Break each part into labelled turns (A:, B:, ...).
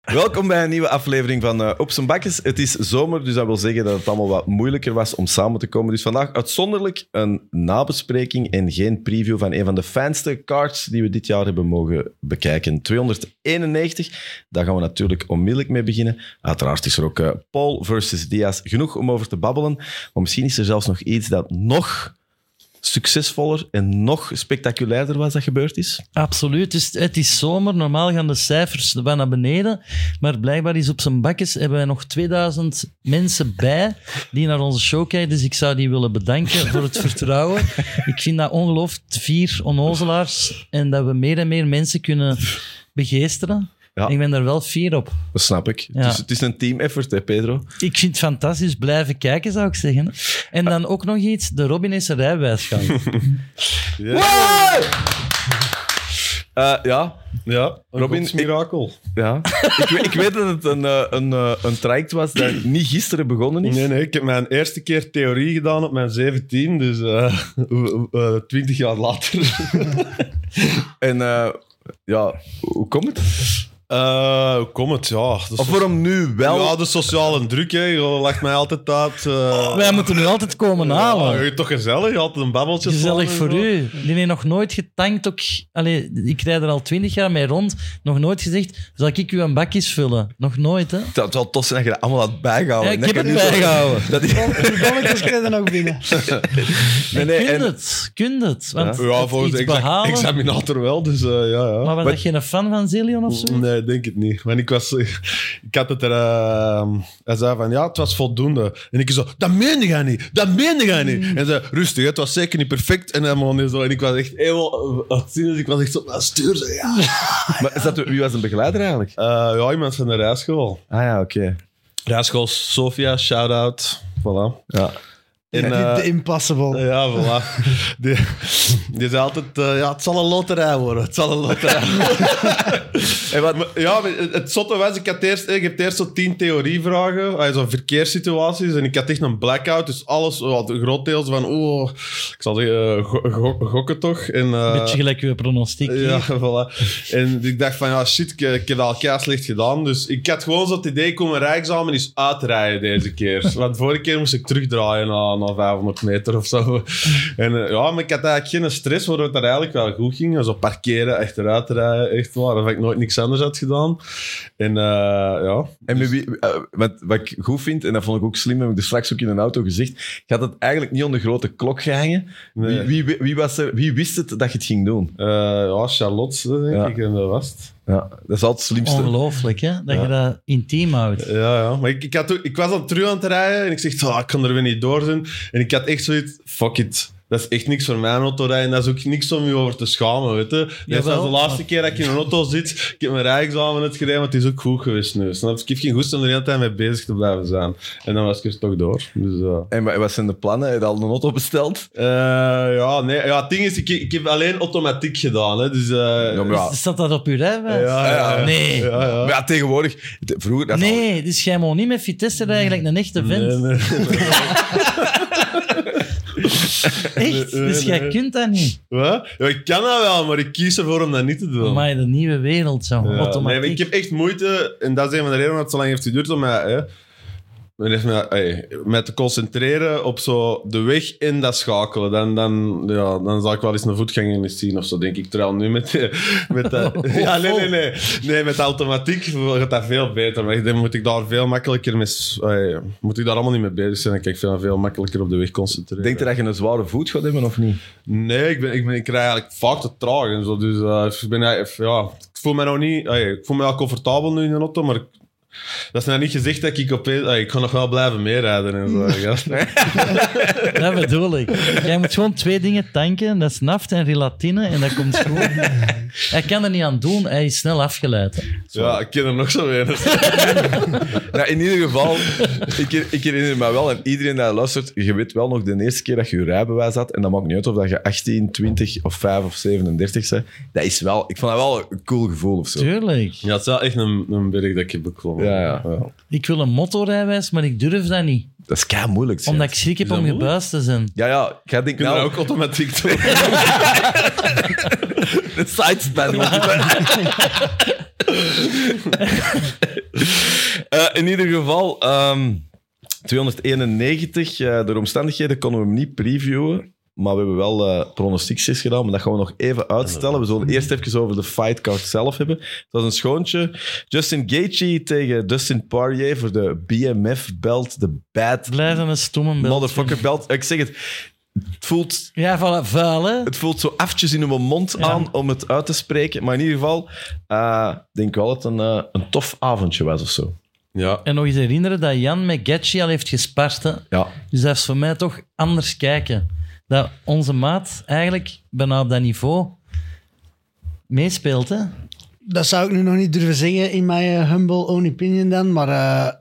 A: Welkom bij een nieuwe aflevering van eh, Op zijn Bakjes. Het is zomer, dus dat wil zeggen dat het allemaal wat moeilijker was om samen te komen. Dus vandaag uitzonderlijk een nabespreking en geen preview van een van de fijnste cards die we dit jaar hebben mogen bekijken. 291, daar gaan we natuurlijk onmiddellijk mee beginnen. Uiteraard is er ook eh, Paul versus Diaz genoeg om over te babbelen. Maar misschien is er zelfs nog iets dat nog succesvoller en nog spectaculairder was dat gebeurd is.
B: Absoluut. Dus het is zomer. Normaal gaan de cijfers wel naar beneden. Maar blijkbaar is op zijn bakjes hebben wij nog 2000 mensen bij die naar onze show kijken. Dus ik zou die willen bedanken voor het vertrouwen. Ik vind dat ongelooflijk. Vier onnozelaars. En dat we meer en meer mensen kunnen begeesteren.
A: Ja.
B: Ik ben daar wel fier op.
A: Dat snap ik.
B: Ja.
A: Het, is, het is een team effort, hè, Pedro?
B: Ik vind het fantastisch. Blijven kijken, zou ik zeggen. En dan ook nog iets. De Robin is een rijbewijs gaan.
A: Eh, ja, ja. Robin,
C: Robin,
A: ik,
C: mirakel.
A: ja. ik, we- ik weet dat het een, eh, een, eh, een traject was dat niet gisteren begonnen is.
C: Nee, nee, ik heb mijn eerste keer theorie gedaan op mijn 17, dus eh, w- w- eh, 20 jaar later.
A: En eh, ja, hoe komt het?
C: Eh, hoe komt het? Ja, de,
A: Of
C: so-
A: waarom nu wel?
C: ja, de sociale druk, hè. Je legt mij altijd uit. eh,
B: Wij moeten nu altijd komen halen.
C: ja, je toch gezellig, je altijd een babbeltje.
B: Gezellig
C: samen
B: voor
C: en zo.
B: u. Die heeft nog nooit getankt. Ook, allee, ik rijd er al twintig jaar mee rond. Nog nooit gezegd, zal ik u een bakjes vullen? Nog nooit, hè?
A: Dat wel tof zijn dat je dat allemaal had bijgehouden.
B: Ja, ik
A: Dat
B: heb
A: je
B: het
A: nu zo-
B: bijgehouden.
A: Dat is-
D: Oh, Balletjes krijgen ook binnen.
A: nee, nee,
B: kunt
A: en-
B: het, kunt het. Want
C: Ja,
B: het
C: volgens de
B: iets
C: exa-
B: behalen,
C: examinator wel, dus eh, ja, ja.
B: maar
A: Wat-
B: was dat geen fan van Zillion of zo?
C: Nee, denk het niet. Want ik was... Ik had het er... eh, hij zei van, ja, het was voldoende. En ik zo, dat meende jij niet. Dat meende jij niet. En hij zei, rustig, hè, het was zeker niet perfect. En, helemaal niet zo. en ik was echt helemaal... eh, uitzinnig. Ik was echt zo, nou, stuur ze, ja.
A: maar is dat- wie was een begeleider eigenlijk?
C: Eh, ja, iemand van de rijschool.
A: Ah ja, oké.
C: Rijschool Sofia, shout-out. Voilà.
A: Ja.
C: En,
D: Ja,
C: eh,
D: de Impossible.
C: ja, voilà. Die, die zei altijd, eh, ja, het zal een loterij worden. Het zal een loterij
A: En wat,
C: Maar- Ja, maar het- het zotte was, ik, had eerst, ik heb eerst zo tien theorievragen, ah, zo'n verkeerssituaties, en ik had echt een blackout, dus alles, wat groot deels van, oeh, ik zal zeggen, eh, go- go- gokken toch? En, eh,
B: Beetje gelijk uw pronostiek.
C: ja,
B: hier.
C: voilà. En ik dacht van, ja, shit, ik, ik heb dat al keihard slecht gedaan. Dus ik had gewoon zo het idee, ik kom een rijexamen eens uitrijden deze keer. Want vorige keer moest ik terugdraaien na, na 500 meter of zo. En eh, ja, maar ik had eigenlijk geen stress, waardoor het daar eigenlijk wel goed ging. Zo parkeren, achteruit rijden, echt waar. Dat ik nooit niks anders had gedaan. En eh, ja...
A: En met wie, eh, wat, wat ik goed vind, en dat vond ik ook slim, heb ik er straks ook in een auto gezegd, je had het eigenlijk niet onder grote klok gehangen.
C: Nee.
A: Wie, wie, wie, was er, wie wist het dat je het ging doen?
C: eh, ja, Charlotte, denk
A: Ja.
C: ik, en dat was het.
A: Ja, dat is altijd het slimste.
B: Ongelooflijk, hè? Dat je dat intiem houdt.
C: Ja, ja. Maar ik, ik, had, ook- ik was dan terug aan het rijden en ik zeg, "Ah, ik kan er weer niet door zijn. En ik had echt zoiets, fuck it. Dat is echt niks voor mijn autorijden. Dat is ook niks om je over te schamen, weet je. Dat is
B: Jawel.
C: als de laatste keer dat ik in een auto zit. Ik heb mijn rijexamen net gereden, maar het is ook goed geweest nu. Snap je? Ik heb geen goest om er de hele tijd mee bezig te blijven zijn. En dan was ik er toch door. Dus, eh.
A: En wa- wat zijn de plannen? Heb je al een auto besteld?
C: Eh, ja, nee. Ja, het ding is, ik, ik heb alleen automatiek gedaan. Hè. Dus, eh,
A: Ja, maar ja,
B: Is- Staat dat op uw rijbewijs?
C: Ja, ja, ja.
B: Nee.
C: ja, ja.
A: Maar ja, tegenwoordig, de- vroeger... Dat is al-
B: Nee, dus jij mag niet met Vitesse rijden, gelijk een echte vent.
C: Nee, nee.
B: Echt?
C: Nee,
B: dus jij
C: nee.
B: kunt dat niet.
C: Wat? Ja, ik kan dat wel, maar ik kies ervoor om dat niet te doen.
B: Maar de nieuwe wereld, zo.
C: Ja,
B: Automatiek.
C: nee, ik heb echt moeite, en dat is een van de redenen dat het zo lang heeft geduurd om mij, hè, men heeft mij, ey, mij te concentreren op zo de weg en dat schakelen. Dan, dan, ja, dan zal ik wel eens een voetganger eens zien of zo, denk ik. Terwijl nu met, met dat... Ja, nee, nee, nee. Nee, met de automatiek gaat dat veel beter. Maar ik denk, moet ik daar veel makkelijker mee... s- ey, moet ik daar allemaal niet mee bezig zijn? Dan kan ik veel, veel makkelijker op de weg concentreren.
A: Denk je dat je een zware voet gaat hebben of niet?
C: Nee, ik, ben, ik, ben, ik rij eigenlijk vaak te traag en zo. Dus eh, ik, ben, eigenlijk- ja, ik voel me nog niet... ey, ik voel me wel comfortabel nu in de auto, maar... ik- Dat is nou niet gezegd dat ik opeens... ey, ik kan nog wel blijven meerijden en zo. gast.
B: Dat bedoel ik. Jij moet gewoon twee dingen tanken. Dat is naft en relatine. En dat komt goed. Hij kan er niet aan doen. Hij is snel afgeleid.
C: ja, ik ken er nog zo weinig.
A: Nou, in ieder geval, ik, her- ik herinner me wel, en iedereen die luistert, je weet wel nog de eerste keer dat je je rijbewijs had, en dat maakt niet uit of dat je 18, 20 of 5 of 37 bent. Dat is wel, ik vond dat wel een cool gevoel of zo.
B: Tuurlijk.
C: Ja, het is wel echt een, een berg dat ik heb beklommen.
A: Ja, ja.
B: Ik wil een motorrijwijs, maar ik durf dat niet.
A: Dat is kei moeilijk. zeg.
B: Omdat ik schrik heb
C: dat
B: om
C: moeilijk?
B: gebuist te zijn.
A: Ja, ja. Jij denkt
C: Kunnen we
A: nou
C: dat ook automatiek doen?
A: de sidespan. want die ben- Eh, in ieder geval, ehm, 291. eh, door omstandigheden konden we hem niet previewen. Maar we hebben wel eh pronostiekjes gedaan, maar dat gaan we nog even uitstellen. We zullen eerst even over de fightcard zelf hebben. Het was een schoontje. Justin Gaethje tegen Dustin Poirier voor de BMF-belt, de Bad
B: Blijf een stomme bel.
A: Motherfucker-belt. Ik zeg het, het voelt
B: Ja, voilà, vuil, hè?
A: het voelt zo aftjes in mijn mond aan om het uit te spreken. Maar in ieder geval, eh, ik denk wel dat het een, eh, een tof avondje was of zo.
C: ja.
B: En nog eens herinneren dat Jan met Getchi al heeft gespart. hè.
A: Ja,
B: Dus dat is voor mij toch anders kijken. Dat onze maat eigenlijk bijna op dat niveau meespeelt. Hè?
D: Dat zou ik nu nog niet durven zeggen in mijn eh, humble own opinion dan, maar eh,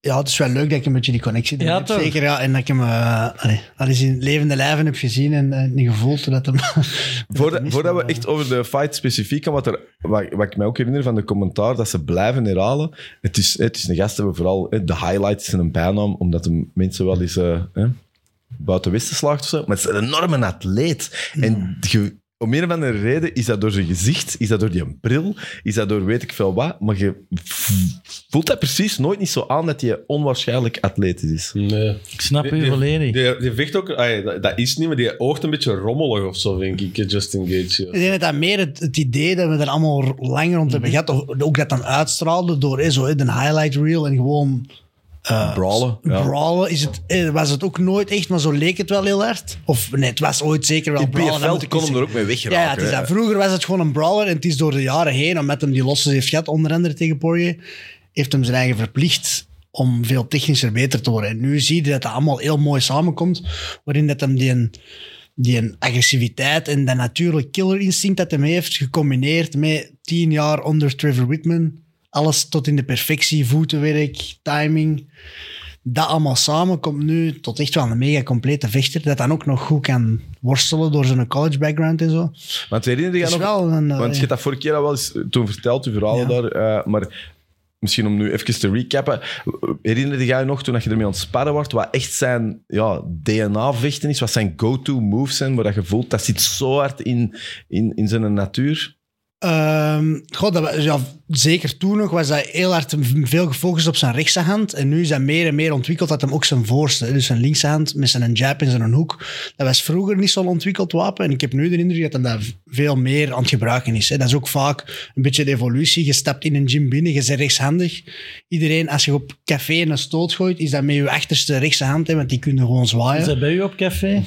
D: ja, het is wel leuk dat ik een beetje die connectie
B: Ja,
D: heb.
B: toch?
D: Zeker, ja. En dat ik hem eh, allee, al eens in levende lijven heb gezien en eh, niet gevoeld dat hem...
A: voordat, voordat we echt over de fight specifiek gaan, wat, er, wat, wat ik mij ook herinner van de commentaar, dat ze blijven herhalen. Het is, het is een gast, hebben vooral eh, de highlights en een bijnaam, omdat de mensen wel eens eh, eh, buiten Westen slaagt of zo. Maar het is een enorme atleet. En je- om een of andere reden is dat door zijn gezicht, is dat door die bril, is dat door weet ik veel wat. Maar je voelt dat precies nooit niet zo aan dat hij onwaarschijnlijk atletisch is.
C: Nee.
B: Ik snap
C: Die-
B: u
C: die-
B: volledig.
C: Die, die vecht ook... ah, dat, dat is niet, maar die oogt een beetje rommelig of zo, denk ik, eh, Justin Gaethje.
D: Ik denk dat dat meer het, het idee dat we er allemaal r- langer rond hebben gehad, of ook dat dan uitstraalde door eh, zo, eh, een highlight reel en gewoon eh,
A: Brawlen, ja.
D: brawlen is het, eh, was het ook nooit echt, maar zo leek het wel heel hard. Of nee, het was ooit zeker wel
A: Die
D: brawlen. dat moet
A: BFL
D: ik
A: kon
D: niet
A: hem er ook mee wegraken.
D: Ja, ja, het is
A: hè.
D: dat. vroeger was het gewoon een brawler. En het is door de jaren heen, omdat hem die losses heeft gehad, onder andere tegen Poirier, heeft hem zijn eigen verplicht om veel technischer beter te worden. En nu zie je dat dat allemaal heel mooi samenkomt, waarin dat hem die, een- die een agressiviteit en dat natuurlijk killer instinct dat hem heeft, gecombineerd met tien jaar onder Trevor Whitman. Alles tot in de perfectie, voetenwerk, timing. Dat allemaal samen komt nu tot echt wel een mega complete vechter. Dat dan ook nog goed kan worstelen door zijn college background en zo.
A: Want herinner je
D: Het is
A: nog...
D: wel een... eh,
A: Want je hebt dat vorige keer al wel eens eh, toen verteld, je verhalen daar. eh, maar misschien om nu even te recappen. Herinnerde jij je nog toen dat je ermee aan het sparren wordt, wat echt zijn ja, DNA-vechten is, wat zijn go-to moves zijn, waar dat je voelt dat zit zo hard in, in, in zijn natuur?
D: ehm, goh, dat, wa- ja, zeker toen nog was hij heel hard m- veel gefocust op zijn rechtse hand. En nu is dat meer en meer ontwikkeld dat hem ook zijn voorste, hè, dus zijn linkse hand met zijn jab en zijn hoek. Dat was vroeger niet zo'n ontwikkeld wapen. En ik heb nu de indruk dat hem dat v- veel meer aan het gebruiken is. Hè. Dat is ook vaak een beetje de evolutie. Je stapt in een gym binnen, je bent rechtshandig. Iedereen, als je op café een stoot gooit, is dat met je achterste rechtse hand, hè, want die kunnen gewoon zwaaien.
B: Is dat bij u op café?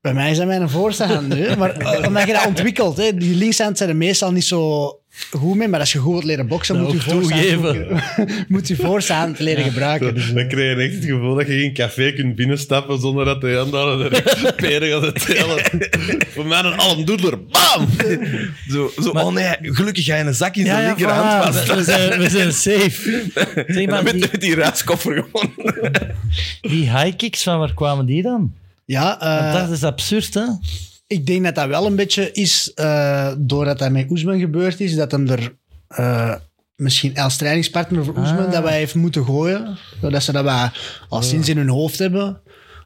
D: Bij mij zijn mijn voorstaande, hè. maar eh, omdat je dat ontwikkelt. Hè. Die linkshand zijn er meestal niet zo goed mee, maar als je goed wilt leren boksen,
B: Dat
D: moet je,
B: ook Nou, toegeven.
D: voorstaand, moet je voorstaand leren gebruiken. Dus, eh,
C: Dan krijg je echt het gevoel dat je geen café kunt binnenstappen zonder dat de hand aan de peren gaat tellen. Voor mij een almdoedler. Bam!
A: Zo, zo
B: Maar-
A: oh nee, gelukkig ga je een zak in
B: Ja,
A: zijn
B: ja,
A: linkerhand
B: voilà.
A: vast.
B: we, we zijn, we zijn safe. Zeg
A: En dan
B: maar, die,
A: met met die reiskoffer gewoon.
B: die high kicks, van waar kwamen die dan?
D: ja, eh,
B: Want dat is absurd, hè? Dus
D: ik denk dat dat wel een beetje is, eh, doordat dat met Oesman gebeurd is, dat hem er eh, misschien als trainingspartner voor Oesman
B: Ah.
D: dat wij heeft moeten gooien. Dat ze dat wij al sinds in hun hoofd hebben,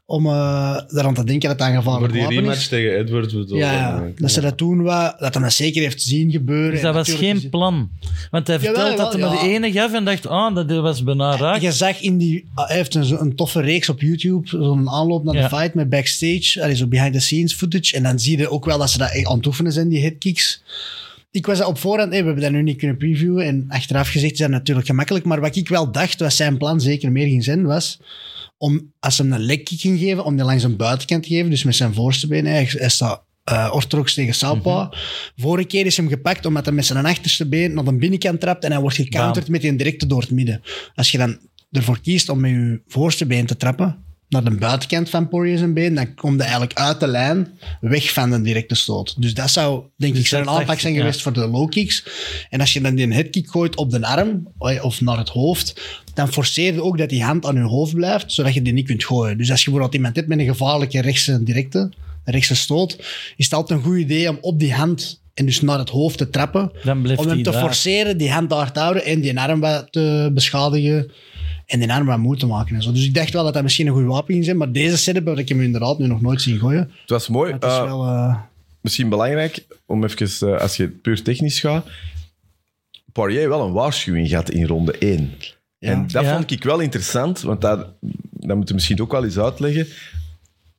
D: om eh eraan te denken dat dat een
C: Voor
D: gevaarlijk
C: die
D: wapen
C: rematch
D: is.
C: tegen Edwards bedoel ik.
D: Ja, ja, dat ze dat doen, wat, dat hij dat zeker heeft zien gebeuren.
B: Dus
D: En
B: dat was
D: natuurlijk
B: geen plan. Want hij
D: Jawel,
B: vertelt dat hij
D: jawel,
B: maar de
D: ja.
B: ene gaf en dacht, ah, dat was bijna raak.
D: is- Je zag in die... ah, Hij heeft een, zo- een toffe reeks op YouTube, zo'n aanloop naar
B: Ja.
D: de fight met backstage, allee, zo behind-the-scenes footage. En dan zie je ook wel dat ze dat echt aan het oefenen zijn, die headkicks. Ik was dat op voorhand... hey, we hebben dat nu niet kunnen previewen. En achteraf gezegd is dat natuurlijk gemakkelijk. Maar wat ik wel dacht, was zijn plan zeker meer ging zijn, was om, als ze hem een leg kick ging geven, om die langs een buitenkant te geven, dus met zijn voorste been. Hij, hij staat eh, orthodox tegen Salpa. Vorige keer is hem gepakt omdat hij met zijn achterste been naar de binnenkant trapt en hij wordt gecounterd met een directe door het midden. Als je dan ervoor kiest om met je voorste been te trappen, naar de buitenkant van Poirier zijn been, dan komt hij eigenlijk uit de lijn, weg van de directe stoot. Dus dat zou, denk ik, zijn
B: dat dacht
D: aanpak zijn
B: ik, ja.
D: geweest voor de low kicks. En als je dan die headkick gooit op de arm eh, of naar het hoofd, dan forceer je ook dat die hand aan je hoofd blijft, zodat je die niet kunt gooien. Dus als je bijvoorbeeld iemand hebt met een gevaarlijke rechtse directe, een rechtse stoot, is het altijd een goed idee om op die hand en dus naar het hoofd te trappen.
B: Dan blijft
D: om hem
B: die
D: te
B: daar.
D: forceren, die hand daar te houden en die arm wat te beschadigen. en die arm wat moe te maken en zo. Dus ik dacht wel dat dat misschien een goed wapen ging zijn, maar deze setup heb ik hem inderdaad nu nog nooit zien gooien.
A: Het was mooi.
D: Maar het is
A: Eh,
D: wel... eh,
A: misschien belangrijk om even, eh, als je puur technisch gaat. Poirier wel een waarschuwing gehad in ronde 1. En dat
B: Ja.
A: vond ik wel interessant, want daar, dat moet je misschien ook wel eens uitleggen.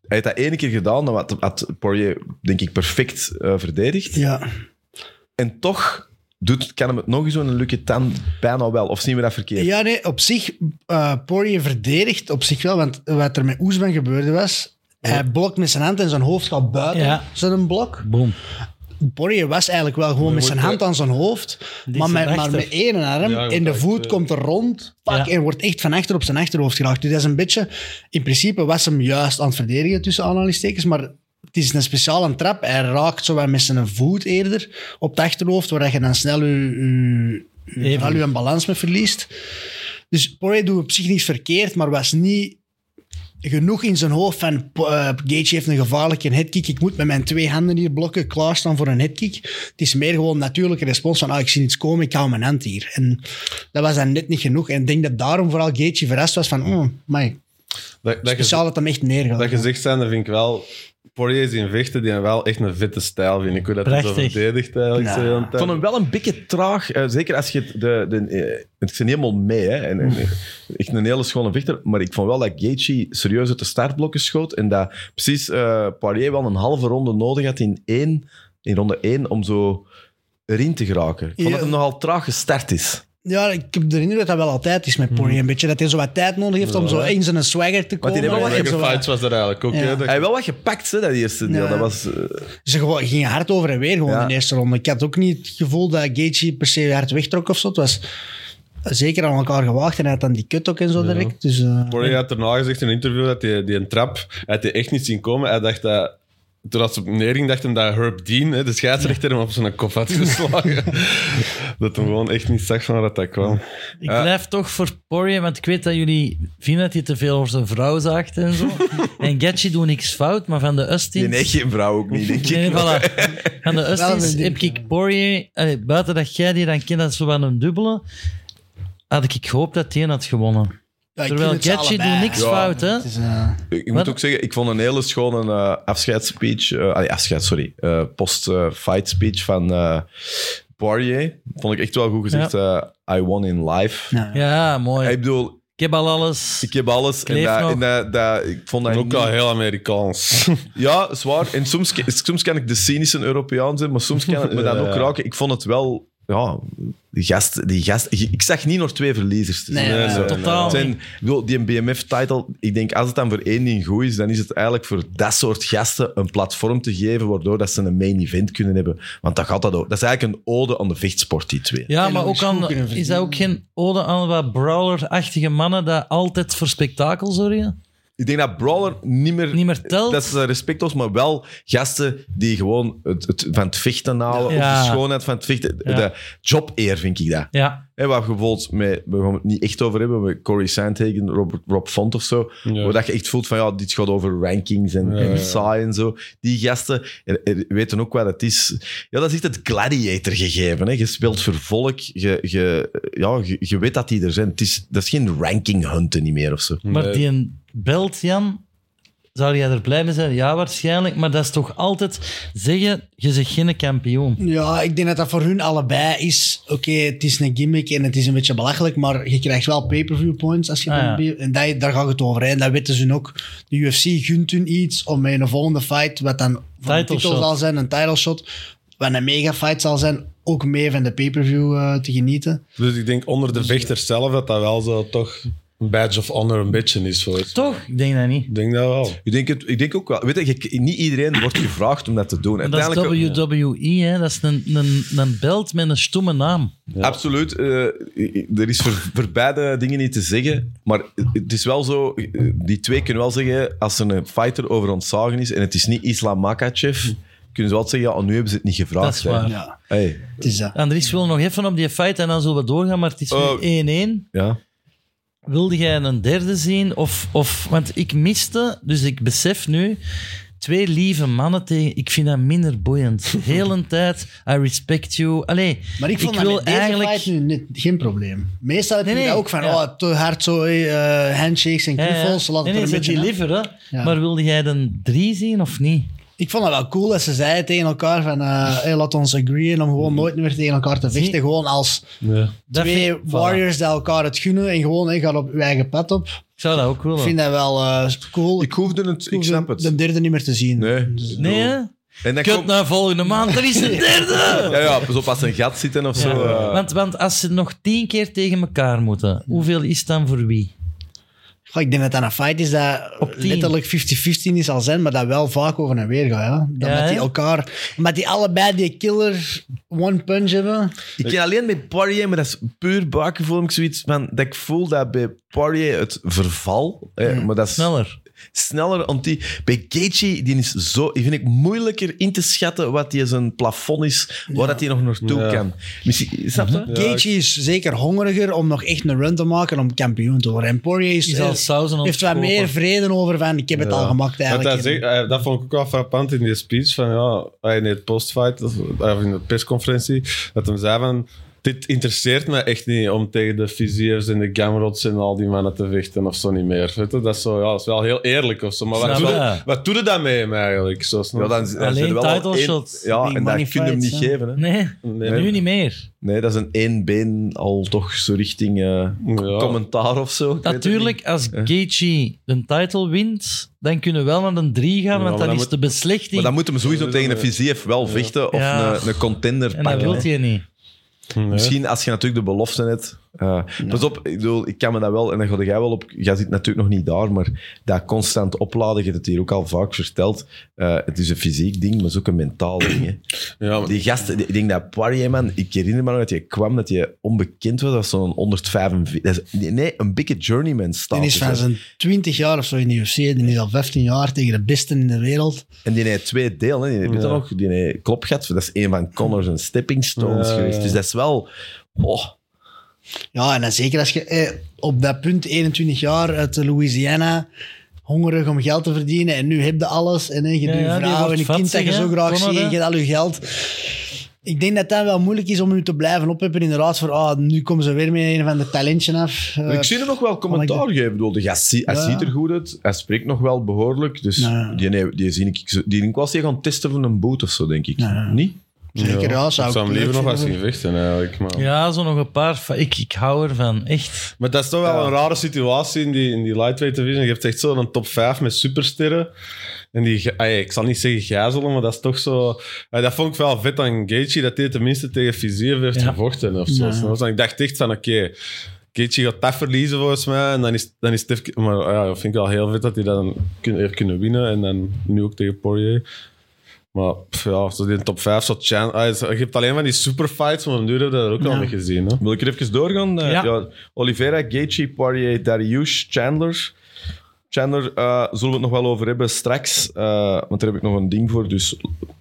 A: Hij had dat ene keer gedaan, dan had, had Poirier, denk ik, perfect eh, verdedigd.
D: ja.
A: En toch doet, kan hem het nog eens doen en lukt het dan bijna wel. Of zien we dat verkeerd?
D: ja, nee, op zich, eh Poirier verdedigt op zich wel, want wat er met Oesman gebeurde was, hij blokt met zijn hand en zijn hoofd gaat buiten
B: Ja.
D: zijn blok.
B: Boom.
D: Poirier was eigenlijk wel gewoon met zijn hand aan zijn hoofd,
B: Die
D: maar
B: is
D: met, maar
B: erachter.
D: met één arm
C: Ja,
D: en de
C: goed,
D: voet
C: echt, eh,
D: komt er rond pak,
B: Ja.
D: en wordt echt van achter op zijn achterhoofd geraakt. Dus dat is een beetje, in principe was hem juist aan het verdedigen tussen aanhalingstekens, maar het is een speciale trap. Hij raakt zowel met zijn voet eerder op het achterhoofd, waar je dan snel je, je, je,
B: Even.
D: vooral je balans mee verliest. Dus Poirier doet op zich niets verkeerd, maar was niet genoeg in zijn hoofd van p- eh, Gaethje heeft een gevaarlijke headkick, ik moet met mijn twee handen hier blokken, klaarstaan voor een headkick. Het is meer gewoon een natuurlijke respons van ah, ik zie iets komen, ik hou mijn hand hier. En dat was dan net niet genoeg. En ik denk dat daarom vooral Gaethje verrast was van oh, my,
C: Dat, dat,
D: speciaal
C: gez-
D: dat hem echt neergaat.
C: dat gezicht zijn, dat vind ik wel... Poirier is in vechten, die heeft wel echt een vette stijl, vind ik. Hoe dat hij zo
B: Prachtig.
C: verdedigt, eigenlijk.
D: Ja.
C: zo heel de
A: Ik
C: tijd.
A: vond hem wel een beetje traag. eh, zeker als je het- de, de, eh, ik zit niet helemaal mee. Hè, en, en, echt een hele schone vechter. Maar ik vond wel dat Gaethje serieus uit de startblokken schoot. En dat precies eh Poirier wel een halve ronde nodig had in, één, in ronde 1 om zo erin te geraken. Ik vond
D: Ja.
A: dat hem nogal traag gestart is.
D: Ja, ik heb de indruk dat dat wel altijd is met Poirier. Een beetje dat hij zo wat tijd nodig heeft om zo in zijn swagger te komen.
A: die hebben wel
D: En
A: echt
D: zo
C: Welke
D: wat-
C: fights was dat eigenlijk ook,
D: Ja.
C: hè? Dat-
A: Hij heeft wel wat gepakt, hè, dat eerste deel.
D: Ja.
A: Dat was, eh,
D: Ze gewoon- gingen hard over en weer gewoon
A: Ja.
D: in de eerste ronde. Ik had ook niet het gevoel dat Gaethje per se hard wegtrok of zo. Het was zeker aan elkaar gewaagd en hij had dan die kut ook en zo direct. Dus, eh,
C: Poirier had daarna gezegd in een interview dat die, die een trap hij had die echt niet zien komen. Hij dacht dat... Toen als ze op neerging, dacht hem dat Herb Dean, hè, de scheidsrechter, hem op zijn kop had geslagen. dat hem gewoon echt niet zag van waar dat dat kwam.
B: Ik blijf toch voor Poirier, want ik weet dat jullie vinden dat hij te veel over zijn vrouw zaagt en zo. en Gaethje doet niks fout, maar van de Ustins...
A: die neigt geen vrouw ook niet, denk ik.
B: Nee, voilà. Van de Ustins
D: een ding,
B: heb ik Poirier... allee, buiten dat jij die dan kent, dat is zo van een dubbele... Had ik gehoopt dat die had gewonnen.
D: ja, ik
B: Terwijl
D: vind het ze
B: Gaethje doet
D: allebei.
B: niks fout, hè?
D: Het is, eh,
A: Ik
B: Wat?
A: moet ook zeggen, ik vond een hele schone eh, afscheidsspeech. eh, allee, afscheid, sorry. eh, Post-fight speech van eh Poirier. Vond ik echt wel goed gezegd. eh, I won in life.
D: nou,
B: Ja, mooi.
A: Ik bedoel,
B: Ik heb al alles.
A: ik heb alles. En
B: Kleef
A: dat,
B: nog.
A: en dat, dat- ik vond dat
C: En ook
A: niet-
C: al heel Amerikaans.
A: Ja, zwaar. En soms, ke- soms kan ik de cynische Europeaan zijn, maar soms kan het me dan ook
C: Ja.
A: raken. Ik vond het wel... Ja, die gast, die gast, ik zag niet nog twee verliezers.
D: Nee,
A: Het
D: nee,
A: zijn-
B: totaal
A: het zijn,
B: niet.
A: ik bedoel, die BMF-title, ik denk als het dan voor één ding goed is, dan is het eigenlijk voor dat soort gasten een platform te geven waardoor dat ze een main event kunnen hebben. Want dat gaat dat ook. Dat is eigenlijk een ode aan de vechtsport, die twee.
B: Ja,
D: En
B: maar
D: nog
B: ook
D: eens goed
B: aan,
D: kunnen
B: is dat ook geen ode aan wat brawler-achtige mannen dat altijd voor spektakel zorgen?
A: Ik denk dat Brawler niet meer...
B: Niet meer telt?
A: Dat is eh, respectloos, maar wel gasten die gewoon het, het, van het vechten halen,
B: Ja.
A: of de schoonheid van het vechten.
B: Ja.
A: De job-eer vind ik dat.
B: Ja,
A: Hè, waar je bijvoorbeeld met, we gaan het niet echt over hebben, met Corey Sandhagen, Rob, Rob Font of zo,
C: Ja.
A: waar dat je echt voelt van, ja, dit gaat over rankings en, en saai en zo. Die gasten eh, eh, weten ook wat het is. Ja, dat is echt het gladiator gegeven. Hè. Je speelt voor volk, je, je, ja, je, je weet dat die er zijn. Het is, dat is geen ranking hunten niet meer of zo.
B: maar
C: Nee.
B: die een belt, Jan, zou jij er blij mee zijn? Ja, waarschijnlijk, maar dat is toch altijd zeggen, je zegt geen kampioen.
D: ja, ik denk dat dat voor hun allebei is. Oké, het is een gimmick en het is een beetje belachelijk, maar je krijgt wel pay-per-view points als je
B: Ah,
D: dan- En dat, daar gaat het over. hè. En dat weten ze hun ook. De UFC gunt hun iets om bij een volgende fight, wat dan voor een
B: Title
D: titel
B: shot.
D: zal zijn, een title shot, wat een mega fight zal zijn, ook mee van de pay-per-view eh, te genieten.
C: Dus ik denk onder de vechters zelf dat dat wel zo toch een badge of honor een beetje is voor. Ik
B: Toch? Ik denk dat niet.
C: denk dat wel.
A: Ik denk, het, ik denk ook wel. Weet je, je- niet iedereen wordt gevraagd om dat te doen.
B: Dat is
A: Uiteindelijk-
B: WWE, hè? dat is een, een, een belt met een stomme naam.
A: Absoluut. eh, er is voor, voor beide dingen niet te zeggen. Maar het is wel zo... eh, Die twee kunnen wel zeggen, als er een fighter over ontslagen is en het is niet Islam Makachev, kunnen ze wel zeggen, ja, nu hebben ze het niet gevraagd.
B: Dat is waar.
A: hè.
D: Ja,
A: Hey,
D: het is dat.
B: Andries wil nog even op die fight en dan zullen we doorgaan, maar het is nu 1-1.
A: ja.
B: Wilde jij een derde zien? Of, of, want ik miste, dus ik besef nu, twee lieve mannen tegen... Ik vind dat minder boeiend. Heel een tijd, I respect you. Allee,
D: Maar ik vond dat
B: wil
D: met deze
B: eigenlijk...
D: fight nu net, geen probleem. Meestal heb je
B: Nee, nee,
D: dat ook van,
B: ja.
D: oh, te hard zo, eh, eh, handshakes en
B: Ja, ja.
D: knuffels. Laat
B: Nee,
D: het
B: nee,
D: er een
B: zet
D: beetje
B: die
D: af.
B: liever, hè.
D: Ja.
B: Maar wilde jij dan drie zien of niet?
D: Ik vond dat wel cool dat ze zeiden tegen elkaar van, eh, hey, laat ons agreeën om gewoon nooit meer tegen elkaar te vechten. Gewoon als
B: Dat
D: twee
B: vind- voilà.
D: warriors die elkaar het gunnen en gewoon hey, gaat op je eigen pad op.
B: Ik zou dat ook willen.
D: Ik vind dat wel eh, cool.
A: Ik hoefde het, ik
D: hoef
A: snap
D: de-
A: het.
D: De derde niet meer te zien.
A: Nee.
B: Nee, hè?
A: En dan
B: Kut,
A: komt...
B: nou, volgende maand, er is de derde!
A: Ja, ja, pas op als ze een gat zitten of zo.
B: Ja.
A: eh.
B: Want, want als ze nog tien keer tegen elkaar moeten, hoeveel is het dan voor wie?
D: Goh, ik denk dat dat een fight is dat
B: Op tien.
D: letterlijk 50-50 niet zal zijn, maar dat wel vaak over en weer gaat. Ja. Dat
B: Ja,
D: met die
B: hè?
D: elkaar, omdat die allebei die killer one punch hebben.
A: Ik ken alleen bij Poirier, maar dat is puur buikgevoel. heb Ik zoiets van, dat ik voel dat bij Poirier het verval, hè, maar dat is
B: Sneller.
A: sneller. Want die, bij Gaethje, die is zo, die vind ik moeilijker in te schatten wat die zijn plafond is, waar dat hij nog naartoe
C: Ja.
A: kan. Misschien, snap je?
D: Gaethje is zeker hongeriger om nog echt een run te maken om kampioen te worden. En Poirier is, eh,
B: Die zal sauzen
D: heeft wat
B: ontkopen.
D: meer vrede over van ik heb het al gemaakt
C: Want
D: eigenlijk.
C: dat, zegt- eh, dat vond ik ook wel frappant in die speech van ja, eh, in het postfight of of in de persconferentie, dat hem zei van dit interesseert me echt niet om tegen de viziers en de gamrods en al die mannen te vechten of zo niet meer. Weet je? Dat, is zo, ja, dat is wel heel eerlijk of zo. Maar wat,
B: Snap
C: doe,
B: je?
C: je- wat doe je daarmee hem eigenlijk? Zo, snap
A: Ja,
C: je?
A: dan, dan
B: Alleen
A: zit er wel al
B: title
A: één-
B: shots.
A: Ja,
D: Die
A: en dat
D: money
A: kun je hem niet
D: fights, hè.
A: geven. Hè.
B: Nee,
C: Nee.
B: nu niet meer.
A: Nee, dat is een één been al toch zo richting eh,
C: Ja.
A: commentaar of zo. Ik weet het
B: Natuurlijk, als Gaethje een title wint, dan kunnen we wel naar een 3 gaan,
C: Ja,
B: want
C: maar
B: dan
C: dan
B: is de
C: moet-
A: niet. Maar
B: beslechting.
A: dan moeten we sowieso tegen een Fiziev wel vechten of
B: Ja.
A: een, een contender
B: En dat
A: pakken.
B: wil
A: hè.
B: je niet.
C: Nee.
A: Misschien als je natuurlijk de belofte hebt. eh, Pas op, ik, bedoel, ik kan me dat wel, en dan ga jij wel op. Jij zit natuurlijk nog niet daar, maar dat constant opladen, je hebt het hier ook al vaak verteld. eh, het is een fysiek ding, maar het is ook een mentaal ding. Hè.
C: Ja, maar-
A: Die gasten, die- ik denk dat Poirier, man, ik herinner me nog dat je kwam, dat je onbekend was, dat was zo'n 145. dat is- Nee, een dikke journeyman
D: Die
A: status.
D: is van
A: hè.
D: zijn 20 jaar of zo in de UFC. Die is al 15 jaar tegen de besten in de wereld.
A: En die heeft twee delen. hè. Die, weet je
C: Ja.
A: nog? Die heeft klopgat. Dat is een van Connors en Stepping Stones
C: Ja,
A: geweest.
C: ja.
A: Dus dat is wel... Oh,
D: Ja, en dan zeker als je eh, op dat punt 21 jaar uit Louisiana hongerig om geld te verdienen en nu heb je alles en eh, je
B: Ja,
D: doet
B: ja,
D: je
B: die
D: vrouw en
B: wordt
D: je kind dat
B: vatzig,
D: je zo
B: hè?
D: graag
B: Conor,
D: ziet en
B: hè?
D: je hebt al je geld. Ik denk dat dat wel moeilijk is om u te blijven opheffen inderdaad voor ah, nu komen ze weer met een van de talentjes af. Eh,
A: ik zie er nog wel commentaar
D: kan
A: geven. Ik bedoel, de gast zie- hij
D: Ja.
A: ziet er goed uit. Hij spreekt nog wel behoorlijk. Dus
D: Ja.
A: die, nee, die zie ik... Die ik was die gaan testen van een boot of zo, denk ik. Niet?
D: zeker, ja, zou
C: ik
D: ik
C: zou hem
D: leuk
C: liever nog
D: vinden.
C: eens zien vechten eigenlijk. Maar...
B: Ja, zo nog een paar. fa- Ik, ik hou ervan, echt.
C: Maar dat is toch wel een rare situatie in die, in die lightweight division. Je hebt echt zo'n top 5 met supersterren. En die, ge- ay, ik zal niet zeggen gijzelen, maar dat is toch zo... ay, dat vond ik wel vet aan Gaethje, dat hij tenminste tegen Fiziev heeft
B: Ja.
C: gevochten. Of zo.
D: Ja.
C: Snap je? Ik dacht echt van, oké, Gaethje gaat dat verliezen volgens mij. En dan is, dan is het even- Maar ja, dat vind ik wel heel vet dat hij dat dan kun- heeft kunnen winnen. En dan nu ook tegen Poirier. Maar pff, ja, zo die top 5, zo Chan... ay, zo- je hebt alleen maar die superfights, maar op den duur hebben we dat ook al
D: Ja.
C: mee gezien. Hè?
A: Wil ik er even doorgaan? Eh,
B: Ja.
A: Oliveira, Gaethje, Poirier, Darius, Chandler. Chandler, eh, zullen we het nog wel over hebben straks. eh, want daar heb ik nog een ding voor, dus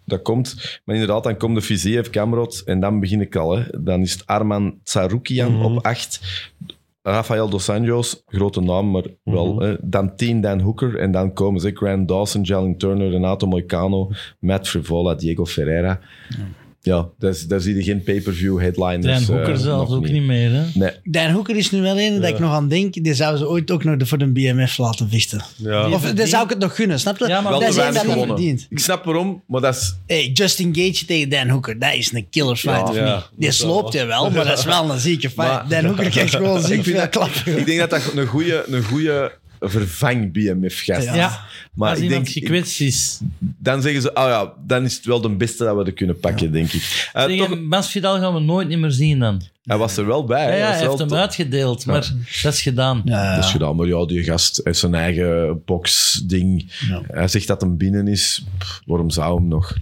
A: dat komt. Maar inderdaad, dan komt de Fiziev, Kamrod en dan begin ik al. Hè. Dan is het Arman Tsaroukian
D: Mhm.
A: op 8. Rafael Dos Anjos, grote naam, maar wel.
B: Mhm.
A: hè. Dan 10, Dan Hooker. En dan komen ze. Grant Dawson, Jalen Turner, Renato Moicano, Matt Frivola, Diego Ferreira. Ja, daar is- daar zie je geen pay-per-view headliners.
B: Dan
A: eh,
B: Hoeker zelfs
A: nog
B: ook niet meer, hè.
A: Nee,
D: Dan Hoeker is nu wel een dat ik nog aan denk, die zou ze ooit ook nog de- voor de BMF laten vechten.
C: Ja.
D: Of
B: verdient-
D: daar zou ik het nog gunnen, snap je?
B: Ja, maar
A: wel
D: dat
A: te
D: is één
A: weinig
D: dat niet
A: gewonnen.
D: verdient.
A: Ik snap waarom, maar dat is...
D: Hey, Justin Gage tegen Dan Hooker, dat is een killer fight,
A: Ja,
D: of
C: ja.
D: niet? Die sloopt je wel, maar dat is wel een zieke fight.
A: Maar-
D: Dan Hooker krijgt gewoon ziek veel klappen.
A: Ik denk dat dat een goede, een goede vervang BMF-gast
D: Ja.
A: is.
B: Ja,
A: Maar
B: als
A: ik
B: iemand
A: denk-
B: gekwetst is.
A: Dan zeggen ze, oh ja, dan is het wel de beste dat we er kunnen pakken, denk ik. Eh,
B: Tegen
A: toch,
B: Masvidal gaan we nooit niet meer zien dan.
A: hij was er wel bij.
B: Ja,
A: hè.
B: ja,
A: Dat is
B: hij heeft
A: wel
B: hem
A: top.
B: uitgedeeld, maar dat is gedaan.
D: Ja,
A: Dat is Dus gedaan, maar ja, die gast heeft zijn eigen boxding.
D: Ja.
A: Hij zegt dat hem binnen is. Pff, waarom zou hem nog?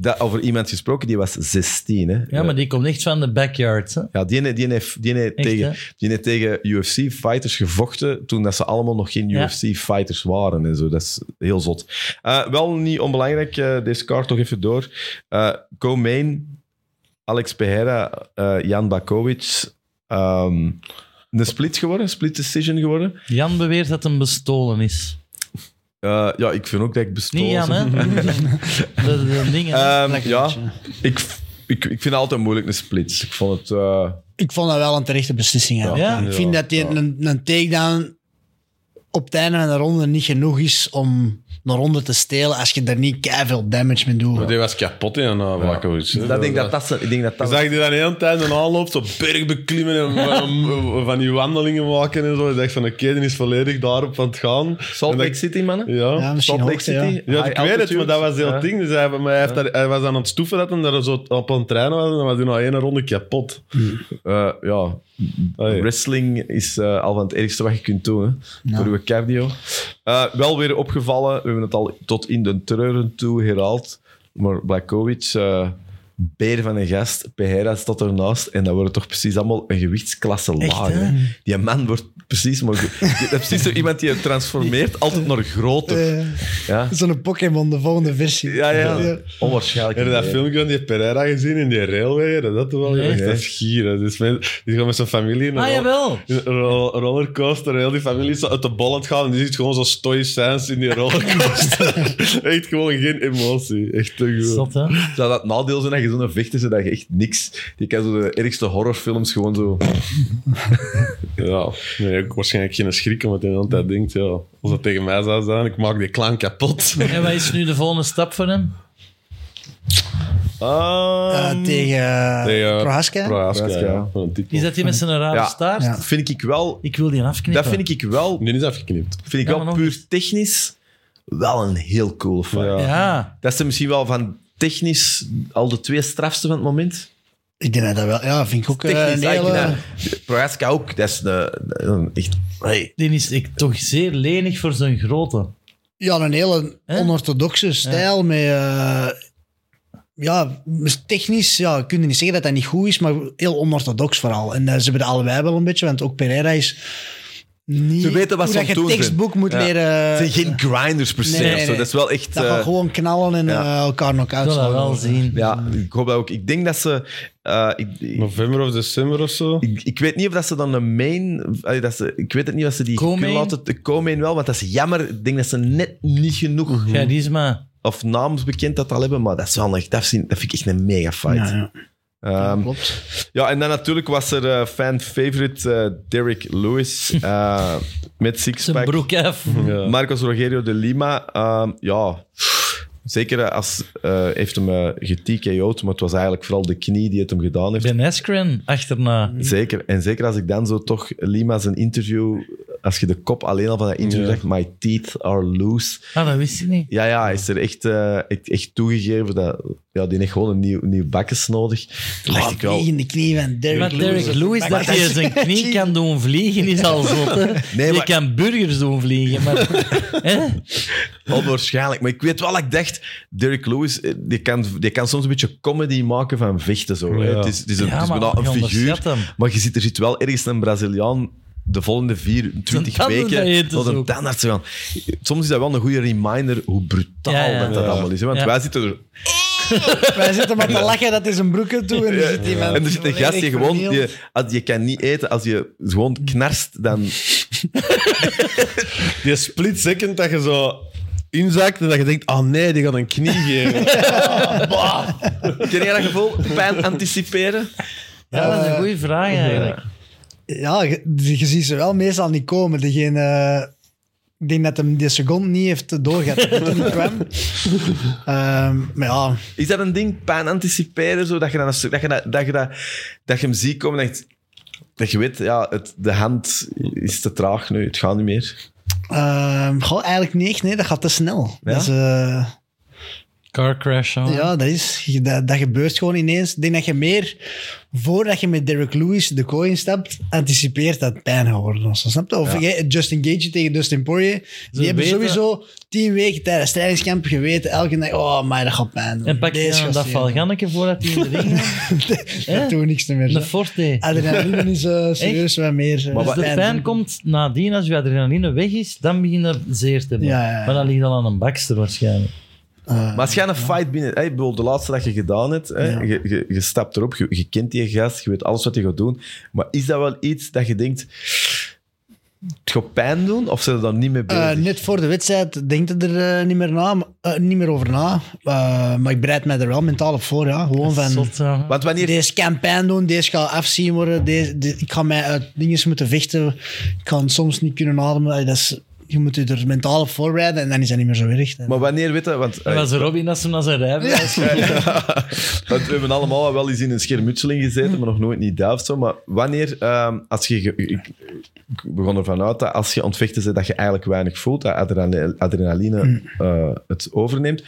A: Dat, over iemand gesproken, die was 16. Hè?
B: Ja, maar die komt echt van de backyard. Hè?
A: Ja, die, die, heeft, die, heeft
B: Echt,
A: tegen,
B: hè?
A: die heeft tegen UFC-fighters gevochten toen dat ze allemaal nog geen
B: Ja.
A: UFC-fighters waren en zo. Dat is heel zot. Eh, wel niet onbelangrijk, eh, deze kaart toch even door. Eh Co-main, Alex Pereira, eh, Jan Bakovic. ehm, een split geworden, split decision geworden.
B: Jan beweert dat hem bestolen is.
A: Eh, Eh, ja, ik vind ook dat ik bestolen
B: Niet Jan, hè?
A: ben.
B: de, de dingen.
A: Ehm,
D: Lekker
A: ja,
D: beetje.
A: ik, ik, ik vind het altijd moeilijk een splits. Ik vond het... eh,
D: Ik vond dat wel een terechte beslissing. hè.
B: Ja?
D: Ik vind dat die een, een takedown op het einde van de ronde niet genoeg is om een ronde te stelen als je daar niet veel damage mee doet.
C: Maar die was kapot in aan Blakowicz. hè.
A: dat denk dat dat... ze- Ik denk dat
C: Je
A: dat...
C: zag die dan de hele tijd en aanloopt, zo berg beklimmen en van, van die wandelingen maken en zo. Je dacht van, oké, die is volledig daarop aan het gaan.
A: Salt
C: En dat-
A: Lake City, mannen?
C: Ja.
D: Ja, misschien
A: Salt Lake
D: hoogte, ja.
A: City?
C: Ja,
A: High
C: ik weet het,
A: altitude?
C: maar dat was heel
A: Ja.
C: het ding. Dus hij, maar hij, heeft daar, hij was aan het stoeven dat en daar zo op een trein was. En dan was hij nog één ronde kapot.
A: Eh, ja,
C: Allee.
A: wrestling is eh, al van het ergste wat je kunt doen. Hè? Voor uw cardio. Eh, wel weer opgevallen, we hebben het al tot in de treuren toe herhaald. Maar Blakovic, eh beer van een gast, Pereira staat ernaast. En dat wordt toch precies allemaal een gewichtsklasse
B: Echt,
A: lager.
B: hè?
A: hè? Die man wordt precies... Maar, je hebt precies zo iemand die je transformeert altijd naar groter.
D: Eh,
A: Ja,
D: Zo'n Pokémon, de volgende versie.
A: ja. ja. Onwaarschijnlijk.
C: Heb je dat filmpje van die Pereira gezien in die railway? Dat had toch wel
B: Nee.
C: echt dat is gier. hè. Dus mensen- die gaan met zijn familie in een
B: Ah,
C: rol-
B: jawel.
C: in een ro- rollercoaster. Heel die familie is zo uit de bol aan het gaan. En die ziet gewoon zo stoïcijns in die rollercoaster. echt gewoon geen emotie. Echt te goed.
B: Zot, hè?
A: Zou dat het nadeel zijn dat je zo'n vechter is dat je echt niks... Je kan zo de ergste horrorfilms gewoon zo...
C: Ja, nee, ook waarschijnlijk geen schrik omdat hij de hele tijd denkt, ja, als dat tegen mij zou zijn, ik maak die clown kapot.
B: En wat is nu de volgende stap voor hem?
D: Eh,
A: Um,
C: Ah,
D: tegen eh,
C: tegen
D: Prohaska.
C: Prohaska,
A: Prohaska,
C: ja. Van een titel.
B: Is dat die met zijn rare
A: Ja.
B: staart?
D: Ja.
A: Vind ik wel...
B: Ik wil die afknippen.
A: Dat vind ik wel...
C: Die is afgeknipt.
A: Vind ik
B: Ja, maar
A: wel
B: nog
A: puur technisch wel een heel coole fight.
C: Ja.
B: Ja.
A: Dat zijn misschien wel van technisch al de twee strafste van het moment.
D: Ik denk dat dat wel... Ja, vind ik ook eh,
A: Technisch,
D: een
A: eigenlijk.
D: hele...
A: dat- Prohaska ook. Dat is een, een echt... Hey.
B: Die is ik, toch zeer lenig voor zijn grote.
D: Ja, een hele
B: Hè?
D: onorthodoxe stijl met... eh, ja, technisch ja, kun je niet zeggen dat dat niet goed is, maar heel onorthodox vooral. En eh, ze hebben dat allebei wel een beetje, want ook Pereira is niet...
A: Ze weten wat
D: hoe
A: ze
D: dat
A: aan
D: je
A: het doen
D: textbook
A: zijn.
D: moet
A: Ja.
D: leren...
A: Het zijn geen grinders per se.
D: Nee,
A: of zo.
D: nee.
A: Dat is wel echt...
D: dat
A: eh,
D: van gewoon knallen en
A: ja.
D: eh, elkaar nog
B: Ik wil dat wel
D: uitslaan.
B: zien.
A: ja, ik hoop dat ook. Ik denk dat ze... eh, ik, ik,
C: November of december of zo.
A: ik- ik weet niet of dat ze dan een main... allee, dat ze, ik weet het niet of ze die...
B: Co-main?
A: kunnen laten- De co-main wel, want dat is jammer. Ik denk dat ze net niet genoeg...
B: Mhm. Charisma.
A: Of naamsbekend dat al hebben, maar dat is wel echt afzien. Dat vind ik echt een mega fight.
D: Ja, ja.
A: Ehm,
D: Klopt.
A: Ja, en dan natuurlijk was er eh, fan-favorite eh, Derek Lewis eh, met
B: Zijn
A: sixpack. Mhm.
B: broek af.
C: Ja.
A: Marcos Rogerio de Lima, ehm, ja, zeker als, eh, heeft hem eh ge-TKO'd, maar het was eigenlijk vooral de knie die het hem gedaan heeft.
B: Ben Askren achterna.
A: Zeker, en zeker als ik dan zo toch Lima zijn interview, als je de kop alleen al van dat interview
C: Ja.
A: zegt, my teeth are loose.
B: Ah, dat wist ik niet.
A: Ja, ja, hij is er echt, eh, echt, echt toegegeven dat ja, die heeft gewoon een nieuw, nieuw bakkes nodig. Toen dacht ik wel,
D: Vlieg in de knie van Derek
B: Maar
D: Lewis.
B: Derek Lewis, dat
D: Maar
B: hij zijn knie kan doen vliegen, is al zot. Hè?
A: Nee,
B: Je
A: maar-
B: kan burgers doen vliegen, maar... hè?
A: Onwaarschijnlijk. Maar ik weet wel, ik dacht, Derek Lewis, eh, die kan, die kan soms een beetje comedy maken van vechten. Zo, hè.
C: Ja.
A: Het is, het is een,
B: Ja,
A: het is
B: maar
A: bijna
B: je
A: een
B: onderschat
A: figuur.
B: hem.
A: Maar je ziet, er zit wel ergens een Braziliaan de volgende vier, twintig
B: tandarts
A: weken
B: eten
A: tot een
B: zoeken.
A: tandarts te gaan. Soms is dat wel een goede reminder hoe brutaal
B: Ja, ja.
A: dat, dat
B: Ja.
A: allemaal is. hè. Want
B: Ja.
A: wij zitten er...
D: Wij zitten maar te lachen dat is een broeken toe en er zit iemand...
A: En er zit een gast die gewoon...
D: volledig
A: Die, als je kan niet eten, als je gewoon knarst, dan...
C: Die split second dat je zo inzakt en dat je denkt, ah nee, die gaat een knie geven.
A: Ken jij dat gevoel? Pijn anticiperen?
B: Ja, dat is een goede vraag eigenlijk.
D: Ja, je, je ziet ze wel meestal niet komen. Degene, eh, ik denk dat hem die seconde niet heeft doorgehad. dat hij niet kwam. Ehm, maar ja,
A: Is dat een ding, pijn anticiperen, zo, dat, je dan, als- dat, je dat, dat, je dat, dat je hem ziet komen en denkt... Dat je weet, ja, het, de hand is te traag nu, het gaat niet meer.
D: ehm, goh, eigenlijk niet echt. Nee, dat gaat te snel. Dat is, eh,
B: Car crash, hoor.
D: ja, dat, is, dat, dat gebeurt gewoon ineens. Ik denk dat je meer, voordat je met Derek Lewis de kooi instapt, anticipeert dat het pijn gaat worden. of zo, Snap je? Of jij- Justin Gage tegen Dustin Poirier. Die hebben
B: weten-
D: sowieso tien weken tijdens trainingskamp geweten. Elke dag, oh, maar dat gaat pijn doen.
B: En pak je
D: Deze
B: dan
D: gaat
B: dat
D: zeer
B: valganneke voordat hij in de ring gaat?
D: Dat doe niks meer.
B: De
D: hè.
B: forte.
D: Adrenaline is eh, serieus wat meer. eh,
B: Dus de pijn komt nadien, als je adrenaline weg is, dan begin je zeer te hebben.
D: Ja, ja, ja.
B: Maar dat ligt al aan een bakster waarschijnlijk.
A: Maar als jij een fight binnen... Hey, ik bedoel, de laatste dat je gedaan hebt, hè, je, je, je stapt erop, je, je kent die gast, je weet alles wat hij gaat doen. Maar is dat wel iets dat je denkt... het gaat pijn doen of zijn ze daar niet mee bezig?
D: Eh, net voor de wedstrijd denk ik er eh, niet, meer na, maar- eh, niet meer over na. Eh, maar ik bereid mij er wel mentaal op voor. Ja. Gewoon van,
B: Zot, ja.
A: Want wanneer...
D: deze kan pijn doen, deze gaat afzien worden, deze, de- ik ga mij uit dingen moeten vechten, ik kan soms niet kunnen ademen. Allee, Dat is, je moet je er mentaal op voorbereiden en dan is dat niet meer zo erg.
A: Maar wanneer, weet je, want... eh,
B: Dat was Robin dat ze naar zijn rijbewijs
A: Want we hebben allemaal wel eens in een schermutseling gezeten, maar nog nooit niet duif zo. Maar wanneer, ehm, als je, ge- ik, ik begon ervan uit dat als je ontvechten bent, dat je eigenlijk weinig voelt, dat adrenali- adrenaline
D: Mm.
A: eh, het overneemt.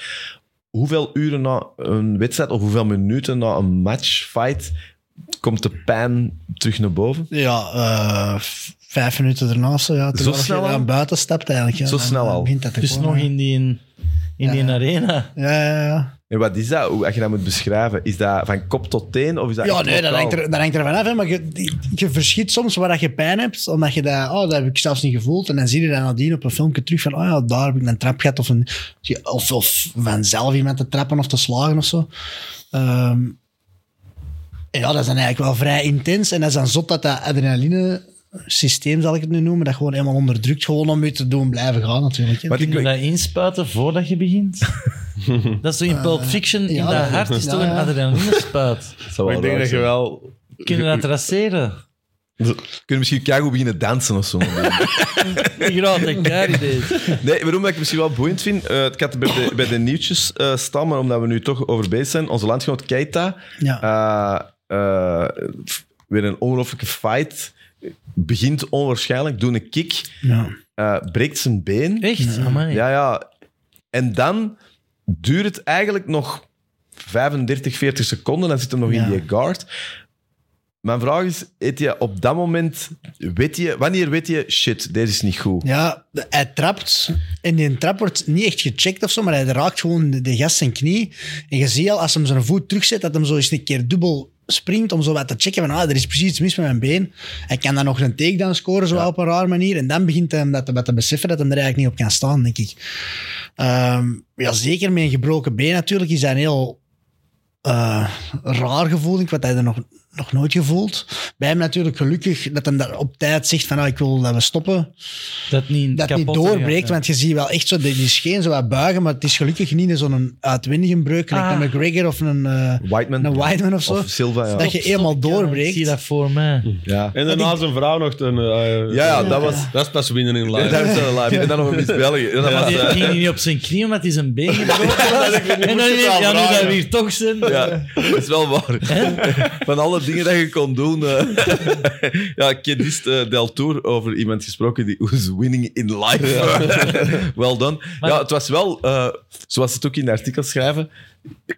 A: Hoeveel uren na een wedstrijd of hoeveel minuten na een matchfight komt de pijn terug naar boven?
D: Ja, eh, v- vijf minuten daarna of zo, ja, terwijl
A: snel
D: je
A: al?
D: aan buiten stapt eigenlijk. Ja,
A: Zo
D: dan-
A: snel
D: dan
A: al?
D: Begint dat te
B: Dus
D: komen,
B: nog
D: ja.
B: in die, in die arena.
D: Ja, ja, ja.
A: En wat is dat? Hoe- Als je dat moet beschrijven, is dat van kop tot teen? Of is dat
D: Ja,
A: echt
D: nee, dat
A: lokaal?
D: hangt, er, dat hangt er vanaf. hè. Maar je, je verschiet soms waar dat je pijn hebt, omdat je dat, oh, dat heb ik zelfs niet gevoeld. En dan zie je dat nadien op een filmpje terug van, oh ja, daar heb ik een trap gehad. Of, een, of, of vanzelf iemand te trappen of te slagen of zo. Ehm, en ja, dat is dan eigenlijk wel vrij intens. En dat is dan zot dat dat adrenaline systeem, zal ik het nu noemen, dat gewoon helemaal onderdrukt, gewoon om je te doen blijven gaan natuurlijk. hè.
A: Maar
B: Kun je
A: ik-
B: dat inspuiten voordat je begint? dat is zo in Pulp Fiction, in
D: Eh, ja,
B: dat
D: dat-
B: hart is
D: ja,
B: toch een
D: ja.
B: adrenaline spuit.
A: Dat zou
C: Maar
A: wel
C: ik denk
A: raar
C: dat je
A: zijn.
C: wel...
B: Kunnen we dat traceren?
A: Kunnen misschien Kago beginnen dansen of zo?
B: Een grote kar idee.
A: Nee, waarom dat ik het misschien wel boeiend vind, eh, ik had het bij de, bij de nieuwtjes eh staan, maar omdat we nu toch over bezig zijn, onze landgenoot Keita,
D: Ja.
A: eh, eh, f- weer een ongelooflijke fight, begint onwaarschijnlijk, doet een kick,
D: Ja.
A: eh, breekt zijn been.
B: Echt? Amai.
A: Ja, ja. En dan duurt het eigenlijk nog 35, 40 seconden, dan zit hem nog
D: Ja.
A: in die guard. Mijn vraag is, weet je op dat moment, weet je, wanneer weet je, shit, deze is niet goed?
D: Ja, de- hij trapt. En die trap wordt niet echt gecheckt of zo, maar hij raakt gewoon de, de gast zijn knie. En je ziet al, als hem zijn voet terugzet, dat hem zo eens een keer dubbel springt om zo wat te checken van, ah, er is precies iets mis met mijn been. Hij kan dan nog een takedown scoren, zo op een raar manier. En dan begint hij hem dat te, wat te beseffen dat hij er eigenlijk niet op kan staan, denk ik. Ehm, ja, zeker met een gebroken been natuurlijk is dat een heel eh, raar gevoel, ik, wat hij er nog, nog nooit gevoeld. Bij hem natuurlijk gelukkig dat hij daar op tijd zegt van, ah, ik wil dat we stoppen
B: Dat niet
D: dat niet
B: kapot
D: doorbreekt,
B: gaat,
D: want je ziet wel echt zo, die die scheen zo wat buigen, maar het is gelukkig niet in zo'n uitwindige breuk, gelijk
B: Ah.
D: een McGregor of een, eh
A: Whiteman?
D: een Whiteman of zo.
A: Of Silva, ja.
D: dat je helemaal
B: ja. Ik
D: doorbreekt.
B: zie dat voor mij.
A: ja.
C: En daarna zijn vrouw nog een... eh,
A: Ja, ja, dat was-
C: Dat is pas winnen in
A: Ja,
C: live.
A: daar is hij live. En dan nog een Miss België. En dan
B: Maar
A: was,
B: die
A: eh,
B: ging niet op zijn knie omdat hij zijn been gebroken was. En dan
C: het
B: weet
C: wel
B: ja, nu dat
C: vragen.
B: we hier toch zijn.
A: ja, dat is wel waar. Van alle dingen dat je kon doen. eh. ja, ik heb dus, eh, Del Tour over iemand gesproken die was winning in life. well done. ja, het was wel, eh, zoals ze het ook in de artikel schrijven,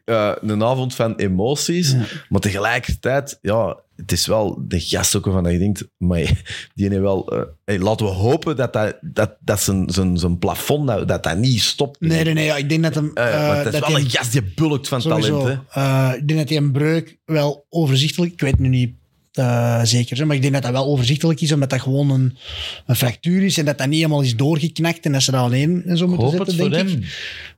A: eh, een avond van emoties. Maar tegelijkertijd, ja, het is wel de gast ook waarvan je denkt, maar die heeft wel... eh, hey, laten we hopen dat, dat, dat, dat zijn, zijn, zijn plafond, dat, dat dat niet stopt.
D: Nee, nee, nee, ja, ik denk dat hem...
A: Eh,
D: eh,
A: want dat is wel
D: hij-
A: een gast die bulkt van
D: sowieso,
A: talent. Hè?
D: eh, ik denk dat hij een breuk wel overzichtelijk, ik weet nu niet eh, zeker, hè, maar ik denk dat dat wel overzichtelijk is, omdat dat gewoon een, een fractuur is en dat dat niet helemaal is doorgeknakt en dat ze dat alleen en zo
B: Ik
D: moeten
B: hoop het
D: zetten,
B: voor
D: denk ik.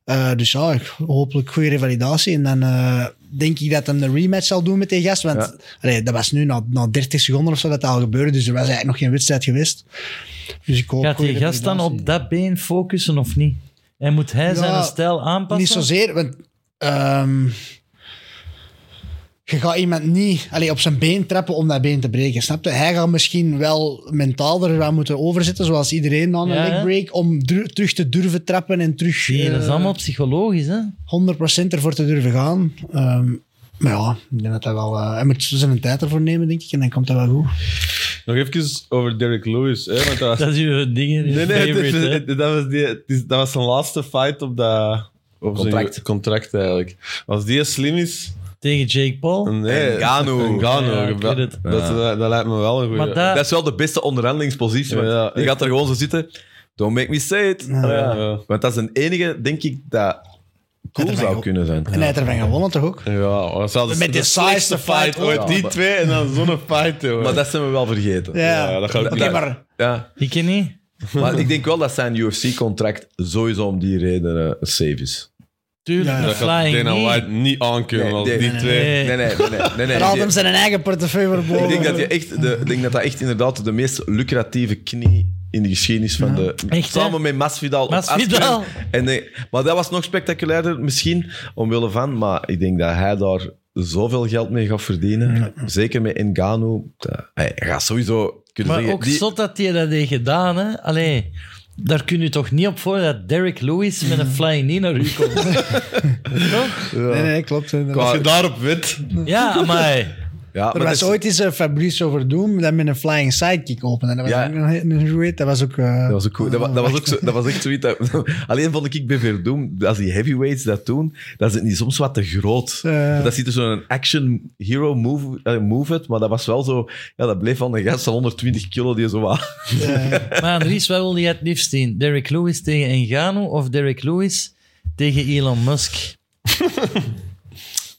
B: hem.
D: Eh, dus ja, ik- hopelijk goede revalidatie. En dan eh, denk ik dat hij een rematch zal doen met die gast. Want
A: Ja.
D: allee, dat was nu na, na 30 seconden of zo dat dat al gebeurde. Dus er was eigenlijk nog geen wedstrijd geweest. Dus ik hoop
B: Gaat
D: goede
B: die gast dan
D: revalidatie.
B: op dat been focussen of niet? En moet hij zijn stijl aanpassen?
D: Niet zozeer, want ehm, je gaat iemand niet allee, op zijn been trappen om dat been te breken, snap je? Hij gaat misschien wel mentaal er aan moeten overzetten, zoals iedereen na een
B: Ja, hè?
D: leg break, om dru- terug te durven trappen en terug...
B: Zie je, dat is
D: eh,
B: allemaal psychologisch, hè?
D: 100% ervoor te durven gaan. Ehm, maar ja, ik denk dat dat wel. eh, hij moet zijn tijd ervoor nemen, denk ik, en dan komt dat wel goed.
C: Nog even over Derek Lewis. Hè, want dat was-
B: Dat is uw ding. uw
C: Nee, nee, het is-
B: favorite, hè?
C: het- het- dat, was die, het is- dat was zijn laatste fight op dat op zijn
A: Contract.
C: contract eigenlijk. Als die slim is,
B: Tegen Jake Paul.
C: nee,
A: Ngannou.
C: Ngannou,
B: Ja, ik
C: ge- dat,
B: weet het.
C: dat, dat lijkt me wel een goede.
B: Maar dat-
A: Dat is wel de beste onderhandelingspositie. Want
C: Ja,
A: je gaat er gewoon zo zitten. Don't make me say it.
C: ja.
A: Want dat is een enige, denk ik, dat cool
D: Dat er
A: zou
D: wel-
A: kunnen zijn.
D: En hij heeft ervan gewonnen, toch ook?
C: Ja, dat zou de-
D: Met de saaiste fight
C: ooit.
D: ooit.
C: die
A: maar-
C: twee en dan zo'n fight, joh.
A: Maar dat zijn we wel vergeten.
D: Ja,
C: Ja, dat gaat ook
D: Oké,
C: niet.
D: maar
A: Ja.
B: Ik ken niet.
A: Maar ik denk wel dat zijn UFC-contract sowieso om die reden eh, een safe is.
B: Tuurlijk,
D: Ja,
B: de
C: dat gaat
B: flying
C: Dana
B: knee.
C: White niet aankunnen
A: Nee,
C: als
A: nee,
C: die
A: nee,
C: twee.
B: nee.
A: Nee, nee, nee. nee, nee,
D: hij haalt hem zijn eigen portefeuille voor
A: Ik
D: boven.
A: denk dat, je echt de, ik denk dat dat echt inderdaad de meest lucratieve knie in de geschiedenis van de...
B: Echt, hè?
A: samen met Masvidal. op
B: Masvidal.
A: Aspren. En nee, maar dat was nog spectaculairder misschien, omwille van. Maar ik denk dat hij daar zoveel geld mee gaat verdienen. Zeker met Engano. Hij gaat sowieso kunnen
B: Maar
A: zeggen...
B: ook
A: die-
B: zot dat hij dat heeft gedaan, hè. Allee, daar kun je toch niet op voor dat Derek Lewis met een
D: Mhm.
B: flying knee naar u komt. toch?
D: Nee, nee, klopt. inderdaad.
C: Als je daarop wint,
B: Ja, maar
A: ja, maar dus-
D: Er
A: dat
D: was
A: is-
D: ooit eens eh, Fabrice over Doom dat met een flying sidekick opende. Dat was
A: Ja.
D: ook nog een, een heavyweight. Dat was ook... eh,
A: Dat was ook, goed. Dat, wa- dat was ook zo, dat was echt zoiets. dat- alleen vond ik bij Verdum, als die heavyweights dat doen, dat is het niet soms wat te groot.
D: Eh.
A: Dat ziet er zo'n action hero move, eh, move uit, maar dat was wel zo. Ja, dat bleef van de gast van 120 kilo die zo wat.
B: Maar Andries, wat wil je het liefst zien? Derek Lewis tegen Engano of Derek Lewis tegen Elon Musk?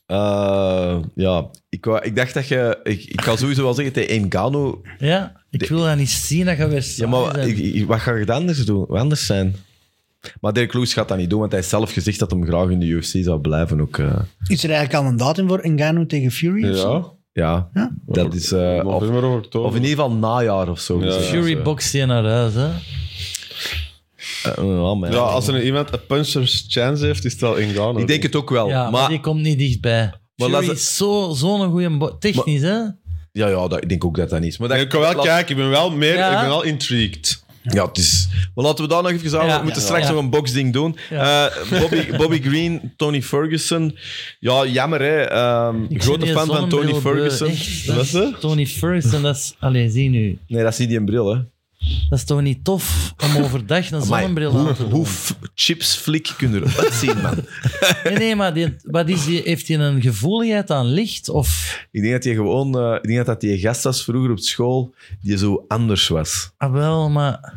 A: Eh, ja, ik, wou- ik dacht dat je. Ik, ik ga sowieso wel zeggen tegen Engano.
B: Ja, ik wil dat niet zien, dat gaat weer
A: Ja,
B: saai
A: maar
B: zijn.
A: ik- ik- wat ga je dan anders doen? Wat anders zijn? Maar Dirk Lewis gaat dat niet doen, want hij heeft zelf gezegd dat hem graag in de UFC zou blijven. Ook, eh.
D: Is er eigenlijk al een datum voor Ngannou tegen Fury? of zo?
C: ja.
A: ja,
D: Ja.
A: dat is. eh, of-
C: november of oktober.
A: Of in ieder geval najaar of zo.
C: Ja,
A: Dus,
C: ja.
B: Fury
C: zo.
B: boxt je naar huis, hè.
A: eh, ja, maar ja.
C: Ja, als er iemand een puncher's chance heeft, is het wel Ngannou.
A: Ik denk het ook wel.
B: Ja, maar,
A: maar
B: die komt niet dichtbij. Fury
A: laat-
B: is zo- zo'n goede... bo- Technisch, hè.
A: ja, ja dat, ik denk ook dat dat niet is. Maar dat,
C: Ik kan wel
A: laat-
C: kijken, ik ben wel meer,
B: Ja.
C: ik ben wel intrigued.
A: Ja, het is, maar laten we daar nog even aan.
B: Ja.
A: we moeten
B: Ja.
A: straks
B: Ja.
A: nog een boxding doen.
B: Ja.
A: Eh, Bobby, Bobby Green, Tony Ferguson. Ja, jammer hè. Ehm,
B: Ik
A: grote
B: vind die
A: fan van
B: zonnebril
A: Tony
B: beu,
A: Ferguson.
B: echt.
A: Wat is dat?
B: Tony Ferguson, dat is... Allee, zie nu.
A: Nee, dat is niet die een bril hè.
B: Dat is toch niet tof om overdag een
A: Maar
B: zonnebril
A: hoe,
B: aan te
A: hoe
B: doen?
A: f- chips flik kunnen eruit zien, man.
B: Nee, nee, maar die, wat is die, heeft hij een gevoeligheid aan licht? Of...
A: Ik denk dat hij gewoon... eh, ik denk dat dat die gast was vroeger op school, die zo anders was.
B: Ah, wel, maar...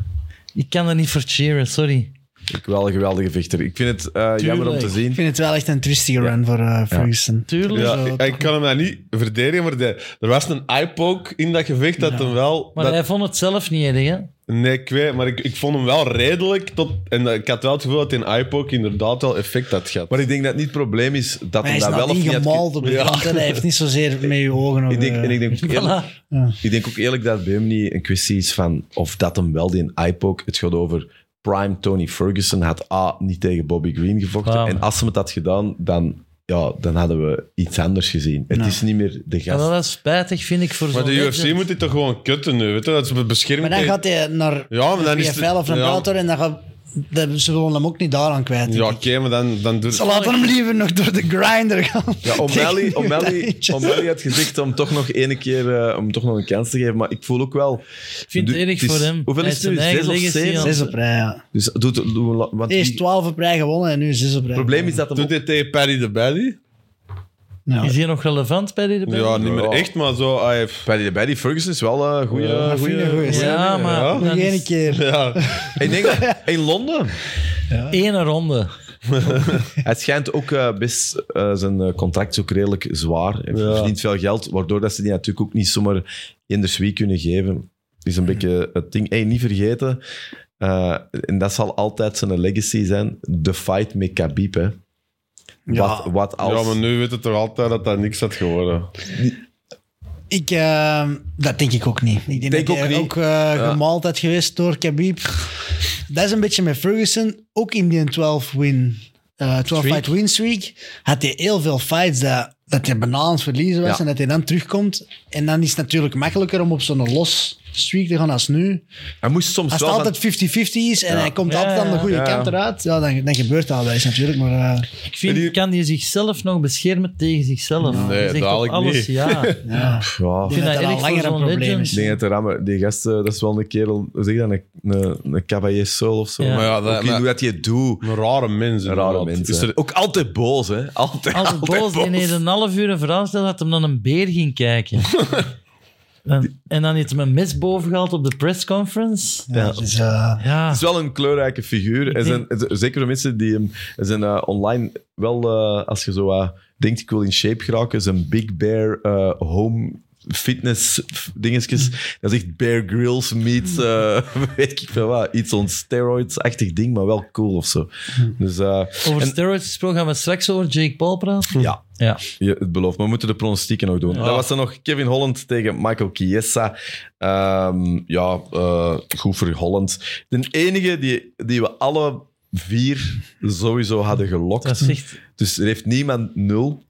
B: Ik kan er niet voor cheeren, sorry.
A: Ik wel een geweldige vechter. Ik vind het eh, jammer om te zien.
D: Ik vind het wel echt een twistige run voor eh, Ferguson.
B: Tuurlijk.
C: Ja,
D: Zo,
C: ik, ik kan hem dat niet verdedigen, maar de- er was een eye-poke in dat gevecht dat hem wel...
B: Maar
C: dat-
B: hij vond het zelf niet erg, hè?
C: Nee, ik weet, maar ik, ik vond hem wel redelijk tot... En dat- ik had wel het gevoel dat die eye-poke inderdaad wel effect had gehad.
A: Maar ik denk dat het niet het probleem is dat
D: Maar
A: hem
D: hij is
A: dat wel
D: nou
A: of niet
D: niet
A: had
D: gemald op de
C: Ja.
D: kant. hè. Hij heeft niet zozeer met je ogen of...
A: Ik denk, en ik, denk ook eerlijk,
B: eh. Voilà.
A: ik denk ook eerlijk dat het bij hem niet een kwestie is van of dat hem wel die iPoke. Het gaat over Prime Tony Ferguson had A niet tegen Bobby Green gevochten.
B: Waarom?
A: En als hem het had gedaan, dan, ja, dan hadden we iets anders gezien. Het is niet meer de
B: Ja,
A: gast.
B: dat is spijtig, vind ik, voor
C: Maar
B: zo'n
C: de UFC
B: legend.
C: moet dit toch gewoon kutten nu, weet je? Dat is
D: Maar
C: bescherming
D: dan
C: tegen-
D: gaat hij naar
C: Ja, maar dan
D: de
C: is
D: PFL of naar
C: ja.
D: Bellator en dan gaat... dat- Ze willen hem ook niet daaraan kwijt.
C: Ja, oké, maar dan, dan doet
D: Ze laten hem liever nog door de grinder gaan.
A: Ja, O'Malley,
D: Tegen-
A: O'Malley, O'Malley had gezegd om toch nog ene keer eh, om toch nog een kans te geven. Maar ik voel ook wel...
B: Ik vind het
A: Du-
B: erg
A: is-
B: voor hem.
A: Hoeveel
B: Hij
A: is
B: heeft
A: het nu?
B: zijn
A: Zes
B: eigen
A: of
B: legacy
A: zeven?
B: aan.
D: Zes op rij, ja.
A: Dus doe, doe, doe- want
D: Eerst
A: wie-
D: 12 op rij gewonnen en nu 6 op rij.
A: het probleem is dat hem
C: Doet hij tegen Paddy de Belly?
D: Ja.
B: Is hij nog relevant bij die debat?
C: Ja, niet meer
A: Ja.
C: echt, maar zo... Hij heeft-
A: Bij die, bij die Ferguson is wel een goede.
C: Ja,
D: Dat vind ik een goeie.
B: Ja, maar
C: Ja.
D: Nog
B: dan is
D: één keer.
C: Ja.
A: Ik denk dat in Londen.
B: één ronde.
A: Hij schijnt ook eh, best eh, zijn eh, contract is ook redelijk zwaar. Hij
C: Ja.
A: verdient veel geld, waardoor dat ze die natuurlijk ook niet zomaar in de suite kunnen geven. Is een beetje het ding. Hey, niet vergeten, eh, en dat zal altijd zijn legacy zijn: de fight met Khabib. Hè.
D: Ja.
A: Wat, wat als.
C: ja, maar nu weet het toch altijd dat dat niks had geworden.
D: Ik, eh, dat denk ik ook niet. Ik denk,
A: Denk
D: dat
A: ook
D: hij
A: niet.
D: ook eh, gemaald had geweest door Khabib. Dat is een beetje met Ferguson. Ook in die 12-win, eh 12-fight win streak had hij heel veel fights dat, dat hij bijna aan het verliezen was
A: Ja.
D: en dat hij dan terugkomt. En dan is het natuurlijk makkelijker om op zo'n los streak te gaan als nu.
A: Hij moest soms
D: Als
A: wel.
D: het
A: van-
D: altijd 50-50 is en hij komt
B: Ja,
D: altijd aan de
B: ja.
D: goede
A: Ja.
D: kant eruit, ja, dan, dan gebeurt dat wel eens natuurlijk. Maar eh,
B: Ik vind, kan hij zichzelf nog beschermen tegen zichzelf?
C: Nee,
B: Hij zegt op
C: dadelijk
B: alles
C: niet.
B: ja. Ik
D: ja.
A: Ja.
B: vind
D: dat
B: dat,
D: dat al
B: erg
D: langer
B: voor
D: een
B: zo'n
D: probleem
B: legend.
D: is.
A: Ik denk dat de rammen, die gasten, dat is wel een kerel, zeg je dat, een, een, een cavalier soul of zo.
B: Ja. Maar
C: ja, dat-
A: ook in
C: maar-
A: hoe dat je het doet.
C: Een rare mens.
A: Rare
C: inderdaad. Is
A: mensen.
C: er,
A: Ook altijd boos, hè? Altijd,
B: Altijd boos. En heeft een half uur een verhaal stelde dat hem dan een beer ging kijken. en, en dan heeft hem een mes boven gehaald op de pressconference.
D: Ja, dus, eh,
B: Ja.
A: Het is wel een kleurrijke figuur. Er zijn, er- zeker voor mensen die hem er zijn eh, online wel, eh, als je zo eh, denkt, ik wil in shape geraken, is een Big Bear eh, Home fitness f- dingetjes. Dat is echt Bear Grylls meets, eh, weet ik veel wat, iets on steroids-achtig ding, maar wel cool of zo. Dus eh,
B: Over
A: en-
B: steroids gesproken gaan we straks over Jake Paul praten.
A: ja,
B: Ja.
A: je, het belooft. Maar we moeten de pronostieken nog doen. Dat was dan nog Kevin Holland tegen Michael Chiesa. Ehm, ja, eh, goed voor Holland. De enige die, die we alle vier sowieso hadden
B: Dat
A: gelokt.
B: is echt...
A: Dus er heeft niemand nul.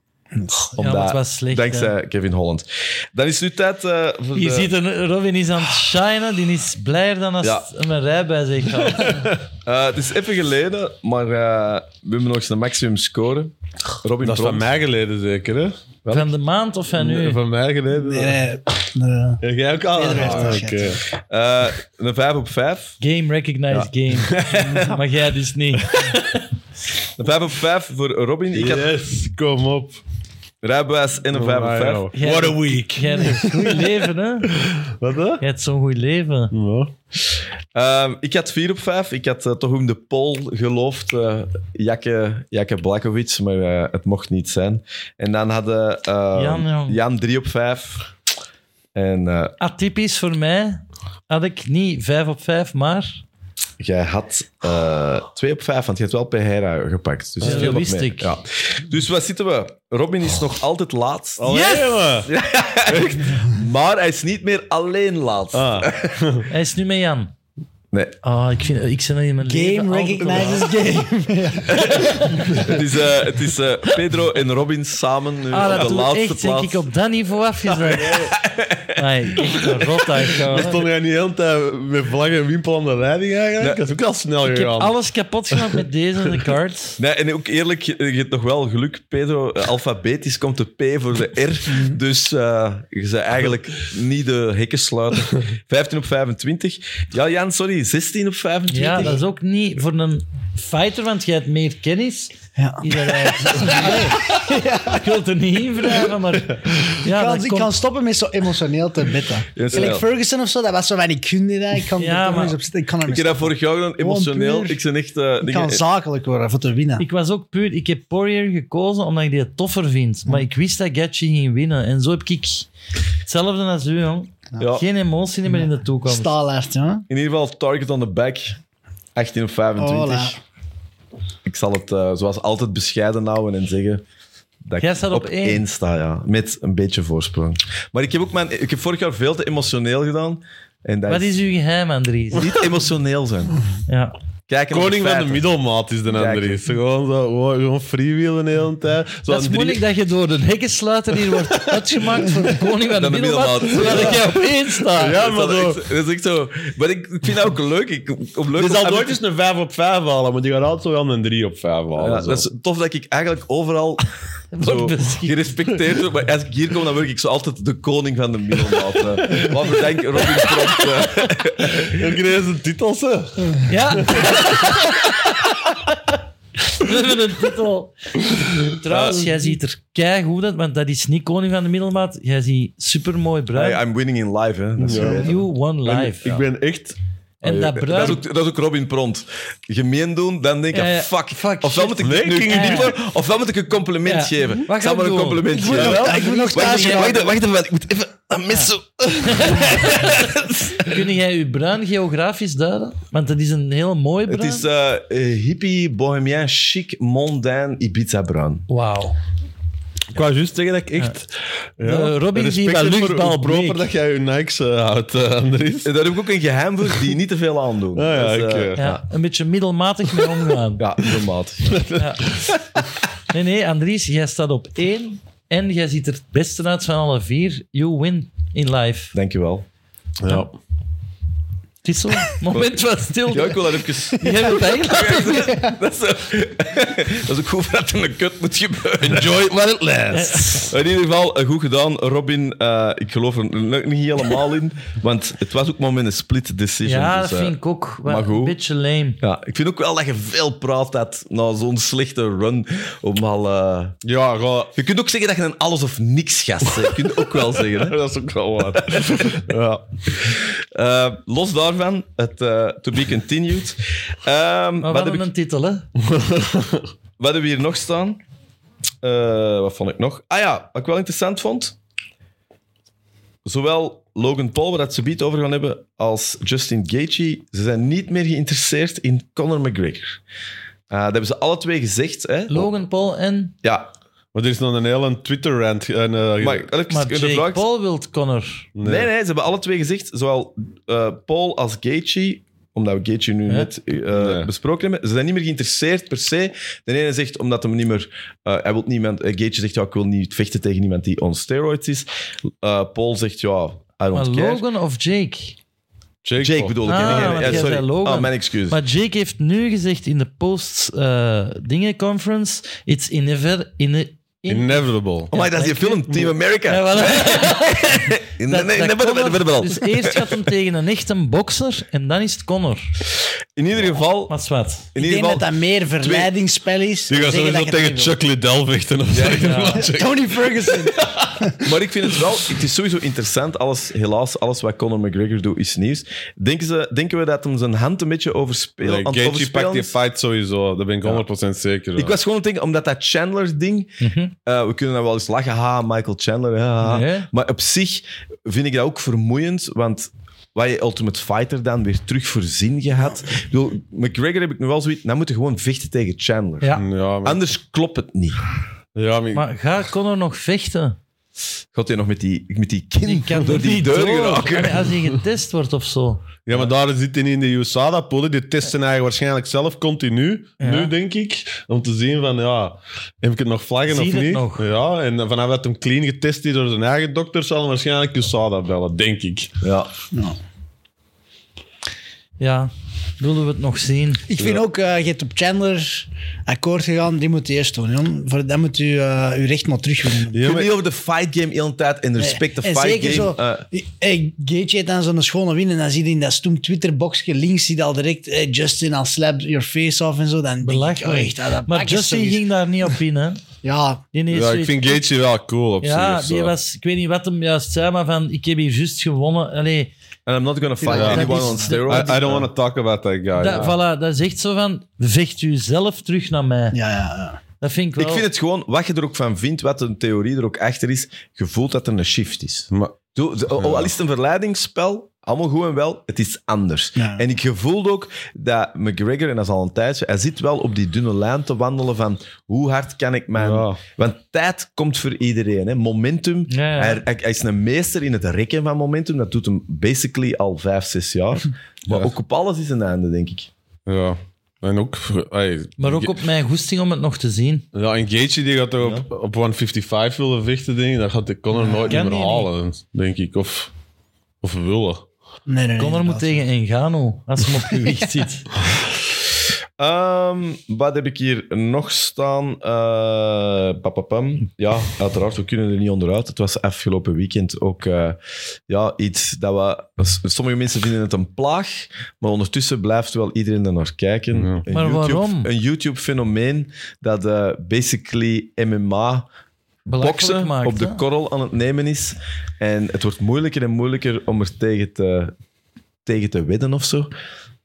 A: Omdat,
B: maar het was slecht,
A: Dankzij Kevin Holland. Dan is nu tijd eh, voor
B: Je
A: de-
B: ziet, een, Robin is aan het shinen. Die is blijer dan als
A: Ja.
B: hem een rij bij zich had.
A: Eh, het is even geleden, maar eh, we hebben nog eens een maximum scoren. Robin
C: Dat is van
A: Brons.
C: mij geleden zeker, hè?
B: Van de maand of van nu?
C: Van mij geleden.
D: Nee, nee, nee.
C: Ja, jij ook al?
D: Iedereen heeft
C: Ah,
D: dat
C: oké.
D: shit.
A: Eh, een 5 op 5.
B: Game recognized game. maar jij dus niet.
A: Een 5 op 5 voor Robin. Ik had
C: Yes, kom op.
A: rijbewijs en een 5 op 5.
B: Jij-
C: Oh, What a week.
B: Jij hebt een goed leven, hè?
C: Wat hè?
B: Jij hebt zo'n goed leven.
C: Ja.
A: Ehm, ik had 4 op 5. Ik had eh, toch om de Pol geloofd. eh Jakke, Jakke Blakovic, maar eh, het mocht niet zijn. En dan hadden eh,
B: Jan, ja.
A: Jan 3 op 5. En eh,
B: Atypisch voor mij had ik niet 5 op 5, maar
A: jij had 2 op 5, want je hebt wel Pereira gepakt. Dus
B: Ja,
A: het viel
B: dat
A: nog
B: wist
A: mee.
B: ik.
A: Ja. Dus waar zitten we? Robin is nog altijd laatst.
C: Oh,
B: Yes!
C: jongen.
A: Maar hij is niet meer alleen laatst.
C: Ah,
B: hij is nu met Jan.
A: Nee,
B: Ah, ik, vind, ik zit nog in mijn leven.
D: Game
B: altijd-
D: recognizes game.
A: het is, eh, het is eh, Pedro en Robin samen nu
B: Ah,
A: op
B: dat
A: de
B: doet
A: laatste
B: echt, denk
A: plaats.
B: ik, op dat niveau afgezet. Nee, echt een rot
C: dan
B: eigenlijk, hoor.
C: stond jij niet de hele tijd met vlag en wimpel aan de leiding eigenlijk? Dat is ook al snel
B: Ik heb
C: gegaan.
B: alles kapot gemaakt met deze en de cards.
A: Nee, en ook eerlijk, je je hebt nog wel geluk, Pedro. Eh, Alfabetisch komt de P voor de R.
B: Mhm.
A: Dus eh, je bent eigenlijk niet de hekkensluiter. 15 op 25. Ja, Jan, sorry, 16 op 25.
B: Ja, dat is ook niet voor een fighter, want jij hebt meer kennis.
D: Ja.
B: Is dat eigenlijk... Nee. Ik wil het er niet in wrijven, maar... Ja,
D: Ik
B: dat
D: kan, ik
B: komt-
D: kan stoppen met zo emotioneel te bidden.
A: Yes,
D: Gelijk
A: wel.
D: Ferguson of zo, dat was zo weinig kunde. daar. Ik kan
B: Ja,
D: er toch
B: maar-
D: eens op zitten. Ik kan, er
A: Ik heb dat vorig jaar gedaan, emotioneel.
D: puur.
A: Ik ben echt... eh,
D: ik
A: dingen-
D: kan zakelijk worden voor te winnen.
B: Ik was ook puur... Ik heb Poirier gekozen omdat ik die het toffer vind. Maar ik wist dat Gaethje ging winnen. En zo heb ik hetzelfde als u, jong.
A: Ja.
B: Geen emotie meer in de toekomst.
D: Staalaard, ja.
A: In ieder geval, target on the back. 18 op 25.
D: Hola.
A: Ik zal het eh, zoals altijd bescheiden houden en zeggen dat
B: Jij
A: ik
B: staat op één.
A: sta, ja. Met een beetje voorsprong. Maar ik heb ook mijn... Ik heb vorig jaar veel te emotioneel gedaan. En dat
B: Wat
A: is
B: is uw geheim, Andries?
A: niet emotioneel zijn.
B: Ja.
A: Kijken naar
C: Koning van de
A: feiten.
C: middelmaat is de
A: Kijk.
C: Andries. Gewoon, zo, gewoon, gewoon freewheelen de hele tijd. Zo
B: Dat is
C: aan drie-
B: moeilijk dat je door de hekkensluiter hier wordt uitgemaakt voor de koning van de
A: Dan de
B: middelmaat,
A: middelmaat.
B: terwijl ik jij op één sta.
C: Ah, Ja, maar
A: dat, is
C: zo.
A: echt, dat is echt zo. Maar ik, ik vind dat ook leuk. Ik, om leuk
C: Die
A: om-
C: zal nooit eens een 5 op 5 halen, maar die gaat altijd zo wel een 3 op 5 halen.
A: Ja,
C: Oh, zo.
A: dat is tof dat ik eigenlijk overal zo
B: Wordt beschikt.
A: gerespecteerd word. Maar als ik hier kom, dan word ik zo altijd de koning van de middelmaat. eh. Wat bedenk Robin Tromp? eh.
C: Ook ineens een titels, hè?
B: Ja. We hebben een titel. Trouwens, jij ziet er keigoed uit, want dat is niet koning van de middelmaat. Jij ziet supermooi bruin.
A: Hey, I'm winning in life, hè. Dat is
C: Ja.
A: wel-
B: You one life.
C: Ik ben echt...
B: En dat
A: Ah, Dat is,
B: bruin...
A: ook, dat is ook Robin Pront. Gemeen doen, dan denk ik,
B: Ja, ja.
A: fuck.
B: Fuck,
A: ofwel moet ik
C: shit.
A: nu
C: Nee, ik ging
B: niet
A: knippen, ofwel moet ik een compliment
B: Ja.
A: geven.
B: Wat
A: ik zal
B: ga
A: maar
B: ik
A: een
B: doen?
A: compliment geven.
D: Ja, ik moet nog
A: Wacht
D: thuis
A: even,
D: gaan.
A: wacht even, wacht even, ik moet even een mes zo...
B: Kun jij je bruin geografisch duiden? Want dat is een heel mooi
A: Het
B: bruin.
A: is eh, eh, hippie, bohemien, chic, mondain, Ibiza bruin.
B: Wauw.
C: Ik wou juist zeggen dat ik echt...
B: Eh, Robin
C: respect
B: die wel
C: heb voor
B: luchtbal
C: hoe proper
B: breekt.
C: dat jij je Nikes eh, houdt, eh, Andries.
A: En daar heb ik ook een geheim voor die niet te veel aan doen.
C: Ah, ja,
A: Dus, eh,
C: oké.
B: Ja, een beetje middelmatig mee omgaan.
A: ja, middelmatig.
B: Ja. Nee, nee, Andries, jij staat op één en jij ziet er het beste uit van alle vier. You win in life.
A: Dankjewel.
C: Ja.
B: Tissel, moment was stil.
A: Ja, ik wil dat even...
B: Jij hebt het eigenlijk
A: Dat is, eh, dat is ook goed dat er een kut moet gebeuren.
C: Enjoy it, let it last.
A: In ieder geval, eh, goed gedaan. Robin, eh, ik geloof er nog niet helemaal in. Want het was ook maar met een split decision.
B: Ja,
A: dus,
B: dat
A: eh,
B: vind ik ook
A: maar
B: wel
A: goed.
B: een beetje lame.
A: ja, ik vind ook wel dat je veel praat had na zo'n slechte run. Om al, eh,
C: Ja, ga-
A: Je kunt ook zeggen dat je een alles of niks gast bent. Je kunt ook wel zeggen. Hè?
C: dat is ook wel waar. ja.
A: Eh, los daarvan, het eh, to be continued. Ehm,
B: Maar
A: wat,
B: wat
A: heb ik,
B: een titel, hè?
A: wat hebben we hier nog staan? Eh, wat vond ik nog? Ah ja, wat ik wel interessant vond. zowel Logan Paul, waar dat ze biedt over gaan hebben, als Justin Gaethje, ze zijn niet meer geïnteresseerd in Conor McGregor. Eh, dat hebben ze alle twee gezegd. Hè?
B: Logan Paul en...
A: Ja,
C: Maar er is nog een hele Twitter-rant. en, eh,
A: maar, Alex,
B: Maar
A: de
B: Jake
A: vraag-
B: Paul wil Connor.
A: Nee. nee, ze hebben alle twee gezegd, zowel eh, Paul als Gaethje, omdat we Gaethje nu
B: Ja.
A: net eh,
C: Nee.
A: besproken hebben, ze zijn niet meer geïnteresseerd per se. De ene zegt omdat hem niet meer, eh, hij wil niemand, eh, Gaethje zegt ja, ik wil niet vechten tegen iemand die on steroids is. Eh, Paul zegt ja, I don't
B: Maar
A: care.
B: Logan of Jake?
C: Jake,
A: Jake
C: Paul.
A: bedoel ik.
B: Ah,
A: hè,
B: want
A: nee,
B: jij
A: ja, sorry.
B: zei Logan.
A: Ah, mijn excuses.
B: Maar Jake heeft nu gezegd in de post-dingen-conference: It's inever, ine, in,
C: Inevitable.
A: Oh my, dat is die
B: dank je.
A: film, Team America.
B: Ja, voilà.
A: In-
B: Dat-
A: nee,
B: dat
A: nee,
B: Connor-
A: nee, nee, nee, nee.
B: Dus eerst gaat hem tegen een echte bokser en dan is het Connor.
A: In ieder geval...
B: Maar zwart.
A: In
D: Ik
A: ieder
D: denk
A: geval
D: dat dat meer verleidingsspel is.
C: Die gaat
D: dan
C: sowieso
D: zeggen dat je
C: tegen
D: het niet
C: Chuck Liddell vechten. Of zo.
D: wil. Tony Ferguson.
A: Maar ik vind het wel, het is sowieso interessant. Alles, helaas, alles wat Conor McGregor doet is nieuws. Denken, ze, denken we dat hem zijn hand een beetje overspelen?
C: Nee,
A: aan het
C: Eh, Gaethje
A: overspelen
C: pakt die
A: is?
C: fight sowieso. Daar ben ik 100% zeker van.
A: Ik was gewoon aan het denken, omdat dat Chandler-ding... eh, we kunnen dan wel eens lachen, ha, Michael Chandler, ha, ha.
B: Mhm. Nee.
A: Maar op zich vind ik dat ook vermoeiend, want wat je Ultimate Fighter dan weer terug voor zin gehad... Ik bedoel, McGregor heb ik nog wel zoiets... Dan moet je gewoon vechten tegen Chandler.
B: Ja.
C: Ja, maar,
A: Anders klopt het niet.
C: ja, maar,
B: Maar gaat Connor nog vechten?
A: Gaat hij nog met die, met die kin
B: Die kan
A: door
B: er
A: die
B: niet
A: deur
B: door.
A: geraken?
B: Allee, Als hij getest wordt of zo.
C: ja, maar daar zit hij niet in de USA, dat pool. Die testen eigenlijk waarschijnlijk zelf continu.
B: Ja.
C: Nu, denk ik. Om te zien van, ja, heb ik het nog vlaggen
B: Zie
C: of
B: je het
C: niet?
B: nog?
C: Ja, en vanaf dat hem clean getest is door zijn eigen dokter, zal hij waarschijnlijk USADA bellen, denk ik.
A: Ja.
D: Nou.
B: Ja, willen we het nog zien?
D: Ik vind ook, eh, je hebt op Chandler akkoord gegaan, die moet eerst doen. jong. Voor dat moet u eh, uw recht maar terugwinnen.
A: Je
C: Ja,
A: kunt
C: maar-
A: niet over de fight game heel de tijd en respect de
D: en
A: fight
D: zeker
A: game.
D: zo,
A: eh,
D: hey, Gage heeft dan zo'n schone win en dan zie je in dat stoem Twitterboxje links, zie je al direct hey, Justin al slap your face off en zo. Dan denk ik, oh, echt,
B: Belachelijk.
D: dat- dat
B: maar
D: pak is
B: Justin
D: zoiets.
B: ging daar niet op in, hè?
D: Ja,
B: Die heeft
C: Ja, ik
B: zoiets-
C: vind Gaethje wel cool op zich.
B: Ja,
C: of zo.
B: die was, ik weet niet wat hem juist zei, maar van ik heb hier juist gewonnen. Allee,
A: and I'm not gonna fight
C: Ja, dat
A: anyone
B: is
A: on
B: de-
A: steroids.
C: I, I don't want to talk about that guy.
A: Ah,
B: dat, voilà, dat is echt zo van vecht u zelf terug naar mij.
D: ja, ja. ja.
B: Dat vind ik wel.
A: Ik vind het gewoon, wat je er ook van vindt, wat een theorie er ook achter is, je voelt dat er een shift is.
C: Maar,
A: Doe- de- oh, Al al is het een verleidingsspel, allemaal goed en wel, het is anders.
D: Ja.
A: En ik gevoelde ook dat McGregor, en dat is al een tijdje, hij zit wel op die dunne lijn te wandelen van hoe hard kan ik mijn...
C: Ja.
A: Want tijd komt voor iedereen. Hè. Momentum,
B: Ja, ja.
A: Hij, hij- hij is een meester in het rekken van momentum. Dat doet hem basically al vijf, zes jaar. Maar
C: Ja.
A: ook op alles is een einde, denk ik.
C: ja. En ook... ey,
B: Maar ook
C: Ga-
B: op mijn goesting om het nog te zien.
C: Ja, en Gaethje die gaat toch op, op 155 willen vechten, denk ik. Dat gaat de Connor nooit
B: kan
C: meer
B: die
C: halen, denk ik. Of, of willen.
D: Nee, nee, nee,
B: Connor moet
D: inderdaad.
B: tegen Engano, als hij hem op gewicht zit.
A: Ehm, wat heb ik hier nog staan? Eh, papapam. Ja, uiteraard, we kunnen er niet onderuit. Het was afgelopen weekend ook eh, ja, iets dat we... s- Sommige mensen vinden het een plaag, maar ondertussen blijft wel iedereen er naar kijken.
C: Ja.
A: Een
B: Maar
A: YouTube-
B: waarom?
A: Een YouTube-fenomeen dat eh, basically MMA
B: Belachelijk
A: boksen
B: maakt,
A: op de
B: hè?
A: korrel aan het nemen is. En het wordt moeilijker en moeilijker om er tegen te, tegen te wedden of zo.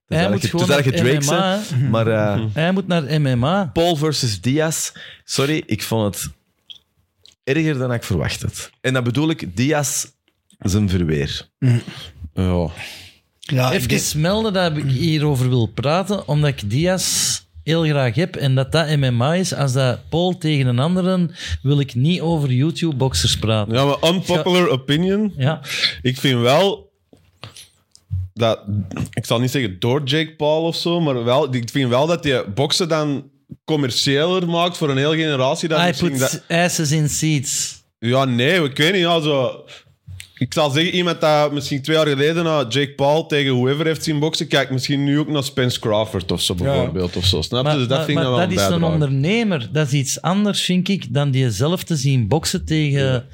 B: Hij moet
A: Het is
B: gewoon
A: eigenlijk
B: naar
A: Drake,
B: MMA,
A: zei, maar... eh,
B: Hij moet naar MMA.
A: Paul versus Diaz. Sorry, ik vond het erger dan ik verwacht had. En dat bedoel ik Diaz zijn verweer.
C: Ja.
D: Ja, ik denk-
B: Even melden dat ik hierover wil praten, omdat ik Diaz heel graag heb en dat dat MMA is. Als dat Paul tegen een anderen, wil ik niet over YouTube-boxers praten.
C: ja, maar unpopular opinion.
B: Ja,
C: Ik vind wel... Dat, ik zal niet zeggen door Jake Paul of zo, maar wel, ik vind wel dat je boksen dan commerciëler maakt voor een hele generatie. Dan
B: I
C: misschien
B: Ah, put
C: dat-
B: asses in seats.
C: Ja, nee, ik weet niet. Ja, zo. Ik zal zeggen, iemand dat misschien twee jaar geleden naar Jake Paul tegen whoever heeft zien boksen, kijkt misschien nu ook naar Spence Crawford of zo bijvoorbeeld. Of zo. Snap je?
B: Maar,
C: Dus dat
B: maar-
C: vind
B: maar
C: ik dan wel
B: dat is een
C: bijdrage.
B: ondernemer. Dat is iets anders, vind ik, dan die zelf te zien boksen tegen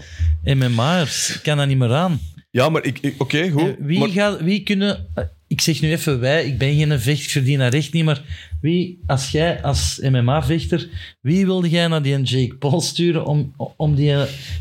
B: MMA'ers. Ik kan dat niet meer aan.
A: Ja, maar ik... ik- Oké, goed.
B: Eh, Wie,
A: maar
B: gaat, wie kunnen... eh, ik zeg nu even wij, ik ben geen vecht, ik verdien dat recht niet, maar wie, als jij als MMA-vechter, wie wilde jij naar die Jake Paul sturen om, om die...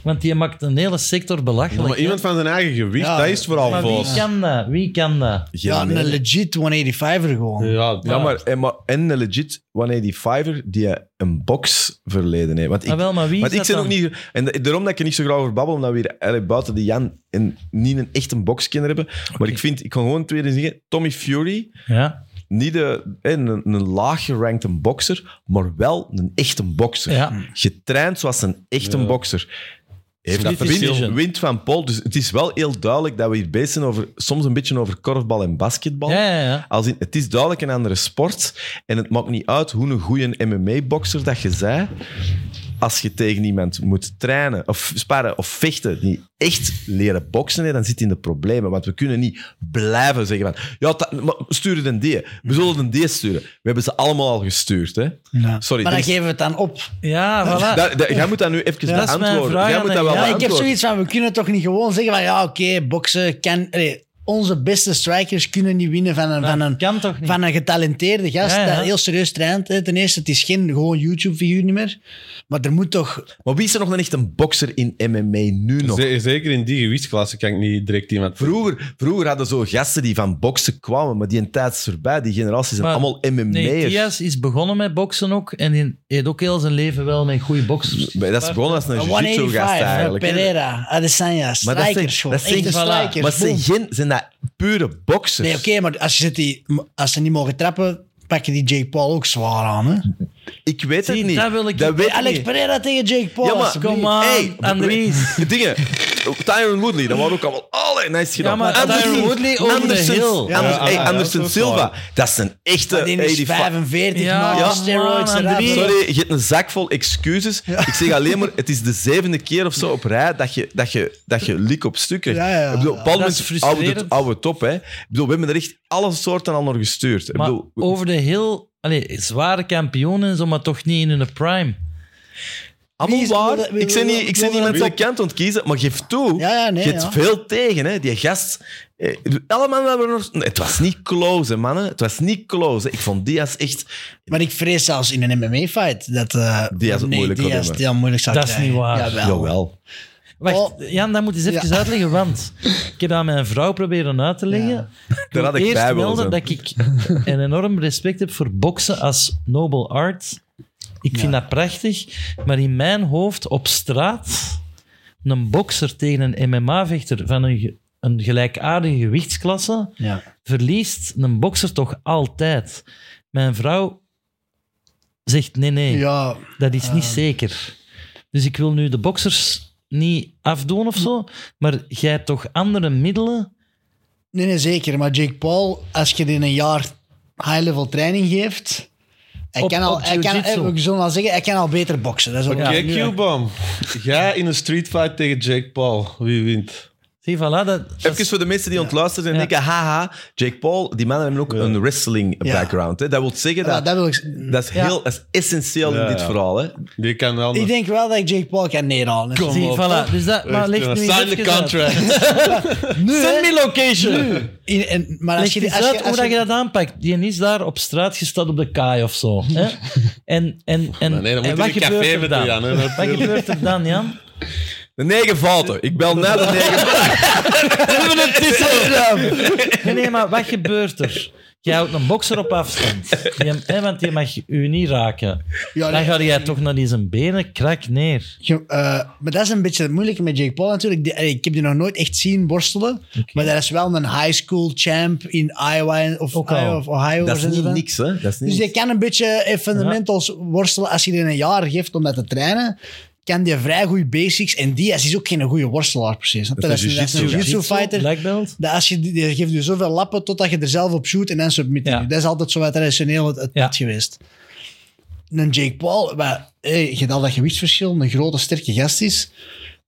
B: Want die maakt een hele sector belachelijk.
C: Maar
B: hè.
C: iemand van zijn eigen gewicht,
D: Ja.
C: dat is vooral
B: Maar wie
C: boos.
B: kan dat? Wie kan dat?
A: Geen
D: Ja, een
A: idee.
D: legit 185er gewoon.
C: Ja,
A: Ja, maar, en, maar, en een legit 185er die een box verleden heeft. Want ik,
B: Maar Ah, wel, maar wie
A: want
B: is
A: ik
B: dat
A: zit ook
B: dan?
A: niet... En da- daarom dat ik er niet zo graag over babbel, omdat we hier eigenlijk buiten de Jan en niet een echt een boxkinder hebben. Maar ik vind, ik kan gewoon twee dingen zeggen. Tommy Fury,
B: Ja,
A: niet de, eh, een, een laag gerankte bokser, maar wel een echte bokser.
B: ja.
A: Getraind zoals een echte bokser. Heeft
B: Split
A: dat wind,
B: decision.
A: wind van Paul. Dus het is wel heel duidelijk dat we hier bezig zijn over soms een beetje over korfbal en basketbal.
B: Ja, ja, ja.
A: Als in, het is duidelijk een andere sport. En het maakt niet uit hoe een goede MMA-bokser dat je zij. Als je tegen iemand moet trainen of sparren of vechten die echt leren boksen, hè, dan zit je in de problemen. Want we kunnen niet blijven zeggen van ja, dat- maar stuur een D. We zullen een D sturen. We hebben ze allemaal al gestuurd. Hè?
D: Ja.
A: Sorry,
D: maar dan
A: dat is-
D: geven we het dan op.
B: Ja, voilà.
A: Daar- daar- jij moet dat nu even
B: dat is mijn
A: beantwoorden.
B: vraag
A: jij
B: aan
A: moet dat wel
B: jou.
D: Ja, ik heb
A: beantwoorden.
D: zoiets van, we kunnen toch niet gewoon zeggen van ja, oké, boksen kan... allee, onze beste strikers kunnen niet winnen van een, van
B: dat
D: een,
B: kan toch niet?
D: van een getalenteerde gast
B: Ja, ja.
D: dat heel serieus traint. hè. Ten eerste, het is geen gewoon YouTube-figuur niet meer. Maar er moet toch...
A: Maar wie is er nog een echt een bokser in MMA nu nog?
C: Ze- Zeker in die gewichtsklasse kan ik niet direct iemand...
A: Vroeger, vroeger hadden zo gasten die van boksen kwamen, maar die een tijd is voorbij. Die generaties zijn
B: Maar-
A: allemaal MMA'ers.
B: Nee, Diaz is begonnen met boksen ook. En die heeft ook heel zijn leven wel met goede boksers.
A: Maar dat is begonnen als een jiu-jitsu gast
D: 185,
A: eigenlijk. hè.
D: Pereira, Adesanya,
A: Maar dat zijn-
D: strikers gewoon.
A: dat zijn-
D: Echte
B: voilà.
D: strikers.
A: Maar zijn,
D: boom.
A: geen, zijn dat pure boksers?
D: Nee, oké, maar als, je zit die, als ze niet mogen trappen, pak je die Jake Paul ook zwaar aan. Hè?
A: Ik weet het
B: Zie,
A: niet.
B: dat wil ik-
A: weet
D: Hey, Alex
A: niet.
D: Pereira tegen Jake Paul.
A: Ja, maar-
D: alsjeblieft.
B: Kom aan,
A: Hey,
B: Andries.
A: De dingen. Tyron Woodley, dat waren ook allemaal alle. En hij is gedaan.
B: maar
A: Anderson-
B: Tyron Woodley over de
A: Anderson-
B: hill.
A: Anderson-
D: Ja,
A: hey,
C: ja,
A: Anderson
C: dat is wel
A: Silva, dat is een echte
D: Maar die is
A: 85.
D: 45
B: Ja,
D: na
B: ja.
D: steroids.
B: man,
D: eraf.
B: Andries.
A: Sorry, je hebt een zak vol excuses. Ik zeg alleen maar, het is de zevende keer of zo op rij dat je, dat je, dat je lik op stuk krijgt.
D: Ja, ja, ja.
A: Ik bedoel, op een bepaal
B: Dat is
A: moment houden we het
B: frustrerend.
A: oude top. Hè. Ik bedoel, we hebben er echt alle soorten al naar gestuurd. Ik
B: Maar
A: bedoel, we-
B: over de heel... Allee, zware kampioenen en zo, maar toch niet in hun prime.
A: allemaal
D: wie is-
A: waar.
D: wil- wil-
A: ik zit
D: wil-
A: niet, ik zit
D: wil-
A: niemand
D: wil-
A: zijn kant ontkiezen, maar geef toe.
D: Ja, ja, nee,
A: je hebt
D: ja.
A: veel tegen, hè. die gast. eh, Allemaal hebben we nog... Nee, Het was niet close, hè, mannen. Het was niet close. hè. Ik vond Diaz echt...
D: Maar ik vrees zelfs in een MMA-fight dat eh
A: Diaz het
D: nee,
A: moeilijk kan
D: Diaz
A: hebben.
D: het heel moeilijk zou
B: Dat is
D: krijgen.
B: niet waar.
D: Jawel.
A: Jawel.
B: Wacht, Jan, dat moet je eens even
D: Oh. Ja.
B: uitleggen, want ik heb aan mijn vrouw proberen uit te leggen.
D: Ja.
A: Daar had
B: wil
A: ik
B: eerst
A: bij willen zijn.
B: melden dat ik een enorm respect heb voor boksen als noble art. Ik vind dat prachtig, maar in mijn hoofd op straat een bokser tegen een MMA-vechter van een, ge- een gelijkaardige gewichtsklasse
D: Ja.
B: verliest een bokser toch altijd. Mijn vrouw zegt nee, nee.
D: Ja,
B: Dat is niet zeker. Dus ik wil nu de boxers niet afdoen of zo, maar jij hebt toch andere middelen?
D: nee, nee, zeker. Maar Jake Paul, als je die een jaar high-level training geeft... Hij
B: Op-
D: kan al,
B: op
D: hij kan,
B: jiu-jitsu.
D: eh, ik zal wel zeggen, hij kan al beter boksen. Dat is ook
C: Oké,
D: Ja, nu-
C: Q-Bomb. Jij in een streetfight tegen Jake Paul. Wie wint?
B: Zie, voilà, dat, dat
A: Even
B: is-
A: voor de mensen die ontluisteren zijn
B: Ja.
A: denken, haha, Jake Paul, die mannen hebben ook een wrestling
D: Ja.
A: background. Hè? Dat wil zeggen
D: Ja,
A: dat,
D: dat wil ik...
A: dat is,
B: Ja.
A: heel, dat is essentieel
C: Ja,
A: in dit
C: ja.
A: verhaal. Hè?
C: Die kan wel...
D: Ik denk wel dat ik Jake Paul kan neerhalen.
B: zie, voilà. Dus dat, maar leg nu eens
C: Sign the
B: even uit.
C: contract.
D: Nu, hè.
B: Send me location.
D: In- en- maar als
B: Leg
D: je,
B: eens
D: die- als je,
B: uit hoe
D: als
B: dat je
D: je,
B: dat aanpakt. Die is daar op straat gesteld op de kaai of zo. Hè? En, en, en,
C: Nee, dan
B: en
C: moet
B: wat
C: je een café
B: gebeurt er
C: met die
B: dan?
C: aan. hè,
B: Wat
C: natuurlijk.
B: gebeurt er dan, Jan?
A: De negenvouten. Ik bel na de negenvouten.
B: Nee, nee, maar wat gebeurt er? Jij houdt een bokser op afstand. Die, hè, want je mag u niet raken.
D: Ja,
B: Dan
D: nee.
B: ga jij toch naar die zijn benen krak neer.
D: je- eh, maar dat is een beetje het moeilijke met Jake Paul natuurlijk. Die- eh, ik heb die nog nooit echt zien borstelen. Maar dat is wel een high school champ in Iowa of,
B: Ook al.
D: Iowa of Ohio.
A: Dat
D: waar
A: is
D: zijn ze
A: niet
D: van?
A: niks, hè? Dat is niet
D: Dus je
A: niks.
D: kan een beetje eh, fundamentals worstelen. Als je die een jaar geeft om dat te trainen, kan die vrij goede basics. En Diaz is ook geen goede worstelaar precies. snap je?
A: Dat is
D: Dat is
A: een
D: dat is een
A: jiu-jitsu
D: jiu-jitsu fighter.
B: Black belt.
D: Dat als je, die die geeft je zoveel lappen totdat je er zelf op shoot en dan submit je.
B: Ja.
D: Dat is altijd zo wat traditioneel het, het
B: Ja.
D: pad geweest. Een Jake Paul, maar, hey, je hebt al dat gewichtsverschil, een grote, sterke gast is.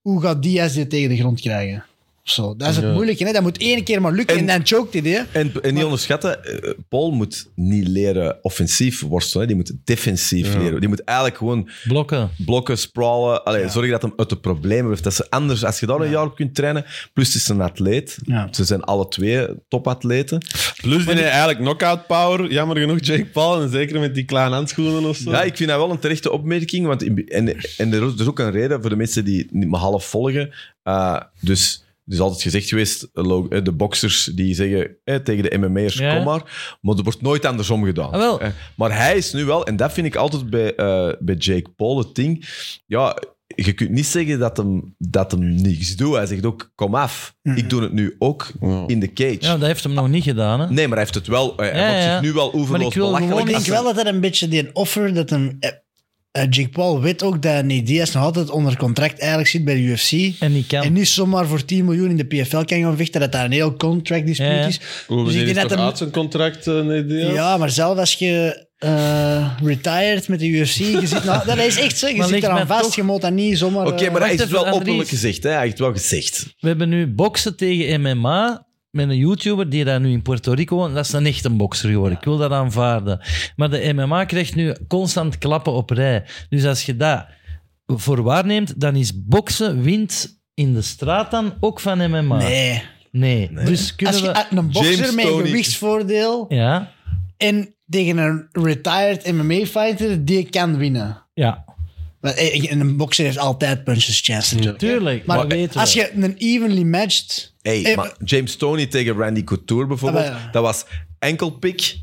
D: Hoe gaat Diaz dit tegen de grond krijgen? zo. Dat is het
C: Ja.
D: moeilijke. Hè? Dat moet één keer maar lukken en,
A: En-
D: dan choked hij. hè.
A: En, en niet onderschatten, eh, Paul moet niet leren offensief worstelen. hè. Die moet defensief leren. Die moet eigenlijk gewoon
B: Blokken.
A: blokken, sprawlen. Allee, Zorg dat hem uit de problemen heeft. Dat ze anders, als je daar een jaar op kunt trainen. Plus, het is een atleet.
D: Ja.
A: Ze zijn alle twee topatleten.
C: Plus die heeft eigenlijk knockout power. Jammer genoeg, Jake Paul. En zeker met die kleine handschoenen of zo.
A: Ja, ik vind dat wel een terechte opmerking. Want in- en, en er is er is ook een reden voor de mensen die niet maar half volgen. Eh, dus er is altijd gezegd geweest, eh, lo- eh, de boxers die zeggen eh, tegen de MMA'ers,
B: Ja.
A: kom maar. Maar er wordt nooit andersom gedaan.
B: Ah, wel.
A: Eh, maar hij is nu wel, en dat vind ik altijd bij, eh, bij Jake Paul het ding. Ja, je kunt niet zeggen dat hem, dat hem niks doet. Hij zegt ook, kom af. Ik doe het nu ook
C: Ja. Dus
A: in de cage.
B: Mhm. Ja, dat heeft hem nog niet gedaan. Hè?
A: Nee, maar hij heeft het wel. eh, Hij
B: Ja,
A: maakt
B: ja.
A: zich nu wel oeverloos
B: ik wil
A: belachelijk.
B: gewoon-
D: Ik denk
A: Als-
D: wel dat dat een beetje die offer, dat hem... eh, eh, Jake Paul weet ook dat Nate Diaz nog altijd onder contract eigenlijk zit bij de UFC.
B: En die kan.
D: En niet zomaar voor 10 miljoen in de PFL kan gaan vechten, dat daar een heel contract dispute
B: Ja, ja.
D: is.
C: Hoe
D: Dus
C: dus
D: ik denk dat
C: toch
D: hem-
C: uit zijn contract, eh, nee, die-
D: Ja, maar zelf als je eh, retired met de UFC, je zit nou, dat is echt zo, je
B: Maar
D: zit
B: ligt
D: eraan
B: men
D: vast,
B: toch-
D: je moet dat niet zomaar...
A: Oké,
D: eh,
A: maar hij heeft het
B: even,
A: wel
B: Andries.
A: openlijk gezegd. Hè? Hij heeft het wel gezegd.
B: We hebben nu boksen tegen MMA met een YouTuber die daar nu in Puerto Rico woont. Dat is een echte bokser geworden. Ik wil dat aanvaarden. Maar de MMA krijgt nu constant klappen op rij. Dus als je dat voor waarneemt, dan is boksen wint in de straat dan ook van MMA.
D: Nee.
B: Nee. Dus kunnen
D: Als je
B: we...
D: uit een bokser
C: James
D: met een
C: Toney.
D: gewichtsvoordeel
B: Ja.
D: en tegen een retired MMA-fighter, die kan winnen.
B: Ja.
D: Maar, eh, Een bokser heeft altijd punches chance. natuurlijk.
B: Tuurlijk.
D: Maar,
B: Maar, weten we.
D: als je een evenly matched...
A: Hey,
D: Eh,
A: maar James Toney tegen Randy Couture bijvoorbeeld,
D: Ah, maar ja.
A: dat was enkel pik,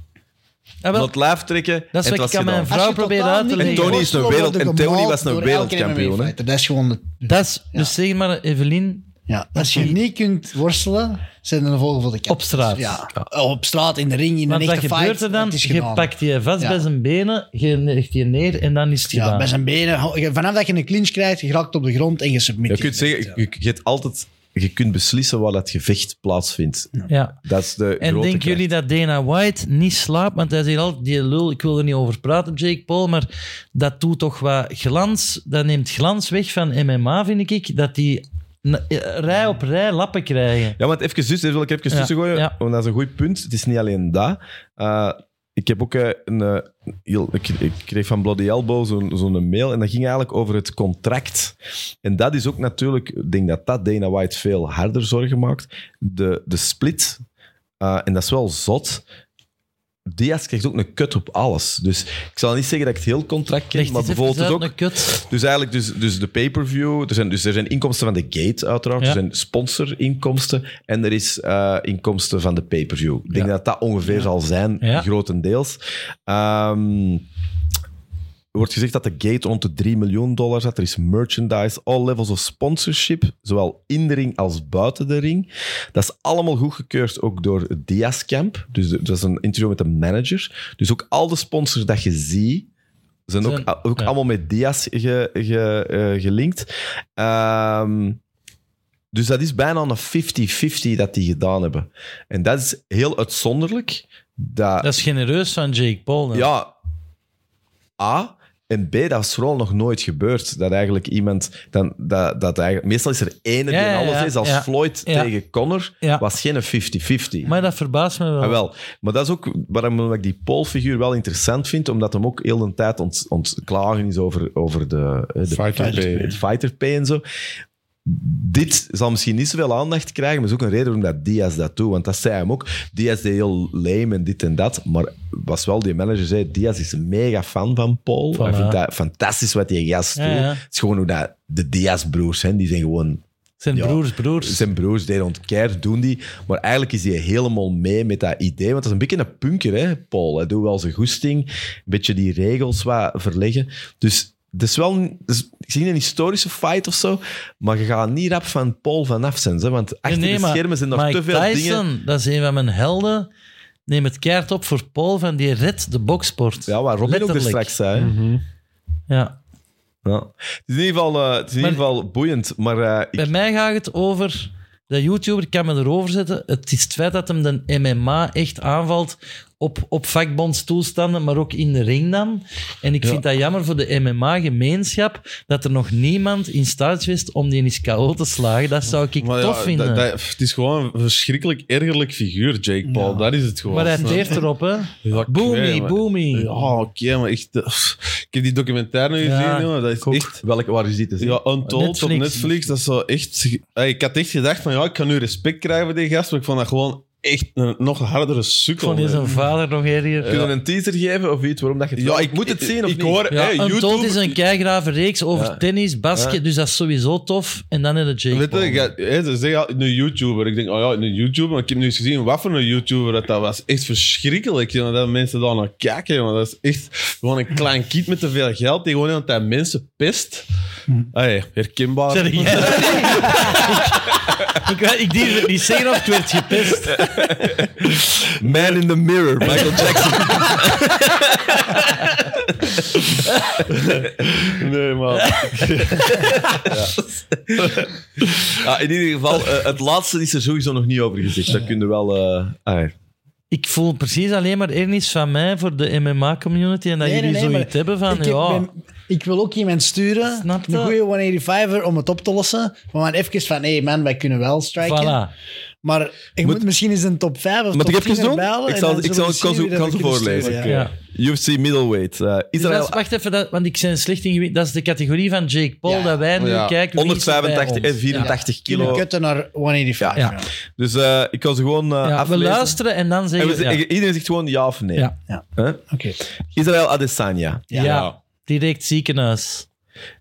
B: Ah, wel,
A: not lijf trekken.
B: dat
A: en het
B: is wat
A: was
B: ik aan mijn
A: gedaan.
D: als
B: vrouw
D: je
B: probeer
D: totaal
B: uit te
D: niet
A: En
B: leggen.
A: Tony is een
D: worstelt,
A: wereld-
D: wordt
A: en Tony
D: je gemaald
A: was een
D: door elke
A: wereldkampioen, hè?
D: MMA-fighter. Dat is gewoon de
B: Dat is, Dus zeg maar, Evelien,
D: Ja, als je niet kunt worstelen, zijn er de volgen voor de kat.
B: Op straat.
D: Ja. op straat, in de ring, in
B: Want
D: een
B: wat
D: echte fight.
B: gebeurt er dan?
D: het is
B: Je
D: gedaan.
B: pakt je vast
D: Ja.
B: bij zijn benen, je legt je neer en dan is het
D: ja,
B: gedaan.
D: bij zijn benen. ho- je- Vanaf dat je een clinch krijgt, je raakt op de grond en je
A: Je
D: submit.
A: kunt zeggen, je, je hebt altijd, je kunt beslissen waar dat gevecht plaatsvindt.
B: Ja.
A: Dat is de
B: En
A: grote
B: denken
A: kracht.
B: jullie dat Dana White niet slaapt? Want hij zegt altijd, die lul, ik wil er niet over praten, Jake Paul, maar dat doet toch wat glans, dat neemt glans weg van MMA, vind ik, dat die na- eh, rij op rij lappen krijgen.
A: Ja, want even zus, daar wil ik even
B: Ja,
A: tussen gooien,
B: ja.
A: want dat is een goed punt. Het is niet alleen dat. Eh, ik heb ook eh, een... eh, heel- ik, ik kreeg van Bloody Elbow zo'n zo'n mail en dat ging eigenlijk over het contract. En dat is ook natuurlijk... Ik denk dat dat Dana White veel harder zorgen maakt. De, de split, eh, en dat is wel zot... Diaz krijgt ook een kut op alles. Dus ik zal niet zeggen dat ik het heel contract ken,
B: Leg
A: maar
B: eens even
A: bijvoorbeeld het
B: uit,
A: ook...
B: een kut.
A: Dus eigenlijk dus, dus de pay-per-view, er zijn, dus er zijn inkomsten van de gate uiteraard,
B: Ja.
A: er zijn sponsorinkomsten en er is eh, inkomsten van de pay-per-view. Ik denk dat dat ongeveer zal zijn,
B: Ja.
A: grotendeels. Ehm, er wordt gezegd dat de gate rond de 3 miljoen dollar zat. Er is merchandise, all levels of sponsorship, zowel in de ring als buiten de ring. Dat is allemaal goedgekeurd ook door het Diaz Camp. Dus de- dat is een interview met de manager. Dus ook al de sponsors dat je ziet, zijn ook,
B: Zijn-
A: ook
B: ja.
A: allemaal met Diaz ge- ge- eh, gelinkt. Ehm, dus dat is bijna een 50-50 dat die gedaan hebben. En dat is heel uitzonderlijk. Dat,
B: Dat is genereus van Jake Paul. dan.
A: ja. A. En B, dat is vooral nog nooit gebeurd. Dat eigenlijk iemand... Dan, dat, dat eigenlijk, meestal is er ene
B: Ja,
A: die
B: ja,
A: in alles
B: ja,
A: is. Als
B: ja.
A: Floyd
B: Ja.
A: tegen Connor
B: Ja.
A: was geen 50-50.
B: Maar dat verbaast me wel.
A: Ah, wel. Maar dat is ook waarom ik die Paul-figuur wel interessant vind, omdat hem ook heel de tijd ont, ontklagen is over, over de, eh, de
C: Fighter pay.
A: het fighter pay en zo. Dit zal misschien niet zoveel aandacht krijgen, maar is ook een reden waarom dat Diaz dat doet. Want dat zei hem ook. Diaz deed heel lame en dit en dat. Maar was wel die manager zei, Diaz is een mega fan van Paul.
B: Voilà.
A: Hij vindt dat fantastisch wat die gast doet.
B: Ja, ja.
A: Het is gewoon hoe dat de Diaz-broers zijn. Die zijn gewoon
B: Zijn
A: Ja.
B: broers, broers.
A: zijn broers deden ontkeer, doen die. Maar eigenlijk is hij helemaal mee met dat idee. Want dat is een beetje een punker, hè, Paul. Hij doet wel zijn goesting. Een beetje die regels wat verleggen. Dus het is wel een, het is- ik zie een historische fight of zo. Maar je gaat niet rap van Paul vanaf zijn. Hè, want achter
B: Nee, nee,
A: de
B: maar
A: schermen zijn nog
B: Mike
A: te veel
B: Tyson,
A: dingen.
B: dat is een van mijn helden. Neem het kaart op voor Paul van die redt de boksport.
A: Ja, waar Robin ook er
B: Letterlijk.
A: straks zei. hè.
B: Ja.
A: Ja. Het is in ieder geval, eh, het is in
B: Maar-
A: ieder geval boeiend. Maar eh, ik-
B: Bij mij gaat het over... De YouTuber kan me erover zetten. Het is het feit dat hem de MMA echt aanvalt op, op vakbondstoestanden, maar ook in de ring dan. En ik vind dat jammer voor de MMA-gemeenschap dat er nog niemand in staat is om die eens KO te slagen. Dat zou ik
C: Maar ja,
B: tof vinden.
C: dat- dat- het is gewoon een verschrikkelijk ergerlijk figuur, Jake Paul. Dat is het gewoon.
B: maar hij teert erop, hè.
C: eh, Ja, ik weet,
B: Boomy,
C: maar-
B: boomy.
C: Ja, oké, maar echt... eh, Ik heb die documentaire nu
B: Ja,
C: gezien, jongen. Dat is
B: ik ook.
C: echt...
A: Welke, waar is die te zien?
C: Ja, Untold op
B: Netflix.
C: Netflix. Dat is zo echt... Ey, Ik had echt gedacht van, ja, ik kan nu respect krijgen voor die gast, maar ik vond dat gewoon echt een nog hardere
B: Ik
C: sukkel.
B: vond die
C: hè.
B: zijn vader nog eerder.
A: Kunnen we een teaser geven of iets waarom dat je het
C: Ja,
A: wil?
C: ik
A: moet het zien of
C: ik
A: niet?
C: hoor,
B: Ja,
C: ey,
B: Untold
C: YouTube...
B: is een keigrave reeks over
A: Ja.
B: tennis, basket, dus dat is sowieso tof. En dan in de Jake
C: Weet je,
B: Paul.
C: ja, hè, ze zeggen altijd een YouTuber. Ik denk, oh ja, een YouTuber. Maar ik heb nu eens gezien wat voor een YouTuber dat, dat was. Echt verschrikkelijk, jongen, dat mensen daar naar kijken. Jongen. Dat is echt gewoon een klein kind met te veel geld die gewoon heel de tijd mensen pest. Hey,
B: Hm.
C: herkenbaar.
B: Zeg jij? ik, weet- ik durf het niet zeggen of ik werd gepest.
A: Man in the Mirror, Michael Jackson.
C: Nee, maar...
A: Ja, in ieder geval, eh, het laatste is er sowieso nog niet over gezegd. Dat kun je wel... eh, ah, ja.
B: Ik voel precies alleen maar ernis van mij voor de MMA-community en dat
D: Nee, nee,
B: jullie
D: nee,
B: zoiets
D: maar
B: hebben van,
D: ik, heb-
B: ja,
D: ben- ik wil ook iemand sturen,
B: Snap
D: een
B: dat?
D: goede 185er, om het op te lossen. Maar man, even van, hé hey man, wij kunnen wel striken.
B: voilà.
D: Maar ik moet, misschien eens een top 5 of
A: Moet
D: top
A: ik even
D: 10
A: doen?
D: erbij halen
A: Ik
D: en
A: zal-
D: dan
A: ik
D: zullen we
A: zal- kan zo-
D: zien wie dat
A: kan
D: we
A: zo
D: kunnen
A: voorlezen.
D: sturen,
A: Oké.
D: ja.
B: Ja.
A: UFC middleweight. eh,
B: Dus dat
A: Israël...
B: is- wacht even, dat, want ik zijn slecht in gewicht. Dat is de categorie van Jake Paul
D: Ja.
B: dat wij nu
C: Ja.
B: kijken. wie is er bij
A: 185 en
B: ons.
A: 84
D: Kunnen
A: kilo.
D: kutten naar 185.
B: Ja.
D: ja.
A: Dus eh, ik kan ze gewoon eh
B: Ja, ja, we
A: aflezen.
B: luisteren en dan
A: En
B: zeggen
A: we
B: we...
A: z-
B: Ja,
A: Iedereen zegt gewoon ja of nee.
B: Ja.
D: Ja.
A: Hè?
D: Oké.
A: Israël Adesanya.
B: ja.
C: Ja.
B: direct ziekenhuis.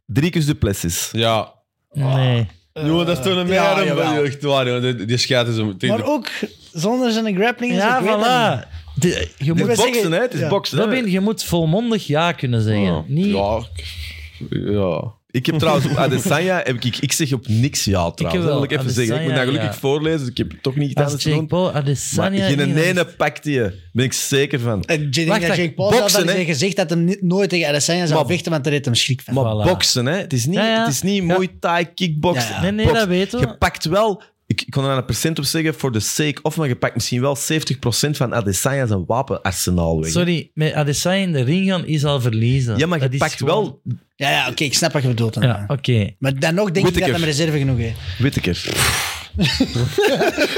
A: Dricus Duplessis.
C: Ja.
B: Nee.
C: jongen, dat is toen een
D: ja,
C: meer...
D: jawel.
C: echt waar, jongen. Die, die schijt is een...
D: Maar ook zonder zijn grappling. is,
B: Ja,
D: ik weet dat niet.
B: voilà. De- je
A: Het
B: moet,
A: is
D: zeggen-
A: boksen, hè? Het is
D: ja.
A: boksen. hè?
B: Robin, je moet volmondig ja kunnen zeggen.
C: Ja.
B: Niet,
C: Ja. ik- Ja.
A: Ik heb trouwens op Adesanya... Heb ik, ik zeg op niks ja, trouwens.
B: wel.
A: Dat wil ik even zeggen. Ik moet dat
B: Adesanya,
A: gelukkig
B: ja.
A: voorlezen. dus Ik heb toch niet gedaan.
B: Als Jake Paul,
A: Maar
B: Adesanya...
A: geen
B: niet-
A: ene pakte je. Ben ik zeker van.
D: En ik denk
B: Wacht,
D: dat
B: wacht,
D: Jake Paul zelf
A: boksen,
D: had
A: hè?
D: gezegd dat hij niet- nooit tegen Adesanya zou
A: Maar-
D: vechten, want daar heeft hem schrik van.
A: Maar
B: Voilà.
A: boksen, hè? Het is niet,
B: Ja, ja.
A: Het is niet mooi Thai kickboksen.
D: Ja, ja.
B: Nee, nee,
A: Boksen.
B: dat weten we.
A: Je pakt wel... Ik, ik kon er aan een percent op zeggen, voor de sake of, maar je pakt misschien wel 70% van Adesanya zijn wapenarsenaal weg. hè.
B: Sorry, met Adesanya in de ring gaan is al verliezen.
A: Ja, maar je
B: Dat is
A: pakt
B: gewoon-
A: wel
D: Ja, ja oké, ik snap wat je bedoelt. dan.
B: Ja, oké.
D: Maar dan nog denk ik dat
A: Whittaker.
D: hij met reserve genoeg heeft.
A: Whittaker.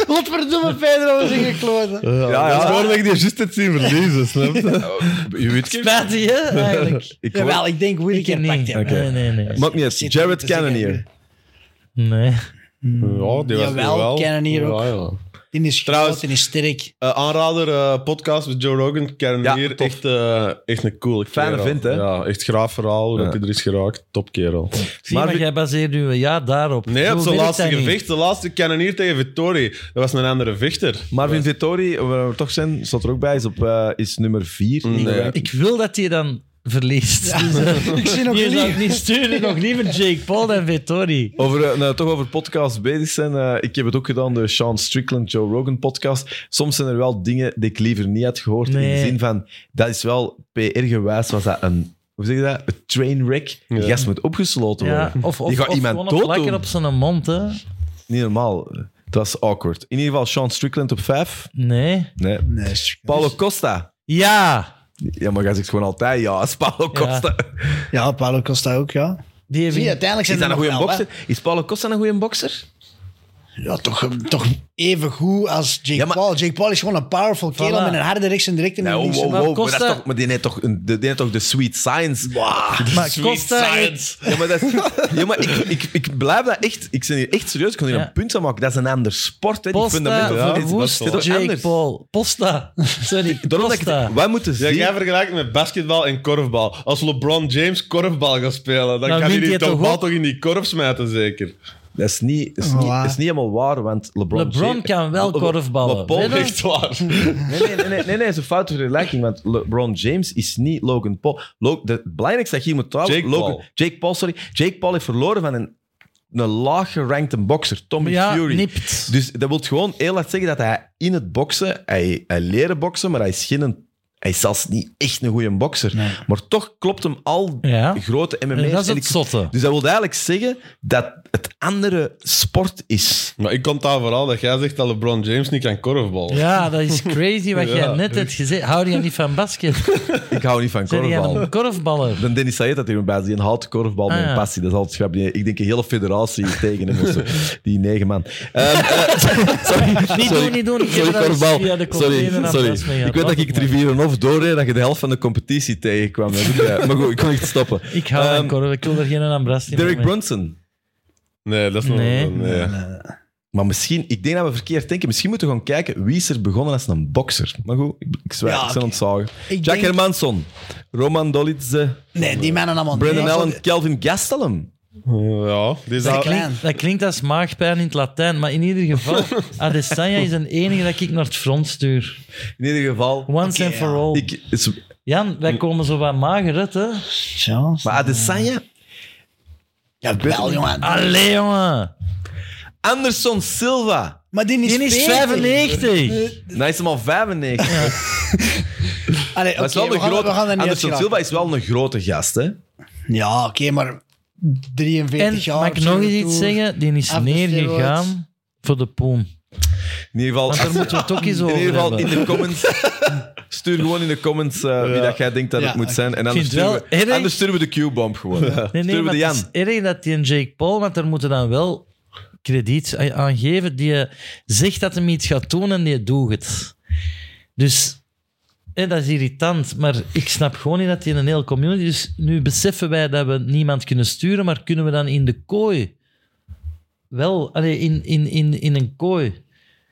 D: Wat verdomme Pedro, we zijn
A: Eh.
D: gekloten.
C: Ja, ja. Dat is gewoon dat ik die juist het zien verliezen, snap je?
A: Whittaker?
B: Spijtig, hè, eigenlijk.
A: Ik hoor-
D: Jawel, ik denk Whittaker
B: Ik niet.
D: pakt hem.
A: Oké.
B: Nee, nee, nee.
A: Maakt niet
D: Zit
A: uit. Jared
D: te zeggen
A: Cannonier.
B: Nee.
C: Ja, die was
D: Jawel,
C: jawel.
D: Cannonier ook.
C: Ja, ja.
D: Die is groot,
C: Trouwens-
D: die is sterk.
C: Eh, aanrader, eh, podcast met Joe Rogan. Karen
A: Ja,
C: hier.
A: tof.
C: Echt, eh, echt een cool
A: Fijne
C: kerel.
A: vent, hè?
C: Ja, echt graaf verhaal. hoe
A: Ja.
C: Dat hij er is geraakt. Top kerel.
B: Zie, maar,
A: Maar wie-
B: jij baseert je ja daarop.
C: Nee,
B: Zo
C: op zijn
B: werkt
C: laatste
B: dat niet.
C: gevecht. De laatste Cannonier tegen Vittori. Dat was een andere vechter.
A: Marvin Vittori, waar we toch zijn, staat er ook bij, is, op, eh, is nummer Eh, 4.
C: Nee.
B: Ik wil dat hij dan verliest. Dus, eh,
D: Ik zie nog
B: je zou het
D: liever.
B: niet sturen, nog liever Jake Paul dan Vettori.
A: Over, eh, nou, toch over podcasts bezig zijn. eh, ik heb het ook gedaan, de Sean Strickland, Joe Rogan podcast. Soms zijn er wel dingen die ik liever niet had gehoord. In
B: Nee.
A: de zin van, dat is wel PR-gewijs, was dat een, hoe zeg je dat? Een trainwreck. Die
C: Ja.
A: gast moet opgesloten
B: Ja,
A: worden.
B: of of,
A: Die gaat
B: of
A: iemand
B: gewoon
A: dood
B: plakken
A: doen.
B: op zijn mond, hè.
A: Niet normaal. Dat is awkward. In ieder geval, Sean Strickland op 5.
B: Nee.
A: Nee.
D: Nee, is-
B: Dus-
A: Paulo Costa.
B: Ja,
A: Ja, maar jij zegt gewoon altijd ja, is Paulo Costa.
D: Ja, Paulo Costa ook, ja.
B: die
D: Zie je,
B: wint.
D: uiteindelijk
A: Is
D: zijn
A: dat
D: er
A: een goede
D: nog wel, hè.
A: bokser? Is Paulo Costa een goede bokser?
D: Ja, toch, eh, toch even goed als Jake
A: Ja, maar-
D: Paul. Jake Paul is gewoon een powerful kerel
B: Voilà.
D: met een harde rechts en direct in de
A: Nee, wow,
D: linkse.
A: wow,
B: maar
A: wow, maar, dat
B: Costa-
A: is toch, maar die heeft toch, een- de- die heeft toch de sweet science?
B: Maar
C: Sweet
B: Costa...
C: science.
A: Ja, maar, dat is- ja, maar ik, ik, ik blijf dat echt... Ik ben hier echt serieus. Ik kan hier
B: Ja.
A: een punt aan maken. Dat is een ander sport. Hè. Die
B: Posta
A: fundamenten
C: ja,
A: van-
B: verwoest
A: het is toch
B: Jake
A: anders.
B: Paul. Posta. Sorry,
A: Daarom dat ik,
B: Posta.
A: het- wij moeten
C: Ja,
A: zien...
C: jij vergelijkt met basketbal en korfbal. Als LeBron James korfbal gaat spelen, dan,
B: Dan
C: kan hij
B: wint
C: die
B: hij
C: toch
B: toch
C: bal
B: ook?
C: toch in die korf smijten, zeker.
A: Dat is niet, is, niet,
D: Voilà.
A: is niet helemaal waar, want LeBron...
B: Oh, LeBron
A: James-
B: kan wel
A: Le- Le-
B: korfballen.
A: maar Paul
B: Weet je?
A: heeft-
C: Echt waar.
A: Nee, nee, nee, nee, nee, nee, is een foute vergelijking, want LeBron James is niet Logan Paul. Lo de, het belangrijkste dat je hier moet trouwen...
C: Jake
A: Logan,
C: Paul.
A: Jake Paul, sorry. Jake Paul heeft verloren van een, een laag gerankte bokser, Tommy
B: Ja,
A: Fury.
B: nipt.
A: Dus dat wil gewoon heel hard zeggen dat hij in het boksen, hij, hij leren boksen, maar hij is geen Hij is zelfs niet echt een goede bokser.
D: Nee.
A: Maar toch klopt hem al
B: Ja.
A: grote MMA's.
B: En dat is
A: En
B: het
A: ik-
B: zotte.
A: dus dat wil eigenlijk zeggen dat het andere sport is.
C: Maar ik kom daar vooral dat jij zegt dat LeBron James niet kan korfballen.
B: Ja, dat is crazy wat jij
C: Ja.
B: net hebt gezegd. Hou je niet van basket?
A: Ik hou niet van
B: Zijn jij
A: korfbal.
B: een korfballer?
A: Dan Dennis Sayed had er bij, die een houten korfbal met
B: Ah,
A: een
B: ja.
A: passie. Dat is altijd grappig. Die- Ik denk een hele federatie tegen hem of zo. Die negen man. Ehm, eh, sorry,
B: Niet
A: sorry.
B: doen, niet doen. Ik heb
A: Sorry,
B: dat eens
A: korfbal.
B: via de
A: Sorry,
B: container aan
A: sorry.
B: pas mee gehad.
A: Ik weet
B: Laat
A: dat ik
B: het
A: het rivier en of doorreed dat je de helft van de competitie tegenkwam. Dat is ook, eh, Maar goed, ik kon niet stoppen.
B: maar. Ik hou van
A: Ehm,
B: korf. Ik wil er geen aan Brast in.
A: Derek
B: mee.
A: Brunson.
C: Nee, dat is nog
B: Nee.
C: nee.
A: Maar misschien, ik denk dat we verkeerd denken. Misschien moeten we gaan kijken wie is er begonnen als een bokser. Maar goed, ik, ik zwijg,
D: Ja,
A: ik zal
D: oké.
A: ontzagen.
D: Ik
A: Jack
D: denk-
A: Hermansson, Roman Dolitze,
D: Nee, die mannen allemaal.
A: Brandon
D: nee,
A: Allen, Kelvin Gastelum.
C: Ja, die
D: Dat is
C: zou-
D: klein.
B: Dat klinkt als maagpijn in het Latijn, maar in ieder geval, Adesanya is de enige dat ik naar het front stuur.
A: In ieder geval,
B: Once
D: Oké,
B: and for
D: ja.
B: all.
A: ik, is-
B: Jan, wij komen zo wat mager uit, hè?
D: Zo.
A: maar Adesanya,
D: Ja, wel, jongen.
A: Ah,
B: Allee, jongen.
A: Anderson Silva.
D: Maar die is, Eh,
B: Die is
D: 40.
B: 95.
A: Nou hij is hem al 95.
D: Allee,
A: Dat is
D: oké,
A: wel een
D: we gaan-
A: grote,
D: we gaan er niet
A: Anderson
D: uitgeraken.
A: Silva is wel een grote gast, hè?
D: Ja, oké, maar 43
B: En
D: jaar.
B: mag ik
D: op
B: nog eens
D: zijn
B: iets
D: toer.
B: zeggen? Die is
D: Af de steroids.
B: neergegaan voor de poen.
A: In ieder geval,
B: Want daar moeten we het ook eens
A: in,
B: over
A: ieder geval
B: hebben.
A: in de comments. Stuur gewoon in de comments eh, wie
C: Ja.
A: dat jij denkt dat
D: Ja,
A: het moet
D: ik
A: zijn. En anders
B: vind wel
A: sturen,
B: erg-
A: we, anders sturen we de Q-bomb gewoon.
B: Nee, nee,
A: sturen we
B: maar
A: de Jan.
B: het is erg dat die een Jake Paul, want daar moeten dan wel krediet a- aan geven, die eh, zegt dat hem iets gaat doen en die doet het. Dus hè, dat is irritant, maar ik snap gewoon niet dat die een hele community... Dus nu beseffen wij dat we niemand kunnen sturen, maar kunnen we dan in de kooi... Wel, allee, in, in, in, in een kooi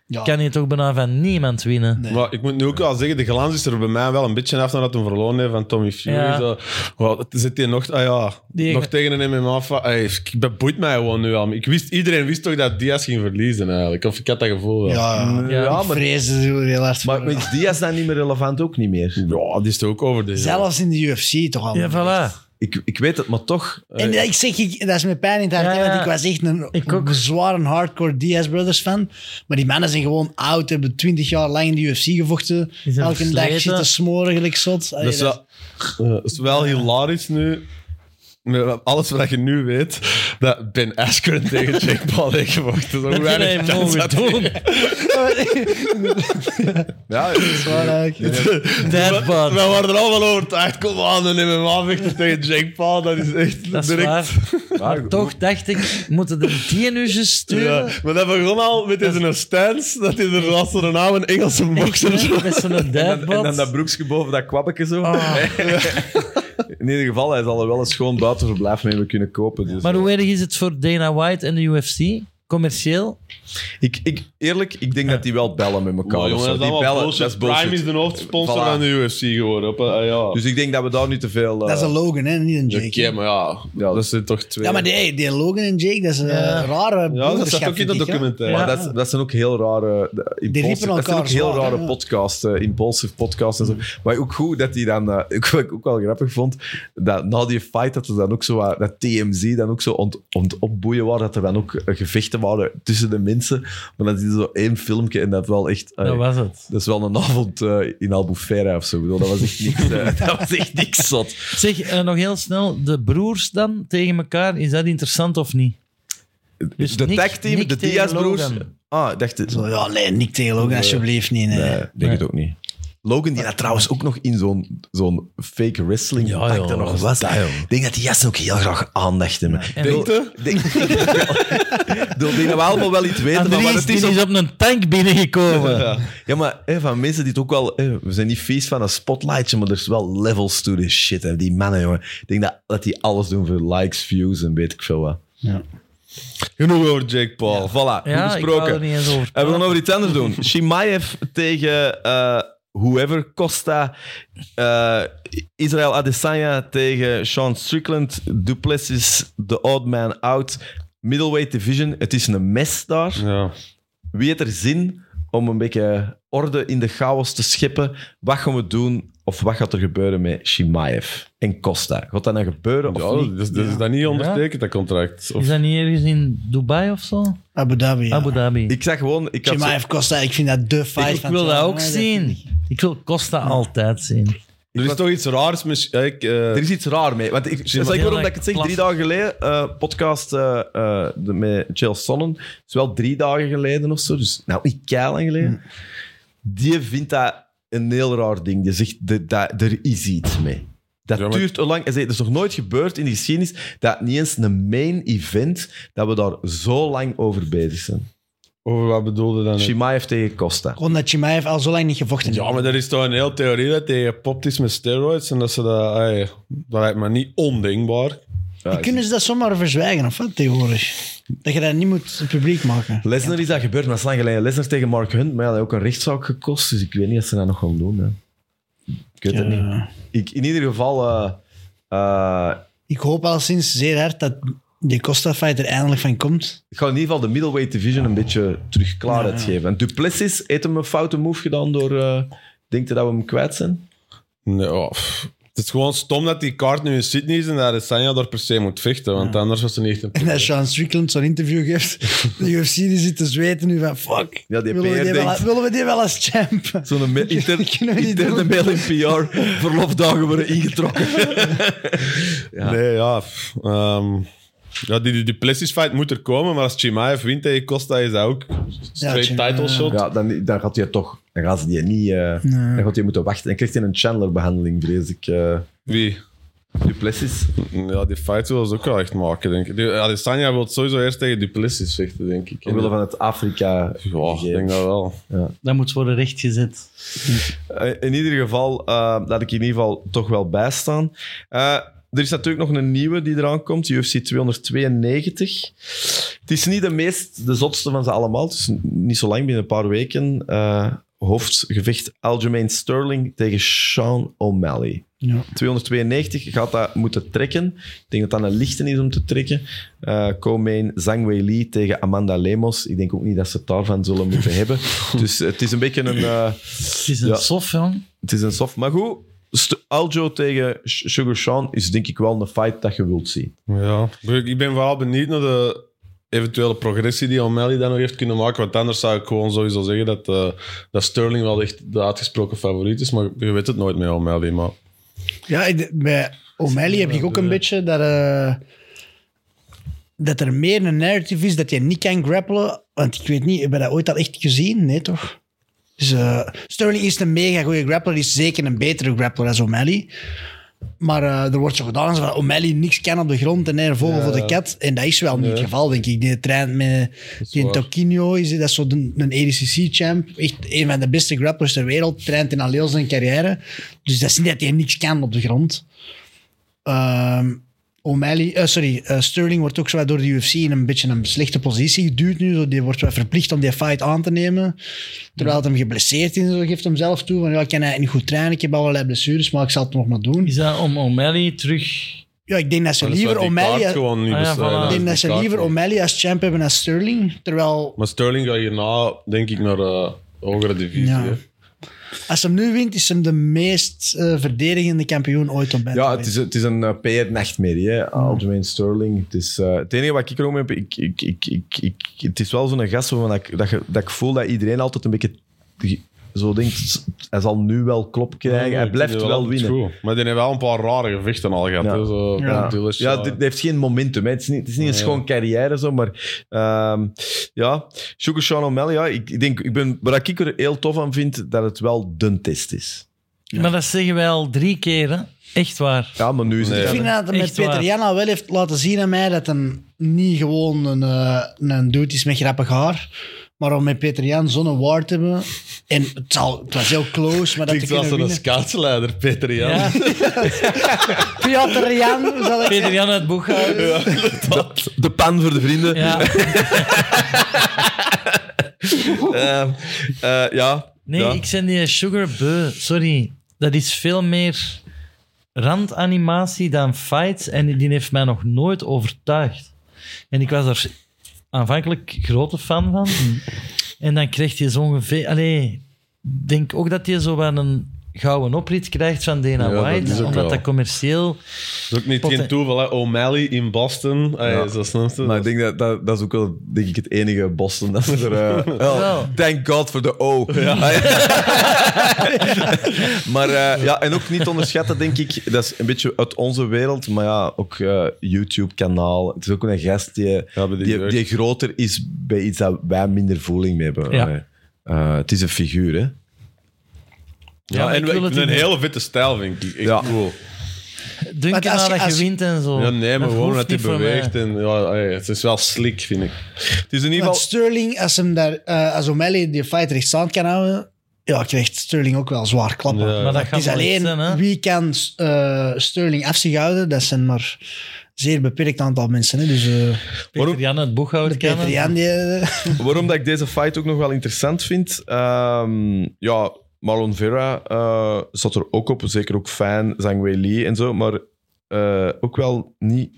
D: Ja.
B: kan je toch bijna van niemand winnen.
D: Nee.
C: Maar ik moet nu ook wel zeggen, de glans is er bij mij wel een beetje af nadat hij verloren heeft van Tommy Fury.
B: Ja.
C: Zo, wow, het zit hier nog, ah ja,
B: Die-
C: nog tegen een MMA. fa- Ey, Ik dat boeit mij gewoon nu al. Ik wist, iedereen wist toch dat Diaz ging verliezen eigenlijk. Of ik had dat gevoel wel.
D: Ja, ja.
B: Ja,
D: ik vrees er zo heel hard
A: Maar
D: voor.
A: is Diaz dan niet meer relevant? Ook niet meer.
C: Ja, die is toch ook over de
D: Zelfs in de UFC toch al.
B: Ja, voilà. Eh.
A: Ik, ik weet het, maar toch.
D: En ik zeg, ik, dat is mijn pijn in het hart,
B: Ja,
D: hè, want
B: ja.
D: ik was echt een,
B: Ik ook.
D: een zware hardcore Diaz Brothers fan. Maar die mannen zijn gewoon oud, hebben twintig jaar lang in de UFC gevochten.
B: zijn
D: Elke dag
B: versleten.
D: zitten smoren, gelijk zot. Allee,
C: Dat is
D: dat-
C: wel, eh, is wel hilarisch nu. Met alles wat je nu weet, dat Ben Askren tegen Jake Paul heeft gevochten. Zo
B: Dat
C: weinig
B: je dat
C: kans
B: mogen
C: had hij.
B: doen.
A: Ja,
D: Zwaar eigenlijk.
B: That
C: Wij
B: bad.
C: waren er allemaal overtuigd. Kom aan, een MMA-vechter tegen Jake Paul. Dat is echt
B: Dat is
C: direct...
B: waar.
A: maar
B: Maar toch dacht ik, moeten de die nu eens sturen?
C: Ja, maar dat begon al met deze stance, dat hij er was een naam een Engelse boxer zo.
B: Met zo'n
A: En dan, en dan dat
B: duitbad.
A: broekje boven dat kwabbeke zo.
B: Ah.
A: In ieder geval, hij zal er wel een schoon buitenverblijf mee hebben kunnen kopen. Dus.
B: Maar hoe erg is het voor Dana White en de UFC? Commercieel?
A: ik, ik, eerlijk, ik denk dat die wel bellen met elkaar. of zo. die bellen, dat is bullshit.
C: Prime is de hoofdsponsor
A: Voilà.
C: van de UFC geworden. Op, eh, ja.
A: Dus ik denk dat we daar niet te veel... eh,
D: Dat is een Logan, hè, niet een
A: Dus-
D: Jake.
C: Oké, maar ja,
A: Ja.
C: dat zijn toch twee.
D: Ja, maar die, die Logan en Jake, dat is een
B: Ja.
D: rare
C: Ja, dat
D: broederschap,
C: staat ook in
D: vind
C: dat
D: ik, hè.
C: documentaire.
A: Maar
B: Ja.
A: dat, is- dat zijn ook heel rare... eh, de- impulsive- dat zijn
D: elkaar
A: ook heel
D: zwaar,
A: rare
D: ja. Mm.
A: podcasts, eh, impulsive podcasts en zo. Maar ook goed dat die dan... eh, ik, wat ik ook wel grappig vond, dat na die fight dat, er dan ook zo, wat- dat TMZ dan ook zo ont, ont opboeien waren, dat er dan ook eh, gevechten waren tussen de mensen. Maar dan zie je zo één filmpje en dat wel echt... eh,
B: Dat was het.
A: dat is wel een avond eh, in Albufeira of zo. Ik bedoel, dat was echt niks, eh, dat was echt niks zot.
B: Zeg, eh, nog heel snel, de broers dan tegen elkaar, is dat interessant of niet? Dus
A: de
B: Nick-
A: tagteam,
B: Nick
A: de
B: tegen
A: Diaz-broers.
B: Logan.
A: Ah, ik dacht het.
D: Zo, ja, nee, niet tegen Logan, alsjeblieft niet. nee.
A: Nee, denk het ook niet. Logan die dat trouwens ook nog in zo'n zo'n fake wrestling
B: Ja,
A: pak
B: joh,
A: er nog
B: wat
A: was. Ik denk dat die gasten ook heel graag aandacht hebben. Ik bedoel-
B: Denk
A: ik Denk Ik bedoel, ik denk dat we allemaal wel iets weten van wat
B: Andries
A: het
B: die
A: is.
B: is
A: om-
B: op een tank binnengekomen.
A: Ja, maar hè, van mensen die het ook wel... hè, we zijn niet vies van een spotlightje, maar er is wel levels to this shit. Hè. Die mannen, jongen. Ik denk dat, dat die alles doen voor likes, views en weet ik veel wat.
C: Genoeg over Jake Paul.
A: Voilà,
B: Ja,
A: goed
B: ik wou
A: besproken.
B: er niet eens over
A: En we gaan
B: praten.
A: over iets anders doen. Shimaev tegen eh whoever, Costa. eh, Israël Adesanya tegen Sean Strickland. Duplessis, the odd man out. Middleweight division. Het is een mes daar.
C: Ja.
A: Wie heeft er zin om een beetje orde in de chaos te scheppen? Wat gaan we doen of wat gaat er gebeuren met Shimaev en Costa? Gaat dat nou gebeuren of
C: Ja,
A: niet?
C: dus, dus is dat niet ondertekend, dat contract. Of,
B: Is dat niet ergens in Dubai of zo?
D: Abu Dhabi. Ja.
B: Abu Dhabi. Ik,
A: Ik zag gewoon... Ik had zo-
D: Chimaev Costa, ik vind dat de fight
B: ik
D: van
B: wil dat
D: 2000,
B: ook
D: maar
B: zien. Ik wil Costa altijd zien.
C: er is toch iets raars mis... ja, ik, eh,
A: Er is iets raar mee. Want ik, dat is ook waarom dat ik het zeg. Drie dagen geleden, eh, podcast eh, eh, de- met Jill Sonnen. Het is wel drie dagen geleden of zo. Dus nou, niet keilen geleden.
C: Hmm.
A: Die vindt dat een heel raar ding. Die zegt, de- dat- er is iets mee. Dat
C: Ja, maar-
A: duurt al lang. Hij zei, Het is nog nooit gebeurd in de geschiedenis dat niet eens een main event, dat we daar zo lang over bezig zijn.
C: Over wat bedoelde dan?
A: Shimaev tegen Costa.
D: Gewoon dat Chimaev al zo lang niet gevochten
C: Ja, maar er is toch een hele theorie dat hij gepopt is met steroids en dat ze dat... ey, dat lijkt me niet ondenkbaar.
A: Ja,
D: Kunnen ze dat zomaar verzwijgen of wat tegenwoordig? Dat je dat niet moet publiek maken.
A: Lesnar is dat gebeurd, maar dat is lang geleden. Lesnar tegen Mark Hunt, maar ja, dat heeft ook een rechtszaak gekost. Dus ik weet niet of ze dat nog gaan doen. Hè. Ik weet het niet.
D: Ja.
A: Ik, in ieder geval... eh, eh,
D: Ik hoop al sinds zeer hard dat die Costa fight er eindelijk van komt.
A: ik ga in ieder geval de middleweight division een beetje terug klaarheid geven. En Duplessis heeft hem een foute move gedaan door... eh, denkt hij dat we hem kwijt zijn?
C: Nee, ja, pff. Het is gewoon stom dat die kaart nu in Sydney is en dat Adesanya daar per se moet vechten, want anders was ze niet echt een...
D: En dat Sean Strickland zo'n interview geeft, de UFC die zit te zweten nu van fuck,
A: Ja, die
D: willen, we
A: PR
D: die wel,
A: denkt-
D: willen we die wel als champ?
A: Zo'n me- inter,
D: Kunnen we niet
A: interne
D: doen.
A: mail in PR. Verlofdagen worden ingetrokken. Ja.
C: Nee, ja. pff, ehm, ja, die, die, die Plessis fight moet er komen, maar als Chimaev wint tegen Costa is dat ook straight
D: Chimaev.
C: title shot.
A: Ja, dan, dan gaat hij toch... Dan gaan ze die niet... eh,
D: Nee.
A: Dan gaat hij moeten wachten. En krijgt hij een Chandler-behandeling, vrees ik. eh
C: Wie?
A: Duplessis.
C: Ja, die fight wil ze ook wel echt maken, denk ik. Die- Adesanya wil sowieso eerst tegen Duplessis vechten, denk ik.
A: Omwille van het Afrika.
C: Ja, ik denk dat wel.
B: Dat moet worden rechtgezet.
A: Eh, In ieder geval, eh laat ik in ieder geval toch wel bijstaan. Eh, er is natuurlijk nog een nieuwe die eraan komt, UFC 292. Het is niet de meest, de zotste van ze allemaal. Het is n- niet zo lang, binnen een paar weken. Eh, hoofdgevecht Aljamain Sterling tegen Sean O'Malley.
D: Ja.
A: 292 gaat dat moeten trekken. Ik denk dat dat een lichte is om te trekken. Eh Co-main Zhang Wei Li tegen Amanda Lemos. Ik denk ook niet dat ze het daarvan zullen moeten hebben. Dus het is een beetje een... eh,
B: Het is een
A: Ja.
B: sof, jong.
A: het is een soft. Maar goed, St- Aljo tegen Sh- Sugar Sean is denk ik wel een fight dat je wilt zien.
C: Ja. Ik ik ben vooral benieuwd naar de eventuele progressie die O'Malley dan nog heeft kunnen maken. Want anders zou ik gewoon sowieso zeggen dat, eh, dat Sterling wel echt de uitgesproken favoriet is. Maar je weet het nooit met O'Malley. Maar
D: Ja, ik- bij O'Malley heb ik ook een beetje dat, eh, dat er meer een narrative is dat je niet kan grappelen. Want ik weet niet, heb je dat ooit al echt gezien? Nee, toch? Dus, eh, Sterling is een mega goede grappler. Die is zeker een betere grappler dan O'Malley. Maar eh, er wordt zo gedaan alsof O'Malley niks kan op de grond en een vogel voor de kat. En dat is wel niet het geval, denk ik. Die traint met die
C: waar.
D: Tocchino, is dat is zo de- een EDCC-champ. Echt een van de beste grapplers ter wereld. Traint in al heel zijn carrière. Dus dat is niet dat hij niks kan op de grond. Ehm, O'Malley, eh, sorry, eh, Sterling wordt ook zo wat door de UFC in een beetje een slechte positie geduwd nu. Zo, Die wordt wel verplicht om die fight aan te nemen. Terwijl het hem geblesseerd is, en zo geeft hem zelf toe. Van, ja, ik kan eigenlijk niet goed trainen, ik heb allerlei blessures, maar ik zal het nog maar doen.
B: Is dat om O'Malley terug...
D: Ja, ik denk dat ze
C: anders
D: liever
C: zou die kaart
D: O'Malley...
C: gewoon niet
B: Ah ja,
C: bes-
B: voilà.
C: eh,
D: Ik
C: dan is
D: denk
C: die
D: dat ze
C: kaart
D: liever
C: gewoon-
D: O'Malley als champ hebben dan Sterling. Terwijl
C: Maar Sterling gaat hierna, denk ik, naar eh hogere divisie.
D: Ja.
C: hè.
D: als hem nu wint, is hem de meest eh, verdedigende kampioen ooit op
A: Ja,
D: bantamweight.
A: het is, het is een PR-nachtmerrie, hè. Aljamain Sterling. Het, is, eh, het enige wat ik erom heb, ik, ik, ik, ik, ik- het is wel zo'n gast waarvan ik, dat, je- dat ik voel dat iedereen altijd een beetje zo denkt, hij zal nu wel klop krijgen.
C: Ja,
A: hij
C: ik
A: blijft
C: vind
A: wel,
C: die altijd
A: winnen.
C: goed. Maar die heeft wel een paar rare gevechten al gehad.
A: Ja.
C: hè, zo,
D: Ja.
C: Dillashaw.
A: Ja, dit dit heeft geen momentum. Hè. Het is niet, het is niet een schoon carrière, zo, maar ehm, ja, Sugar Sean O'Malley, ja, ik, ik denk, ik ben, wat ik er heel tof aan vind, dat het wel dun test is.
B: Maar dat zeggen wij al drie keer, hè. Echt waar.
A: Ja, maar nu is het...
C: Nee.
D: Ik vind dat hij met
B: Echt waar.
D: Peter Jan al wel heeft laten zien aan mij dat hem niet gewoon een, eh, een dude is met grappig haar. Maar om met Peter Jan zo'n award te hebben. En het, zal, het was heel close, maar dat
C: Klinkt
D: te kunnen
C: zoals een
D: winnen.
C: schaatsleider, Peter Jan.
B: Ja.
D: Peter Jan, zal ik
B: Peter
D: zeggen.
B: Jan uit Boeghouden. Ja.
A: De, de pan voor de vrienden. Ehm, eh, ja.
B: Nee,
A: ja.
B: ik zend die sugar beu. Sorry. Dat is veel meer randanimatie dan fights. En die heeft mij nog nooit overtuigd. En ik was daar aanvankelijk grote fan
C: Mm.
B: van. En dan kreeg je zo'n ongeveer... Allee, ik denk ook dat je zo wel een gouden oprit krijgt van Dana
C: Ja, dat
B: White,
C: is ook
B: omdat
C: wel.
B: dat commercieel...
C: Dat is ook niet
B: Potten.
C: geen toeval, hè. O'Malley in Boston. Ah, ja,
A: Ja.
C: Zo snap je.
A: Maar ik denk dat, dat dat is ook wel denk ik, het enige Boston dat er. eh, wel,
B: Wel.
A: thank God for the O. maar eh, ja, en ook niet onderschatten, denk ik. Dat is een beetje uit onze wereld, maar ja, ook eh, YouTube-kanaal. Het is ook een gast die,
C: Ja, bij die
A: die,
C: jeugd.
A: die groter is bij iets dat wij minder voeling mee hebben.
B: Ja.
A: Allee. Eh, het is een figuur, hè?
C: ja,
B: maar
C: en
B: ik wil
C: we-
B: het
C: een
B: niet-
C: hele vitte stijl, vind ik. Echt
A: Ja.
C: cool.
B: Dunken
D: Maar als
B: nadat
D: je-
B: je,
D: als je-
B: wint en zo.
C: Ja, nee, maar
B: Dat
C: gewoon
B: hoeft
C: dat hij
B: niet voor mij.
C: beweegt. En, ja, ey, het is wel slick, vind ik.
A: Het is in ieder geval.
D: Want Sterling, als, hem daar, eh, als O'Malley die fight rechtstaan kan houden, ja, krijgt Sterling ook wel zwaar klappen.
C: Ja.
B: Maar dat
D: Het
B: gaat
D: is
B: wel iets
D: alleen
B: zijn, hè.
D: wie kan eh, Sterling af zich houden. Dat zijn maar zeer beperkt aantal mensen. Hè. Dus eh
B: Peter Jan het boekhouden kan
D: Peter
B: het.
D: Jan, die, eh,
A: Waarom dat ik deze fight ook nog wel interessant vind. ehm, ja, Marlon Vera eh, zat er ook op. Zeker ook fan, Zhang Wei Li en zo. Maar eh, ook wel niet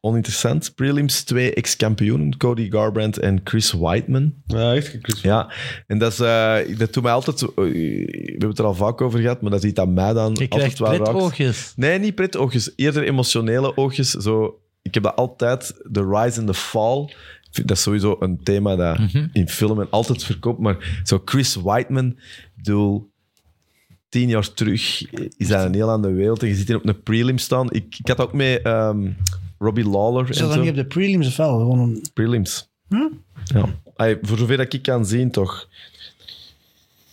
A: oninteressant. Prelims, twee ex-kampioenen. Cody Garbrandt en Chris Whiteman.
C: Ja, echt. ik- ik-
A: Ja, en dat, is, eh, dat doet mij altijd... eh, we hebben het er al vaak over gehad, maar dat ziet aan mij dan
B: Je
A: altijd
B: krijgt
A: wel raakt.
B: pretoogjes.
A: Nee, niet pretoogjes. Eerder emotionele oogjes. Zo, ik heb dat altijd, de rise and the fall. Ik vind Dat is sowieso een thema dat
C: Mhm.
A: in film en altijd verkoopt. Maar zo Chris Whiteman, ik bedoel, tien jaar terug is dat een heel andere wereld. En je ziet hier op een prelim staan. Ik, ik had ook mee ehm, Robbie Lawler en
D: Zo dan
A: zo.
D: niet op de prelims of wel? Gewoon een-
A: Prelims. Ja. Ai, voor zover dat ik kan zien, toch.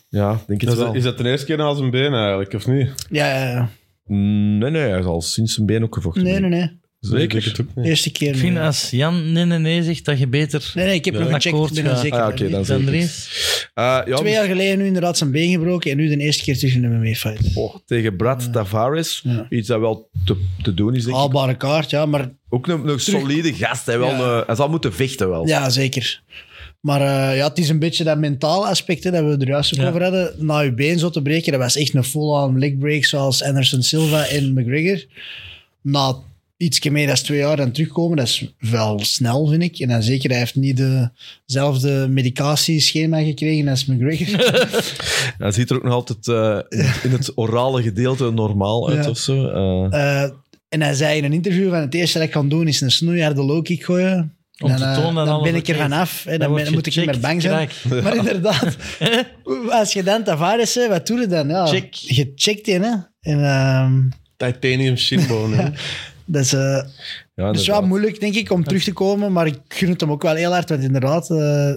A: Ja, denk het
C: Is
A: wel.
C: dat, is dat de eerste keer na zijn been eigenlijk, of niet?
D: Ja, ja, ja.
A: Nee, nee, hij is al sinds zijn been ook gevochten.
D: Nee, nee, nee.
C: Ik
A: Zeker?
C: denk het ook niet.
D: Eerste keer.
B: Ik vind
D: nee.
B: als Jan nee nee nee zegt, dat je beter
D: Nee, nee, ik heb nog gecheckt.
B: akkoord
D: Ik ben er
B: ga.
D: zeker
A: Ah, ja,
D: van.
A: oké, dan
B: dan
A: zeker.
B: er is.
A: Eh, ja,
D: Twee jaar geleden nu inderdaad zijn been gebroken en nu de eerste keer terug in de MMA-fight.
A: oh, tegen Brad Tavares.
D: Ja.
A: Iets dat wel te, te doen is, denk ik.
D: Haalbare kaart, ja, maar
A: Ook een, een solide gast. Hij, wel
D: Ja.
A: een- hij zal moeten vechten wel.
D: Ja, zeker. Maar eh, ja, het is een beetje dat mentale aspect hè, dat we er juist ook
B: Ja.
D: over hadden. Na je been zo te breken, dat was echt een full-on leg break zoals Anderson Silva en McGregor. Na iets meer dan twee jaar dan terugkomen, dat is wel snel, vind ik. En dan zeker, hij heeft niet dezelfde medicatieschema gekregen als McGregor.
A: Hij ziet er ook nog altijd eh, in, in het orale gedeelte normaal uit
D: Ja.
A: of zo. Eh,
D: Eh, en hij zei in een interview van het eerste dat ik kan doen is een snoeiharde low kick gooien.
B: Om
D: En
B: te
D: dan, eh,
B: tonen dat
D: dan
B: alles
D: ben ik er
B: oké is.
D: vanaf. hè.
B: Dan
D: Dan,
B: word
D: ben- dan moet ik niet meer
B: gecheckt,
D: bang zijn.
B: krak.
D: Maar inderdaad, als je dan Tavares hè, wat doe je dan? Ja,
B: Check.
D: Je checkt in, hè. En, ehm,
C: Titanium shinbone. hè.
D: dat is, eh,
A: ja,
D: dat is wel
A: inderdaad.
D: moeilijk, denk ik, om terug te komen. Maar ik gun het hem ook wel heel hard, want inderdaad... eh,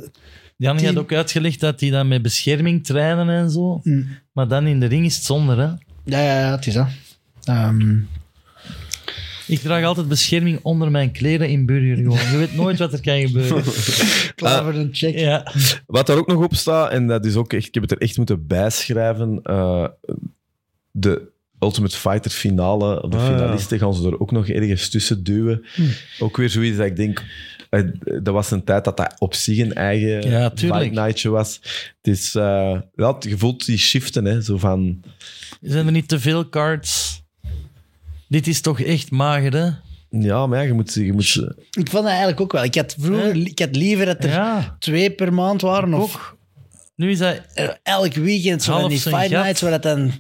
B: Jan
D: Team.
B: had ook uitgelegd dat hij dan met bescherming trainen en zo.
D: mm,
B: Maar dan in de ring is het zonder, hè.
D: ja, ja, ja, het is dat. Ehm,
B: Ik draag altijd bescherming onder mijn kleren in Burger gewoon. Je weet nooit wat er kan gebeuren.
A: Ah.
D: klaar voor een check.
B: Ja.
A: Wat daar ook nog op staat, en dat is ook echt, ik heb het er echt moeten bijschrijven, eh, de Ultimate Fighter finale, de
C: Ah, ja.
A: finalisten gaan ze er ook nog ergens tussen duwen.
B: Hm.
A: Ook weer zoiets dat ik denk, eh, dat was een tijd dat dat op zich een eigen
B: Ja, tuurlijk.
A: fight nightje was. Het is, eh, ja, je voelt die shiften, hè, zo van...
B: Zijn er niet te veel cards? Dit is toch echt mager, hè?
A: Ja, maar ja, je moet... Je moet
D: Ik vond dat eigenlijk ook wel. Ik had vroeger
B: Ja.
D: ik had liever dat er
B: Ja,
D: twee per maand waren. Of
B: ook. Nu is dat...
D: er elk weekend zo
B: Half
D: van die
B: zijn
D: fight
B: gat.
D: nights waar dat dan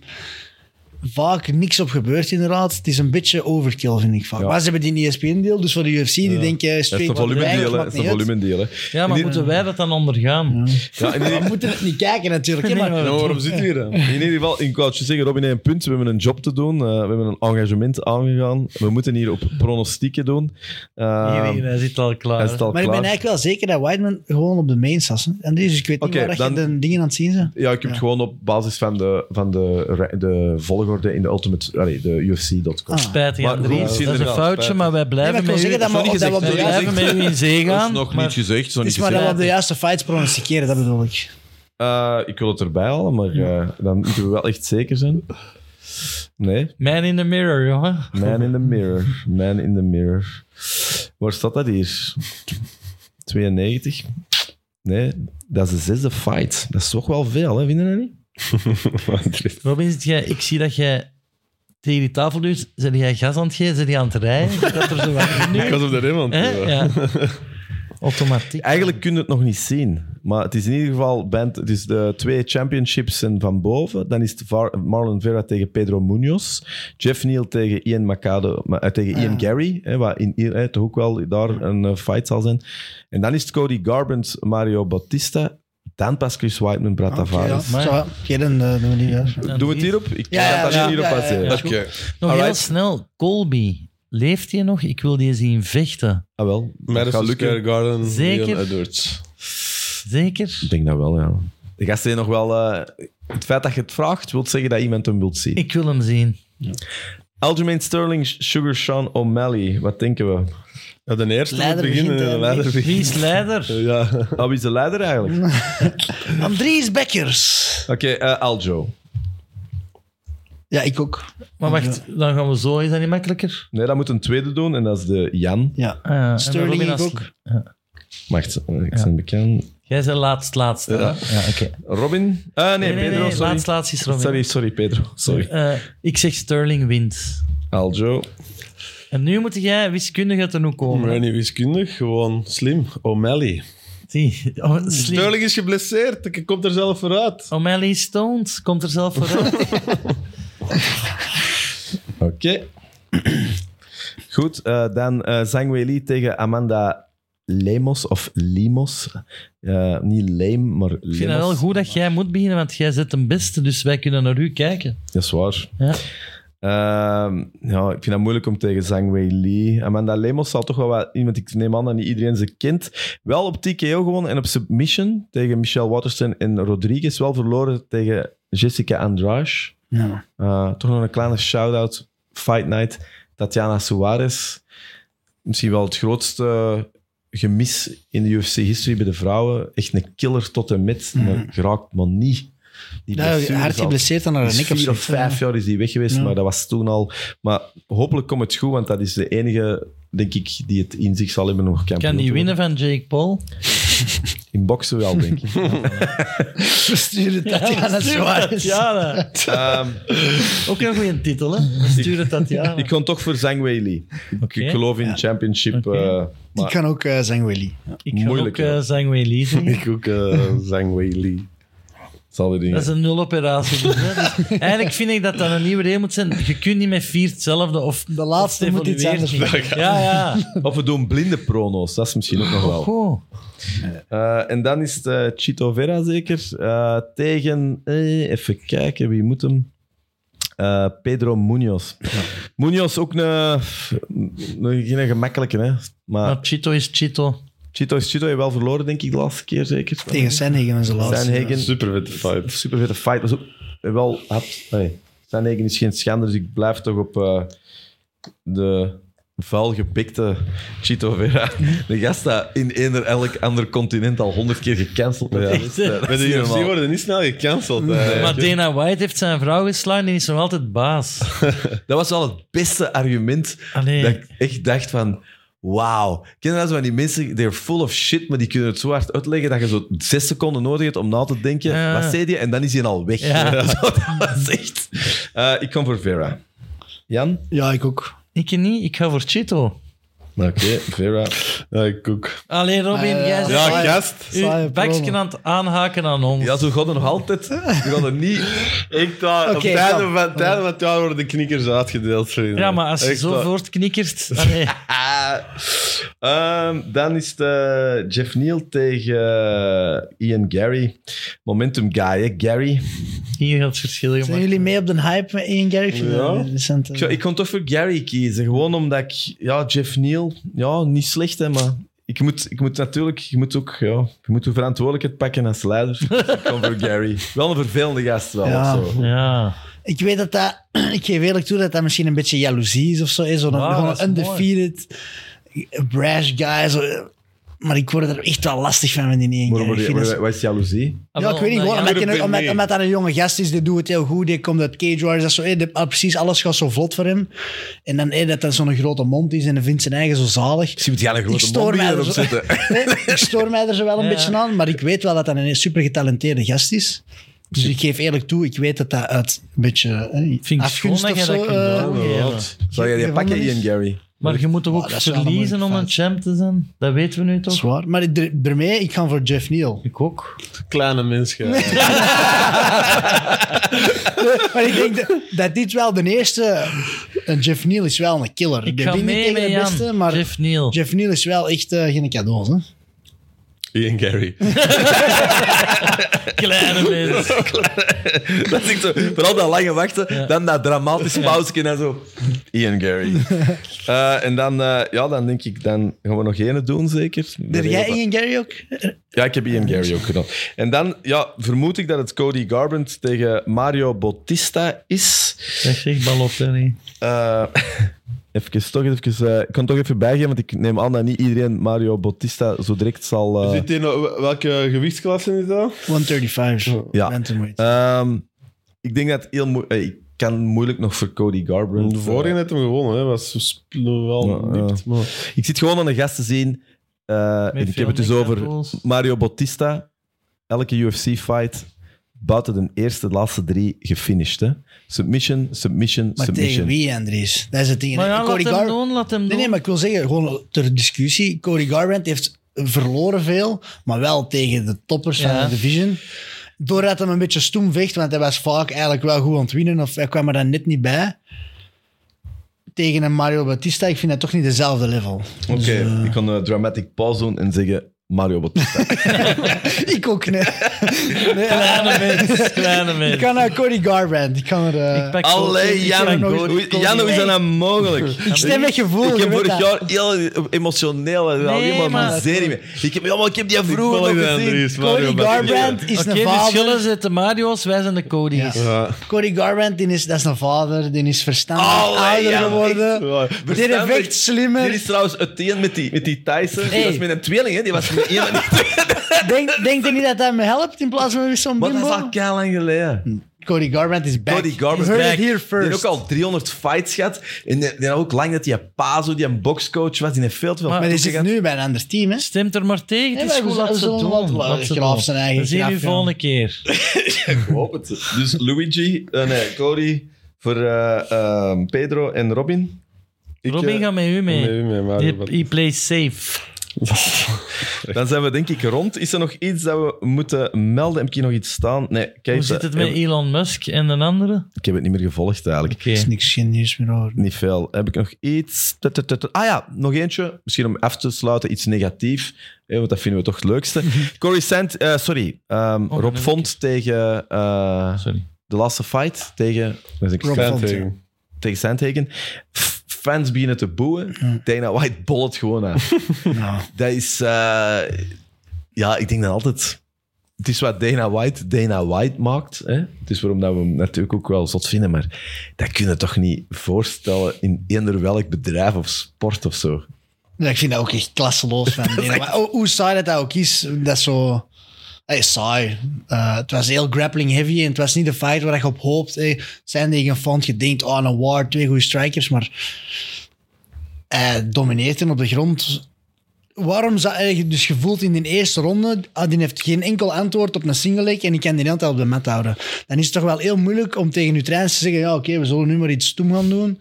D: vaak niks op gebeurt inderdaad. Het is een beetje overkill, vind ik vaak.
A: Ja.
D: Maar ze hebben die ESPN-deal, dus voor de UFC die denken...
A: dat is een volumendeel, hè. Dat is een volumendeel, hè.
B: Ja, maar moeten wij dat dan ondergaan?
A: Ja, in ieder-
D: We moeten het niet kijken natuurlijk, hè, maar
B: Nee, maar-
C: Nou, waarom zitten we hier dan?
A: In ieder geval, ik wou het je zeggen, Robin, een punt. We hebben een job te doen. eh, we hebben een engagement aangegaan. We moeten hier op pronostieken doen. Eh,
B: Hier, hier, hij zit al klaar.
A: hij is
B: hè.
A: al
D: Maar ik ben
A: klaar.
D: eigenlijk wel zeker dat Whiteman gewoon op de main zat. hè. En dus ik weet niet
A: Oké,
D: waar dat je
A: dan-
D: de dingen aan het zien zijn.
A: Ja, ik heb het gewoon op basis van de, van de, re- de volgorde in de Ultimate... allee, de UFC.com.
D: Ah.
B: Spijtig,
A: Maar
B: Andries.
A: Roel is
B: Dat is een
A: inderdaad
B: foutje,
A: spijtig.
B: maar wij
D: Nee, maar
B: blijven,
D: ik wil
B: met, u,
D: zeggen dat,
A: dat
D: we-
A: is
D: dat
A: nog
D: we op de
A: niet
B: wij
A: gezegd.
D: juiste...
B: blijven met u in zee gaan. maar
A: gezegd. is nog
D: Het is maar dat we op de juiste fights pronosticeren, dat bedoel ik.
A: Eh, ik wil het erbij halen, maar eh, dan moeten we wel echt zeker zijn. Nee,
B: Man in the mirror, jongen.
A: Man in the Mirror. Man in the Mirror. Waar staat dat hier? 92? Nee, dat is de zesde fight. Dat is toch wel veel, hè? vinden jullie niet?
B: Robin, zit jij, ik zie dat jij tegen die tafel duwt. Zit jij gas aan het geven? Zit jij aan het rijden? Is Dat er zo wat in?
C: Ik was op de rim aan het
B: Hè?
C: duwen.
B: Ja. Automatiek.
A: Eigenlijk kun je het nog niet zien. Maar het is in ieder geval band, het is de twee championships en van boven. Dan is het Var- Marlon Vera tegen Pedro Munoz. Jeff Neal tegen Ian, Macado, ma- eh, tegen
D: Ah.
A: Ian Gary. Hè, wat in, hier, hè, toch ook wel daar een eh, fight zal zijn. En dan is het Cody Garbrandt, Mario Bautista. Dan pas Chris Whiteman, Brad
D: ja.
A: Tavares.
B: maar-
D: Zo, oké, dan eh, doen we die. ja.
B: Ja,
A: Doe
B: nog
A: het
B: iets.
A: hierop? Ik
D: Ja,
A: laat
D: ja,
A: dat
D: ja,
A: hierop
D: ja, ja,
A: passeren.
D: ja.
C: Oké.
B: Nog heel
A: Alright.
B: snel, Colby. Leeft hij nog? Ik wil die zien vechten.
A: Ah, wel. Dat gaat
C: Madison
A: lukken.
C: Square Garden,
B: Zeker.
C: Leon Edwards.
B: Zeker?
A: Ik denk dat wel, ja. De gasten zijn nog wel... eh, het feit dat je het vraagt, wil zeggen dat iemand hem wilt zien.
B: Ik wil hem zien.
A: Aljamain Sterling, Sugar Sean O'Malley. Wat denken we?
C: Ja, de eerste
D: Leider
C: moet beginnen
D: begint,
C: en de
D: eh,
C: leider
B: Wie
C: begint.
B: is leider?
C: Ja.
A: Ah, wie is de leider eigenlijk? Oké,
D: Andries Bekkers.
A: eh, Aljo.
D: Ja, ik ook.
B: Maar wacht, dan gaan we zo. Is dat niet makkelijker?
A: Nee, dat moet een tweede doen en dat is de Jan.
D: Ja.
B: Ah, ja, en
D: Sterling
B: Robin
D: ik
B: als-
D: ook.
A: Wacht, eh, ik ben bekend.
B: Jij bent laatst laatste. hè? Ja, oké.
A: Robin? Ah, nee,
B: Nee, nee,
A: Pedro,
B: nee,
A: sorry.
B: laatst laatst is Robin.
A: Sorry, sorry, Pedro. Sorry.
B: Eh, ik zeg Sterling wint.
A: Aljo.
B: En nu moet jij wiskundig uit de hoek komen.
C: Maar niet wiskundig, gewoon slim. O'Malley.
B: Zie, oh, slim.
C: Sterling is geblesseerd, ik kom er zelf vooruit.
B: O'Malley is stoned. Komt er zelf vooruit.
A: Oké. Goed, eh, dan eh Zhang Weili tegen Amanda Lemos of Limos. Eh, niet Leem, maar Lemos.
B: Ik vind het wel goed dat jij moet beginnen, want jij zit de beste, dus wij kunnen naar u kijken.
A: Dat is waar.
B: Ja.
A: Ehm, ja, ik vind dat moeilijk om tegen Zhang Wei Li. Amanda Lemos zal toch wel wat iemand, ik neem aan dat niet iedereen ze kent. Wel op TKO gewonnen en op submission tegen Michelle Waterston en Rodriguez. Wel verloren tegen Jessica Andrade.
D: Ja.
A: Eh, toch nog een kleine shout-out. Fight Night, Tatiana Suarez. Misschien wel het grootste gemis in de UFC-history bij de vrouwen. Echt een killer tot en met, maar geraakt maar niet. Die
D: Mhm. Nou,
A: blessure
D: hard
A: zal-
D: geblesseerd aan haar
A: is
D: nek
A: vier of
D: zoiets, hè.
A: vijf jaar is die weg geweest,
D: Ja.
A: maar dat was toen al. Maar hopelijk komt het goed, want dat is de enige, denk ik, die het in zich zal hebben om kampioen
B: Kan
A: te
B: die
A: worden.
B: winnen van Jake Paul?
A: In boksen wel, denk ik.
D: We sturen Tatiana Suarez.
B: Tatjana.
A: Ehm,
B: Ook een goede titel, hè? Stuur het Tatjana.
A: ik kon toch voor Zhang Weili.
B: Oké.
A: Ik geloof in championship.
B: Oké.
A: eh,
D: Ik kan ook eh Zhang Weili.
B: Ik ga
A: moeilijk,
B: ook eh
A: ja.
B: Zhang Weili zien.
C: Ik ook eh Zhang Wei Li.
A: zal die dingen.
B: Dat is een nuloperatie. Dus, hè. Dus eigenlijk vind ik dat dat een nieuwe regel moet zijn. Je kunt niet met vier hetzelfde of
D: De laatste
B: of het
D: moet iets
B: evolueert.
D: anders Oh. worden.
B: Ja, ja.
A: Of we doen blinde prono's, dat is misschien ook nog wel.
B: Goh.
D: Ah.
A: Eh, en dan is het eh, Chito Vera zeker. eh, tegen, eh, even kijken, wie moet hem? Eh, Pedro Munoz. Munoz ook een, een, geen gemakkelijke, hè? Maar
B: Maar Chito is Chito.
A: Chito is Chito, heeft wel verloren, denk ik, de laatste keer zeker.
D: Tegen Sanhagen was de laatste.
A: Sanhagen.
C: Super vette fight.
A: Super vette fight. Was ook wel had, nee, Sanhagen is geen schande, dus ik blijf toch op eh, de vuilgebikte Chito Vera. De gast dat in eender elk ander continent al honderd keer gecanceld werd.
C: Ja.
A: Echt, eh, dat
C: Bij
A: is
C: de
A: niet
C: UFC
A: normaal.
C: worden niet snel gecanceld. eigenlijk.
B: Maar Dana White heeft zijn vrouw geslaan en die is nog altijd baas.
A: Dat was wel het beste argument.
B: Allee.
A: Dat ik echt dacht van... Wauw. Ken je dat zo van die mensen? They're full of shit, maar die kunnen het zo hard uitleggen dat je zo zes seconden nodig hebt om na te denken.
B: Ja.
A: Wat zei die? En dan is hij al weg.
B: Ja.
A: Zo, dat was echt... Eh, ik kom voor Vera. Jan?
D: Ja, ik ook.
B: Ik niet, ik ga voor Chito.
A: Oké, Vera.
C: Ja, ik ook.
B: Allee, Robin,
D: Ah,
B: jij
D: ja, ja.
B: zegt...
C: Ja,
D: Saai.
C: gast.
D: Saaie
B: Uw bakje
D: promo.
B: aan het aanhaken aan ons.
A: Ja, zo gaat het nog altijd. Je gaat het niet...
C: Ik daar, op
D: Oké,
C: het einde
D: kom.
C: van, het einde van het jaar worden de knikkers uitgedeeld. vrienden.
B: Ja, maar als je
C: Echt
B: zo
C: waar.
B: voortknikkert... Allee.
A: Ah. Ehm, dan is het eh, Jeff Neal tegen eh, Ian Gary. Momentum guy, hè? Gary.
B: Hier gaat het verschil
D: Zijn
B: gemaakt.
D: jullie mee op de hype met Ian Gary?
C: Ja.
D: Recent, eh,
A: Ik, zou- ik kon toch voor Gary kiezen. Gewoon omdat ik... Ja, Jeff Neal. Ja, niet slecht, hè, maar... Ik moet, ik moet natuurlijk... Je moet ook... Ja, je moet de verantwoordelijkheid pakken als leider. Dus ik kom voor Gary. Wel een vervelende gast wel.
D: Ja.
A: of zo.
B: Ja.
D: Ik weet dat dat... Ik geef eerlijk toe dat dat misschien een beetje jaloezie is of zo. Is, zo
B: Ah,
D: gewoon
B: dat
D: een
B: is
D: undefeated, eh, brash guy. Zo. Maar ik word er echt wel lastig van met die Ian
A: Maar,
D: Gary.
A: maar,
D: Ik vind
A: maar-
D: dat zo-
A: wat is jaloezie?
D: Ja, ik weet niet, gewoon
B: Ah, Ja,
D: omdat,
C: ja.
D: die- omdat, omdat dat een jonge gast is, die doet het heel goed, die komt uit Cage Warriors, dat zo, eh, de- ah, precies alles gaat zo vlot voor hem. En dan eh, dat dat zo'n grote mond is en hij vindt zijn eigen zo zalig.
A: Misschien moet jij een
D: Ik
A: grote
D: stoor,
A: mond
D: mij er
A: erop
D: zo,
A: zetten.
D: Nee, ik stoor mij er zo wel een
B: Ja.
D: beetje aan, maar ik weet wel dat dat een super getalenteerde gast is. Dus ik geef eerlijk toe, ik weet dat dat uit een beetje eh,
B: Vind ik schoon
D: afgunst
B: dat
D: of
B: jij dat
D: zo...
B: kunt
D: eh,
B: doen.
A: Zou jij die
D: Gevonden
A: pakken,
D: is?
A: Ian Gary?
B: Maar je moet toch
D: Maar
B: ook
D: Ah, dat is wel een
B: verliezen om een
D: moeilijke
B: champ te zijn? Dat weten we nu toch?
D: Zwaar. Maar er- bij mij, ik ga voor Jeff Neal.
B: Ik ook.
C: Kleine mensen.
D: maar ik denk dat, dat dit wel de eerste... En Jeff Neal is wel een killer.
B: Ik
D: Die
B: ga
D: wint niet
B: mee
D: tegen
B: met
D: de
B: Jan.
D: beste, maar Jeff,
B: Jeff Neal.
D: Neal is wel echt eh, geen cadeau. Hè?
C: Ian Gary.
B: Kleine mens.
A: Dat is echt zo, vooral dat lange wachten, dan dat dramatische pauze en zo. Ian Gary. Eh, en dan, eh, ja, dan denk ik, dan gaan we nog ene doen, zeker.
D: Deed jij Ian Gary ook?
A: Ja, ik heb Ian Gary ook gedaan. En dan, ja, vermoed ik dat het Cody Garbrandt tegen Mario Bautista is.
B: Dat zegt Balotelli.
A: Eh, even, toch even, eh, ik kan toch even bijgeven, want ik neem aan dat niet iedereen Mario Bautista zo direct zal... eh,
C: Is dit in, welke gewichtsklasse is dat?
D: 135.
A: Ja.
D: Bantamweight.
A: Ehm, ik denk dat het heel moe- eh, Ik kan moeilijk nog voor Cody Garbrandt. eh,
C: De vorige heeft hem gewonnen, hè. was sp- wel
A: Ja, ja.
C: nipt, maar...
A: Ik zit gewoon aan de gasten zien. eh, en
B: Met
A: ik heb het dus
B: veel
A: over
B: examples.
A: Mario Bautista. Elke UFC-fight buiten de eerste, laatste drie gefinished. Hè? Submission, submission,
D: maar tegen
A: submission.
D: wie, Andries? Dat is het ding.
B: Maar ja,
D: Cody
B: laat hem
D: Gar-
B: doen, laat hem
D: Nee,
B: doen.
D: nee, maar ik wil zeggen, gewoon ter discussie. Cody Garbrandt heeft verloren veel, maar wel tegen de toppers
B: Ja.
D: van de division. Doordat hij een beetje stoem vecht, want hij was vaak eigenlijk wel goed aan het winnen, of hij kwam er dan net niet bij. Tegen een Mario Bautista, ik vind dat toch niet dezelfde level.
A: Oké,
D: eh,
A: ik kan een dramatic pause doen en zeggen Mario Bautista.
D: ik ook niet. Nee,
B: Kleine mens, kleine
D: ik
B: mens.
D: kan naar Cody Garbrandt. Ik kan er... eh,
B: Ik pak
A: Allee,
B: Cody, ik pak
A: Jan.
D: nog eens-
A: Hoe- Jan, hoe is dat nou mogelijk?
D: ik stem met gevoel.
A: Ik
D: je
A: heb
D: weet
A: vorig
D: dat.
A: jaar heel emotioneel, en alleen maar
B: maar-
A: miserie mee. Ik heb, ja, maar ik heb die vroeger
C: volg
A: nog
C: de
A: gezien.
C: Andries, Mario
D: Cody
C: Bautista.
D: Garbrandt is
B: Oké,
D: een
B: de
D: vader.
B: schillen zitten Mario's, wij zijn de Cody's.
D: Ja.
C: Ja.
D: Cody Garbrandt, die is, dat is een vader, die is verstandig
A: Allee,
D: ouder
A: ja,
D: geworden.
C: Ja.
D: Dit
A: Verstandig.
D: effect
A: Dit
D: slimmer.
A: is trouwens het een met die, met die Tyson.
B: Hey.
A: Die was met een tweeling, hè? Die was met één.
D: Denk, denk je niet dat dat me helpt in plaats van weer zo'n
A: Wat dat is
D: bimbo?
A: al kei lang geleden.
D: Cody Garbrandt is back.
A: Cody Garbrandt
D: You
A: back.
D: heard it here
A: Die
D: first.
A: heeft ook al 300 fights gehad. En die, die had ook lang dat die Pazo, die een boxcoach was, die heeft veel te veel
B: Maar
D: maar die
A: punten
D: zit
A: gehad.
D: nu bij een ander team, hè?
B: Stemt er maar tegen, het
D: Nee,
B: is
D: maar
B: goed,
D: we
B: laat ze
D: zullen
B: doen.
D: wel
B: laat ze
D: graaf
B: doen.
D: zijn eigen
B: We zien
D: graf,
B: u
D: ja.
B: volgende keer.
A: Ik hoop het. Dus Luigi, eh, nee, Cody voor eh, eh, Pedro en Robin.
C: Ik,
B: Robin,
C: eh,
B: ga met u mee.
C: Nee, nee, maar-
B: Die- He plays safe.
A: Dan zijn we denk ik rond. Is er nog iets dat we moeten melden? Heb ik hier nog iets staan? Nee, kijk.
B: Hoe zit
A: eh,
B: het met Elon Musk en de andere?
A: Ik heb het niet meer gevolgd eigenlijk.
B: Oké.
D: Er is niks, geen nieuws meer over.
A: Niet veel. Heb ik nog iets? Tut, tut, tut. Ah ja, nog eentje. Misschien om af te sluiten, iets negatief. hè, want dat vinden we toch het leukste. Corey Sant, eh, sorry. ehm,
B: dat
A: Rob
B: weet
A: Font tegen eh,
B: Sorry.
A: de laatste fight. Tegen, dat is ik-
D: Rob-
C: Fanting.
A: tegen Sandhagen. F- Fans beginnen te boeien. Dana White bollet gewoon aan.
D: Nou,
A: dat is... eh, ja, ik denk dat altijd... Het is wat Dana White Dana White maakt. Hè? Het is waarom dat we hem natuurlijk ook wel zot vinden. Maar dat kun je toch niet voorstellen in eender welk bedrijf of sport of zo.
D: ja, ik vind dat ook echt klasseloos van Dana. Maar oh, hoe- hoe saai dat, dat ook is, dat is zo... Hey, saai. Eh, het was heel grappling heavy en het was niet de fight waar je op hoopt. Hey, het zijn tegen een fond, je denkt, oh, een war, twee goede strikers, maar... Hij domineert hem op de grond. Waarom zou hij dus gevoeld in de eerste ronde, ah, die heeft geen enkel antwoord op een single leg en ik kan die de hele tijd op de mat houden. Dan is het toch wel heel moeilijk om tegen je trainers te zeggen, ja, oké, we zullen nu maar iets stoem gaan doen.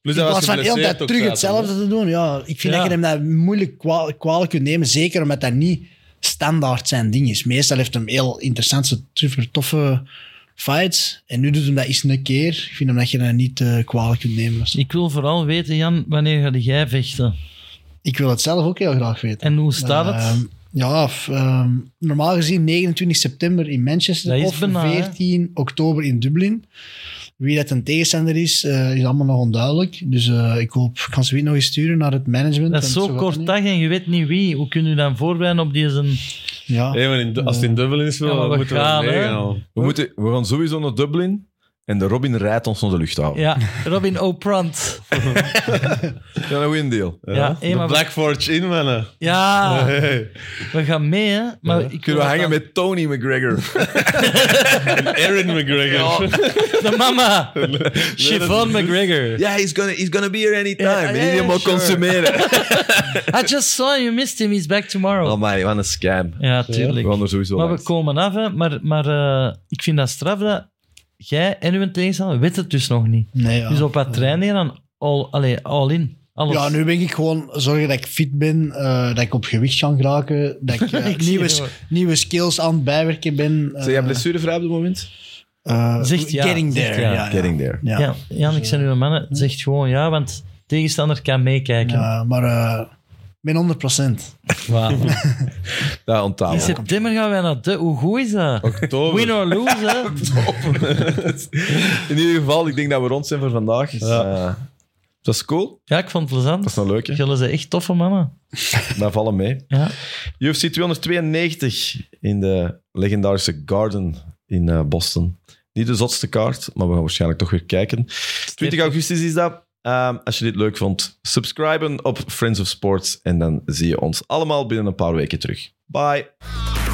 C: Plus
D: In
C: hij
D: plaats van de hele
C: Dus
D: tijd
C: geblesseerd ook
D: terug
C: zaterdag.
D: hetzelfde te doen. Ja, ik vind
B: Ja.
D: dat je hem dat moeilijk kwa- kwalijk kunt nemen. Zeker omdat dat niet standaard zijn ding is. Meestal heeft hem heel interessante, super toffe fights. En nu doet hem dat eens een keer. Ik vind hem dat je dat niet eh, kwalijk kunt nemen.
B: Ik wil vooral weten, Jan, wanneer ga jij vechten?
D: Ik wil het zelf ook heel graag weten.
B: En hoe staat het?
D: Ehm, ja, f- ehm, normaal gezien 29 september in Manchester
B: Dat is
D: of
B: bijna, hè?
D: 14 oktober in Dublin. Wie dat een tegenstander is, eh, is allemaal nog onduidelijk. Dus eh, ik hoop, ik kan ze weer nog eens sturen naar het management.
B: Dat is
D: want
B: zo
D: gaat
B: kort
D: niet.
B: dag en je weet niet wie. Hoe kun je dan voorbereiden op die zijn...
D: Ja.
C: Hey, maar in- als het in Dublin is, wel,
B: Ja, maar we
C: dan moeten we
B: gaan, hè.
C: meegaan.
A: We, moeten, we gaan sowieso naar Dublin. En de Robin rijdt ons naar de luchthaven.
B: Ja, Robin
D: oh,
B: O'Prant.
A: Ja, een win deal.
B: Ja,
C: Ja,
B: hey,
C: de
B: maar we-
C: Black Forge in, mannen.
B: Ja,
C: Hey.
B: we gaan mee, hè. Maar ik wil
A: Kunnen we
B: dat
A: hangen
B: dan-
A: met Tony McGregor?
C: Aaron McGregor.
B: De mama. Siobhan McGregor.
A: Ja, he's gonna, he's gonna be here anytime.
B: Ja, ja,
A: Niet helemaal
B: sure.
A: consumeren.
B: I just saw him. You missed him. He's back tomorrow.
A: Oh man, wat een scam.
B: ja,
A: We
B: tuurlijk.
A: gaan er sowieso
B: Maar we
A: langs.
B: komen af, hè. Maar, maar eh, ik vind dat straf dat jij en uw tegenstander weet het dus nog niet.
D: Nee, ja.
B: Dus op wat trainen dan all, allee, all in. Alles.
D: Ja, nu ben ik gewoon zorgen dat ik fit ben, eh, dat ik op gewicht kan geraken, dat ik, eh,
B: Ik zie het,
D: nieuwe,
B: hoor.
D: nieuwe skills aan het bijwerken ben. eh,
A: Zijn jij blessurevrij op dit moment?
D: eh,
B: Zegt ja,
D: Getting
B: zegt
D: there.
B: ja.
D: ja, ja.
A: Getting there.
D: Ja.
B: Ja, Jan, ik zijn uw mannen. Het Zegt gewoon ja, want tegenstander kan meekijken.
D: Ja, maar eh, ik ben 100%.
B: Wauw.
A: Daar aan tafel.
B: In september gaan wij naar de... Hoe goed is dat?
C: Oktober.
B: Win or lose, hè?
A: In ieder geval, ik denk dat we rond zijn voor vandaag. Eh, het was cool. Het
B: Ja, ik vond het
A: was
B: plezant.
A: nou leuk, hè?
B: Jullie zijn echt toffe mannen.
A: Wij vallen mee.
B: Ja.
A: UFC 292 in de legendarische Garden in eh, Boston. Niet de zotste kaart, maar we gaan waarschijnlijk toch weer kijken. 20 augustus is dat. Ehm, als je dit leuk vond, subscriben op Friends of Sports. En dan zie je ons allemaal binnen een paar weken terug. Bye.